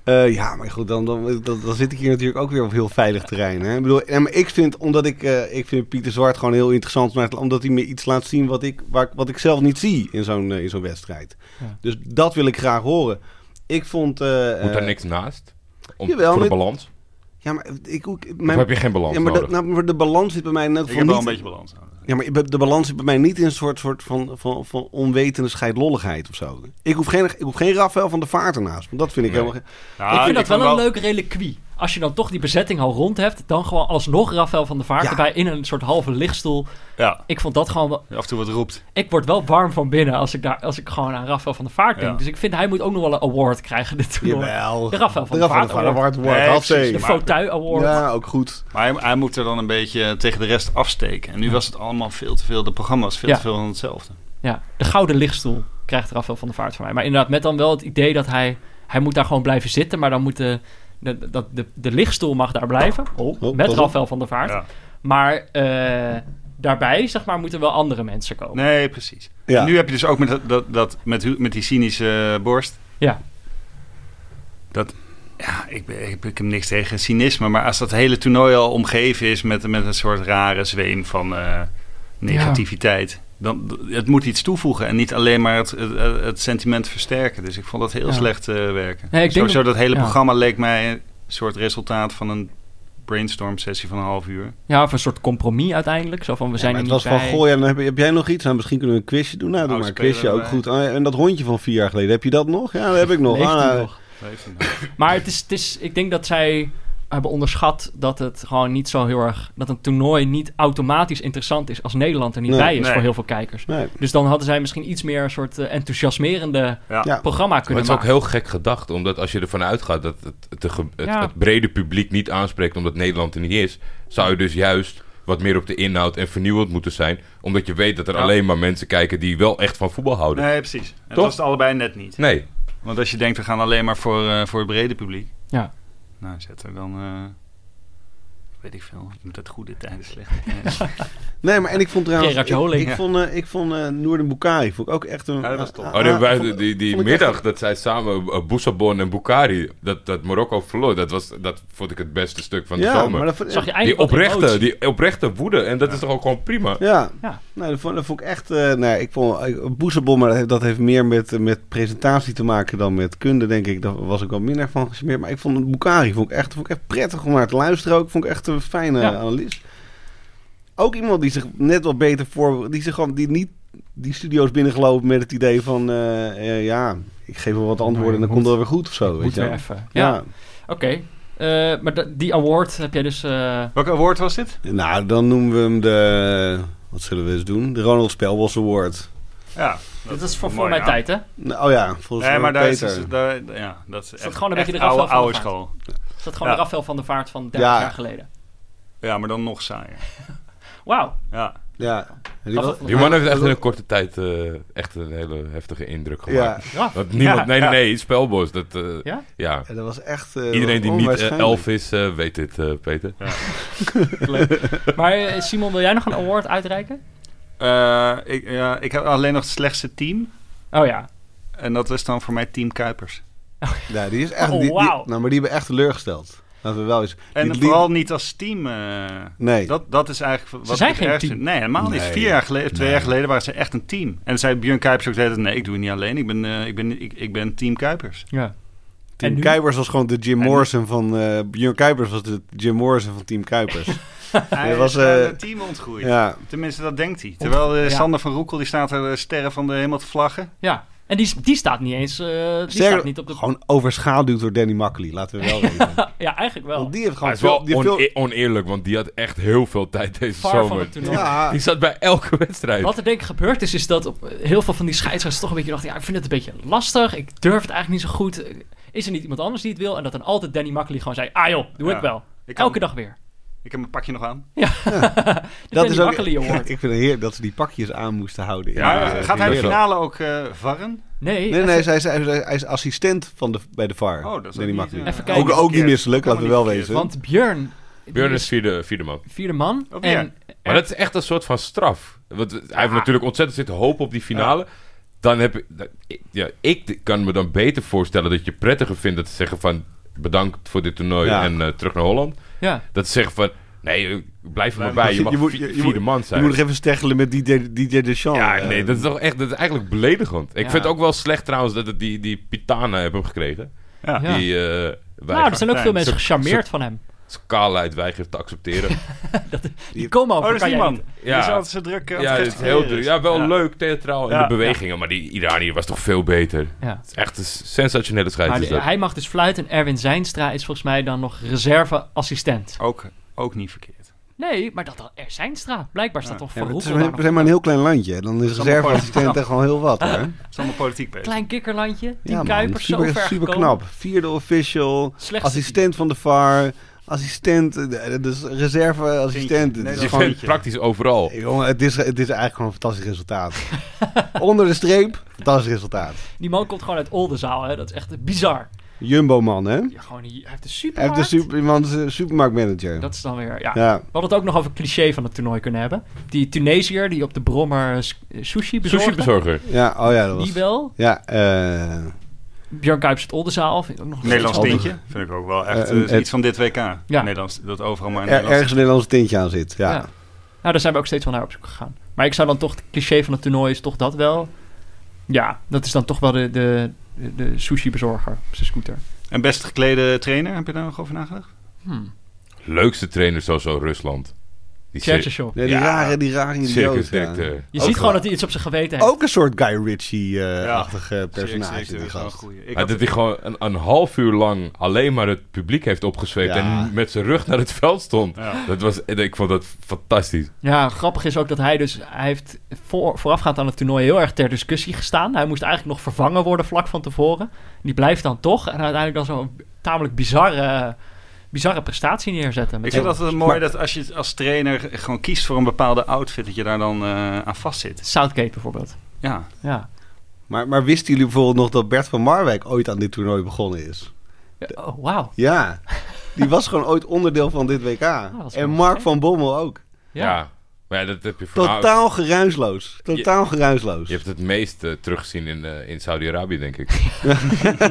E: Eh, ja, maar goed, dan, dan, dan, dan zit ik hier natuurlijk ook weer op heel veilig terrein. Hè? Ik bedoel, en, maar ik vind, omdat ik, eh, ik vind Pieter Zwart gewoon heel interessant, maar omdat hij me iets laat zien wat ik, waar, ik- wat ik zelf niet zie in zo'n eh, in zo'n wedstrijd.
A: Ja.
E: Dus dat wil ik graag horen. Ik vond... eh,
D: Moet daar
E: eh,
D: niks naast? Om,
E: jawel,
D: voor de
E: maar-
D: balans?
E: Ja, maar ik, ik,
D: Of
E: mijn,
D: heb je geen balans
E: ja, maar dat,
D: nodig?
E: nou, maar de balans zit bij mij in elk
C: Ik
E: geval
C: heb wel een
E: niet...
C: beetje balans nodig.
E: Ja, maar de balans zit bij mij niet in een soort, soort van, van, van onwetende scheidlolligheid of zo. Ik hoef geen, ik hoef geen Rafael van de Vaart ernaast, want dat vind ik
D: Nee.
E: helemaal... ge-
C: Ja,
A: ik vind dat
C: vind
A: wel een leuk reliquie. Als je dan toch die bezetting al rond hebt, dan gewoon alsnog Rafael van der Vaart
E: Ja.
A: erbij in een soort halve lichtstoel.
C: Ja,
A: Ik vond dat gewoon... wel-
C: af en toe wat roept.
A: Ik word wel warm van binnen als ik, daar, als ik gewoon aan Rafael van der Vaart denk.
C: Ja.
A: Dus ik vind hij moet ook nog wel een award krijgen dit toernooi.
E: Jawel.
A: De Rafael van der
E: de Rafael
A: Vaart
E: van de
A: Award.
E: Vaart wordt
C: Nee,
E: afzee.
A: De
C: precies.
A: Fauteuil Award.
E: Ja, ook goed.
C: Maar hij, hij moet er dan een beetje tegen de rest afsteken. En nu was het allemaal veel te veel. De programma was veel
A: Ja.
C: te veel van hetzelfde.
A: Ja, de gouden lichtstoel krijgt Rafael van der Vaart van mij. Maar inderdaad, met dan wel het idee dat hij... Hij moet daar gewoon blijven zitten, maar dan moet de... de, dat de, de lichtstoel mag daar blijven.
E: oh,
A: met
E: pas op.
A: Rafael van der Vaart.
C: Ja.
A: Maar eh, daarbij, zeg maar, moeten wel andere mensen komen.
C: Nee, precies.
E: Ja.
C: En nu heb je dus ook met, dat, dat, dat, met, hu- met die cynische eh, borst.
A: Ja.
C: Dat, ja, ik, ben- ik, ik heb niks tegen cynisme. Maar als dat hele toernooi al omgeven is met, met een soort rare zweem van eh, negativiteit. Dan, d- het moet iets toevoegen en niet alleen maar het, het, het sentiment versterken. Dus ik vond dat heel
A: Ja.
C: slecht eh, werken.
A: Nee, ik denk
C: Sowieso
A: dat-
C: dat, hele
A: ja.
C: programma leek mij een soort resultaat van een brainstorm sessie van een half uur.
A: Ja, of een soort compromis uiteindelijk. Zo van, we zijn
E: Ja,
A: er
E: maar
A: niet
E: het was
A: bij. Oh,
E: van, goh, ja, dan heb, heb jij nog iets? Nou, misschien kunnen we een quizje doen. Nou, doe
C: Oud
E: maar een
C: speler
E: quizje, ook
C: erbij.
E: goed. Ah, en dat hondje van vier jaar geleden, heb je dat nog? Ja, dat heb ik nog.
A: Leeft
E: Ah,
A: hij
E: nou,
A: nog?
C: Dat heeft hij nou.
A: Maar het is, het is, ik denk dat zij hebben onderschat dat het gewoon niet zo heel erg... dat een toernooi niet automatisch interessant is als Nederland er niet
E: Nee.
A: bij is
C: Nee.
A: voor heel veel kijkers.
E: nee.
A: Dus dan hadden zij misschien iets meer een soort eh, enthousiasmerende
E: Ja.
A: programma
D: Maar
A: kunnen
D: het is ook
A: maken.
D: heel gek gedacht, omdat als je ervan uitgaat dat het, het, de ge- het-
A: Ja.
D: het brede publiek niet aanspreekt omdat Nederland er niet is, zou je dus juist wat meer op de inhoud en vernieuwend moeten zijn, omdat je weet dat er
C: Ja.
D: alleen maar mensen kijken die wel echt van voetbal houden.
C: Nee, precies. En dat
D: Toch?
C: was het allebei net niet.
D: Nee,
C: Want als je denkt, we gaan alleen maar voor, eh, voor het brede publiek.
A: Ja.
C: Nou, zet er dan... eh, weet ik veel. Met het goede tijden, slechte tijden.
E: nee, maar en ik vond trouwens...
A: Gerard
E: ik-
A: Joling.
E: Ik, vond, eh, ik vond eh Noorden Bukari vond ik ook echt een...
C: Ja, dat was top.
E: ah,
D: Oh, die,
E: ah,
D: wij-
E: vond-
D: die, die
E: vond ik
D: middag
E: echt-
D: dat zij samen eh, Boussabon en Bukhari, dat, dat Marokko verloor, dat, was, dat vond ik het beste stuk van de
E: ja,
D: zomer.
E: maar dat vond,
A: Zag je
D: die,
A: eigenlijk wat
D: oprechte,
A: emotie?
D: die oprechte woede, en dat is toch ook gewoon prima.
E: Ja,
A: Ja.
E: Nou, dat, vond, dat vond ik echt... eh nee, ik vond eh, Boezebommer, dat heeft, dat heeft meer met, eh, met presentatie te maken dan met kunde, denk ik. Daar was ik wel minder van gesmeerd. Maar ik vond Bukari vond ik echt, vond ik echt prettig om naar te luisteren ook. Vond ik echt een fijne
A: Ja.
E: analist. Ook iemand die zich net wat beter voor... Die zich gewoon die niet die studio's binnengelopen met het idee van... eh, eh, ja, ik geef wel wat antwoorden en dan
A: Nou, moet-
E: komt het wel weer goed of zo. Weet je
A: Moeten we
E: wel.
A: even. Ja,
E: Ja.
A: oké. Eh, maar da- die award heb jij dus... eh,
C: Welk award was dit?
E: nou dan noemen we hem de... Wat zullen we eens doen? De Ronald Spelbos Award.
C: Ja.
A: dit is voor,
C: Mooi,
A: voor mijn
C: ja.
A: tijd, hè?
E: Nou, oh ja, volgens
C: Nee,
E: mij
C: maar daar is,
E: Peter.
C: dus- daar, ja, dat is,
A: dat
C: echt-
A: gewoon een beetje
C: echt
A: de Rafael van
C: oude,
A: der
C: oude
A: Vaart?
C: school.
A: Is dat gewoon
C: Ja.
A: de Rafael van der Vaart van 30
E: Ja.
A: jaar geleden?
C: Ja, maar dan nog saaier.
A: Wauw.
C: Ja.
E: Ja.
A: Rafael
E: Die was-
A: van der
D: Die
A: Vaart.
D: man heeft echt in een korte tijd eh, echt een hele heftige indruk
E: Ja,
D: gemaakt. Dat niemand, nee, nee, nee, Spelbos. Dat, eh,
A: Ja?
D: ja?
E: en dat was echt... eh,
D: Iedereen die niet eh,
E: onwaarschijnlijk.
D: elf is, eh, weet dit, eh, Peter.
A: Maar eh, Simon, wil jij nog een award uitreiken?
C: Eh, ik, ja, ik heb alleen nog het slechtste team.
A: Oh ja.
C: En dat is dan voor mij Team Kuipers.
E: Ja, die is echt...
A: Oh,
E: die, die-
A: wauw.
E: nou, maar die hebben echt teleurgesteld. Laten we wel eens...
C: En
E: die-
C: vooral niet als team. eh,
E: Nee.
C: Dat, dat is eigenlijk wat
A: zijn
C: het
A: geen
C: ergste-
A: team.
C: Nee, helemaal niet.
E: Nee.
C: Vier jaar geleden, twee
E: Nee.
C: jaar geleden waren ze echt een team. En zei Björn Kuipers ook de hele tijd, nee, ik doe het niet alleen. Ik ben, eh, ik ben, ik, ik ben team Kuipers.
A: Ja. En
E: Team
A: nu?
E: Kuipers was gewoon de Jim
C: nu?
E: Morrison van... eh Björn Kuipers was de Jim Morrison van Team Kuipers.
C: Hij
E: was,
C: was een
E: eh,
C: team ontgroeid.
E: ja.
C: Tenminste, dat denkt hij. Terwijl eh,
A: Ja.
C: Sander van Roekel, die staat er eh, sterren van de hemel te vlaggen.
A: ja. En die, die staat niet eens eh, die staat
E: Sterker,
A: niet op de...
E: gewoon overschaduwd door Danny Makkely. Laten we wel weten.
A: Ja, eigenlijk wel.
E: Want die heeft
D: Maar
E: gewoon
D: het is wel
E: veel... Die heeft veel-
D: oneer- eh, oneerlijk, want die had echt heel veel tijd deze
A: Var van
D: zomer.
A: het toernooi.
E: ja,
D: Die zat bij elke wedstrijd.
A: Wat er denk ik gebeurd is, is dat op eh, heel veel van die scheidsrechters toch een beetje dachten... ja, ik vind het een beetje lastig, ik durf het eigenlijk niet zo goed. Eh, Is er niet iemand anders die het wil? En dat dan altijd Danny Makkely gewoon zei... ah joh, doe
C: Ja.
A: ik wel.
C: Ik kan-
A: Elke dag weer.
C: Ik heb mijn pakje nog aan.
A: De Danny Makkely Award.
E: ik vind het heerlijk dat ze die pakjes aan moesten houden.
C: Ja,
E: Ja,
C: eh, gaat hij de
E: heerlijk.
C: finale ook eh, varren?
A: Nee,
E: Nee, nee,
A: even-
E: hij is, hij is- hij is assistent van de, bij de VAR.
C: Oh, dat is ook
E: Danny
C: niet,
E: Makkely.
C: eh,
A: Even kijken.
E: ook, ook niet misselijk, laten we wel
C: Helemaal niet
E: wezen.
A: want Björn... die
D: Björn is
A: is
D: vierde, vierde man.
A: vierde man.
C: Oh, Björn.
A: en
D: Maar dat is echt een soort van straf. Want hij heeft natuurlijk ontzettend zitten hopen op die finale. Dan heb ik, dat- ik- ja, ik kan me dan beter voorstellen dat je prettiger vindt dat te zeggen van bedankt voor dit toernooi
E: Ja.
D: en eh, terug naar Holland.
A: ja.
D: Dat te zeggen van nee, eh, blijf er maar
C: Blijf-
D: bij. Je
E: Je
D: mag
E: moet-
D: vi-
E: je- je
D: vierde
E: moet-
D: man
E: Je
D: zijn.
E: moet nog even steggelen met DJ, DJ Deschamps.
D: ja,
E: eh.
D: nee, dat is toch echt, dat is eigenlijk beledigend. Ik
A: Ja.
D: vind het ook wel slecht trouwens dat het die, die Pitana heb hem gekregen.
C: Ja.
A: Ja.
D: Die eh weigert,
A: Nou, er zijn ook veel
C: Fijn.
A: mensen
D: Zo-
A: gecharmeerd van hem.
D: zijn kaalheid weigert te accepteren.
A: Die komen
C: Oh,
A: over,
C: dat is
A: kan
C: die
A: jij
C: man.
A: niet.
C: Die is altijd zo druk. eh, aan
D: ja,
C: het
D: het is heel
C: gesticuleren.
D: druk. Ja, wel
C: Ja.
D: leuk, theatraal in
C: Ja.
D: de bewegingen, maar die Iranier was toch veel beter.
A: Ja.
D: Het is echt een sensationele
A: Maar
D: scheids. is
A: de-
D: dat.
A: hij mag dus fluiten en Erwin Zijnstra is volgens mij dan nog reserveassistent.
C: Ook, ook niet verkeerd.
A: Nee, maar dat dan er Zijnstra. Blijkbaar staat
C: Ah.
A: toch
E: Ja,
A: voor
E: maar het is
A: Roekel
E: maar,
A: daar
E: we
A: nog-
E: zijn maar een heel klein landje. Dan is
C: allemaal
E: reserveassistent echt gewoon heel wat. Hè?
C: Het is allemaal politiek bezig.
A: Klein kikkerlandje, Team
E: Ja, man,
A: Kuipers, zo
E: super,
A: ver
E: super
A: gekomen.
E: knap. Vierde official,
A: Slechtste
E: assistent van de VAR, assistent, eh, eh, dus reserveassistent.
C: Nee,
E: Het is
C: dat-
D: je
E: gewoon, eh,
D: vindt het praktisch overal.
E: Hey, jongen, het is, het is eigenlijk gewoon een fantastisch resultaat. Onder de streep, fantastisch resultaat.
A: Die man komt gewoon uit Oldenzaal, hè. dat is echt bizar.
E: Jumbo-man, hè?
A: Ja, gewoon, hij heeft een
E: Hij heeft
A: supermarkt.
E: de super, iemand is een supermarktmanager.
A: Dat is dan weer, ja.
E: ja.
A: We hadden het ook nog over cliché van het toernooi kunnen hebben. Die Tunesiër die op de Brommer eh, s- eh, sushi bezorgde.
D: Sushi bezorger.
E: ja, oh ja, dat was...
A: Die wel.
E: Ja, eh
A: Björn Kuipers uit Oldenzaal. Vind ik ook nog een
C: Nederlands
E: Altijd.
C: tintje. Vind ik ook wel echt
E: Eh,
C: eh,
E: een- het-
C: iets van dit WK. Nederlands, dat overal maar een
E: er,
C: Nederlands-
E: ergens een Nederlands tintje aan zit. Ja.
A: Ja. Nou, daar zijn we ook steeds wel naar op zoek gegaan. Maar ik zou dan toch, het cliché van het toernooi is toch dat wel. Ja, dat is dan toch wel de, de, de sushi-bezorger op zijn scooter.
C: En best geklede trainer, heb je daar nog over nagedacht?
A: Hmm.
D: Leukste trainer sowieso Rusland. Die cir-
A: Tjertjesjov.
E: Nee, die
D: Ja.
E: rare, die rare idioot. ja.
D: circusdirecteur.
A: Je ziet gewoon dat hij iets op zijn geweten heeft.
E: Ook een soort Guy Ritchie-achtig
C: Zeker,
E: personage,
C: zeker,
E: die
C: wel een
E: gast.
C: goeie. Ik
D: Maar
C: had-
D: dat hij gewoon een, een half uur lang alleen maar het publiek heeft opgezweept
E: Ja.
D: en met zijn rug naar het veld stond.
C: Ja.
D: Dat was, ik vond dat fantastisch.
A: Ja, grappig is ook dat hij dus... Hij heeft voor, voorafgaand aan het toernooi heel erg ter discussie gestaan. Hij moest eigenlijk nog vervangen worden vlak van tevoren. Die blijft dan toch. En uiteindelijk dan zo'n tamelijk bizarre, bizarre prestatie neerzetten. Met
C: Ik vind
A: zo'n
C: dat het mooi dat als je als trainer gewoon kiest voor een bepaalde outfit, dat je daar dan eh, aan vastzit.
A: Southgate bijvoorbeeld.
C: Ja.
A: Ja.
E: Maar, maar wisten jullie bijvoorbeeld nog dat Bert van Marwijk ooit aan dit toernooi begonnen is?
A: Oh, wauw.
E: Ja, die was gewoon ooit onderdeel van dit WK.
A: Ah, dat is wel
E: en Mark
A: gek.
E: van Bommel ook.
D: Ja. Maar ja, dat heb je vooral...
E: Totaal geruisloos. Totaal geruisloos.
D: Je hebt het meest eh, teruggezien in, eh, in Saudi-Arabië, denk ik.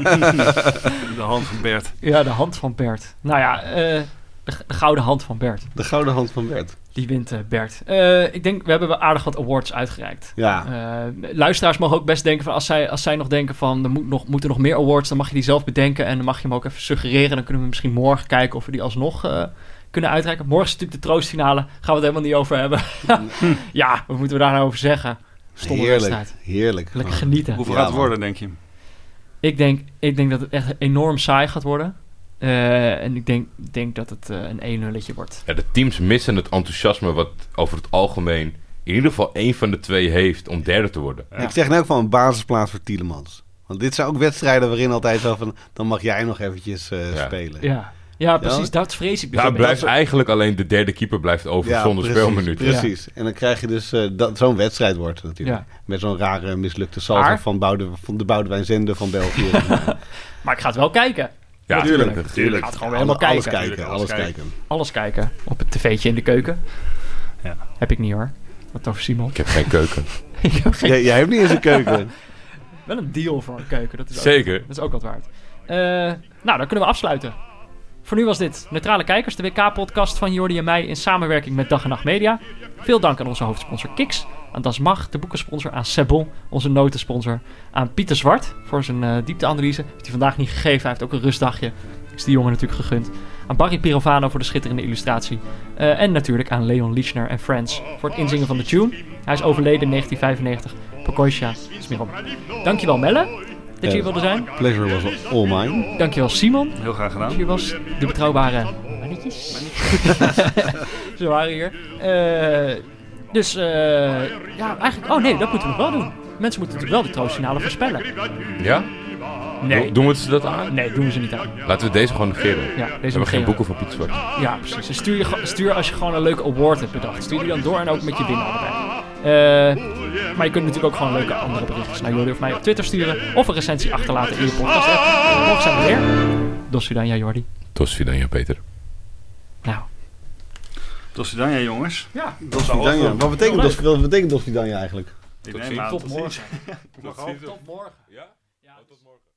C: De hand van Bert.
A: Ja, de hand van Bert. Nou ja, eh, de, g- de gouden hand van Bert.
E: De gouden hand van Bert.
A: Die wint eh, Bert. Eh, ik denk, we hebben wel aardig wat awards uitgereikt.
E: Ja.
A: Eh, luisteraars mogen ook best denken van als zij, als zij nog denken van er moet nog, moeten nog meer awards, dan mag je die zelf bedenken en dan mag je hem ook even suggereren. Dan kunnen we misschien morgen kijken of we die alsnog eh, kunnen uitreiken. Morgen is natuurlijk de troostfinale. Gaan we het helemaal niet over hebben. ja, wat moeten we daar nou over zeggen? Stomme
E: heerlijk.
A: wedstrijd.
E: Heerlijk.
A: Lekker genieten.
C: Hoeveel
E: Ja,
C: gaat het
E: man.
C: worden, denk je?
A: Ik denk, ik denk dat het echt enorm saai gaat worden. Eh, en ik denk, denk dat het eh, een 1-nulletje wordt.
D: Ja, de teams missen het enthousiasme wat over het algemeen in ieder geval één van de twee heeft om derde te worden.
E: Ik zeg nou ook van een basisplaats voor Tielemans. Want dit zijn ook wedstrijden waarin altijd zo van... dan mag jij nog eventjes eh,
D: Ja.
E: spelen.
A: Ja, ja precies. Dat vrees ik dus
D: Ja,
A: een
D: blijft
A: beetje.
D: eigenlijk alleen de derde keeper blijft over
E: Ja,
D: zonder
E: precies,
D: speelminuten.
E: Precies. En dan krijg je dus eh, dat zo'n wedstrijd wordt het natuurlijk. Met zo'n rare mislukte salto
A: Maar-
E: van, Boude, van de Boudewijn Zende van België.
A: Maar ik ga het wel kijken.
D: Ja,
A: Natuurlijk.
D: natuurlijk.
A: Ik ga het gewoon helemaal
E: Alles-
A: kijken.
E: Alles kijken, alles kijken.
A: Alles kijken. Op het tv'tje in de keuken.
C: Ja.
A: Heb ik niet hoor. Wat over Simon.
D: Ik heb geen keuken.
A: ik heb geen,
E: Jij, jij hebt niet eens een keuken.
A: wel een deal voor een keuken. Dat is ook,
D: Zeker.
A: dat is ook wat waard. Eh, nou, dan kunnen we afsluiten. Voor nu was dit Neutrale Kijkers, de WK-podcast van Jordi en mij in samenwerking met Dag en Nacht Media. Veel dank aan onze hoofdsponsor Kiks, aan Das Mag, de boekensponsor, aan Sebon, onze notensponsor, aan Pieter Zwart voor zijn eh, diepteanalyse. Heeft hij vandaag niet gegeven, hij heeft ook een rustdagje. Is die jongen natuurlijk gegund. Aan Barry Pirovano voor de schitterende illustratie. Eh, en natuurlijk aan Leon Lichner en Friends voor het inzingen van de tune. Hij is overleden in 1995. Pokoisha is meer op. Dankjewel Melle, dat je hier
E: Eh,
A: wilde zijn.
E: Pleasure was all mine.
A: Dankjewel Simon.
C: Heel graag gedaan.
A: Hier was de betrouwbare mannetjes. Ze waren hier. Eh, dus eh, ja, eigenlijk. Oh nee, dat moeten we nog wel doen. Mensen moeten natuurlijk wel de troostfinale voorspellen.
D: Ja?
A: Nee,
D: Doen we ze dat aan?
A: nee, doen we ze niet aan.
D: Laten we deze gewoon negeren.
A: Ja,
D: we
A: deze
D: hebben geen
A: negeren.
D: boeken van Piet Zwart.
A: Ja, precies. Dus stuur, je, ge- stuur als je gewoon een leuke award hebt bedacht. Stuur die dan door en ook met je winnaar erbij. Eh, maar je kunt natuurlijk ook gewoon leuke andere berichtjes naar Jordi of mij op Twitter sturen. Of een recensie achterlaten in je podcast app. Morgen zijn we weer. Dos Sudanja, Jordi.
D: Tot dan, ja, Peter.
A: Nou,
C: Tot dan, ja, jongens.
A: ja.
E: Danja. Wat betekent
A: Leuk.
E: dat, wat betekent dat eigenlijk?
C: Ik
D: Tot
C: neem
D: ziens.
C: aan-
A: Tot morgen.
D: Tot ziens.
A: Tot morgen.
D: Ja?
A: Ja,
D: Tot morgen.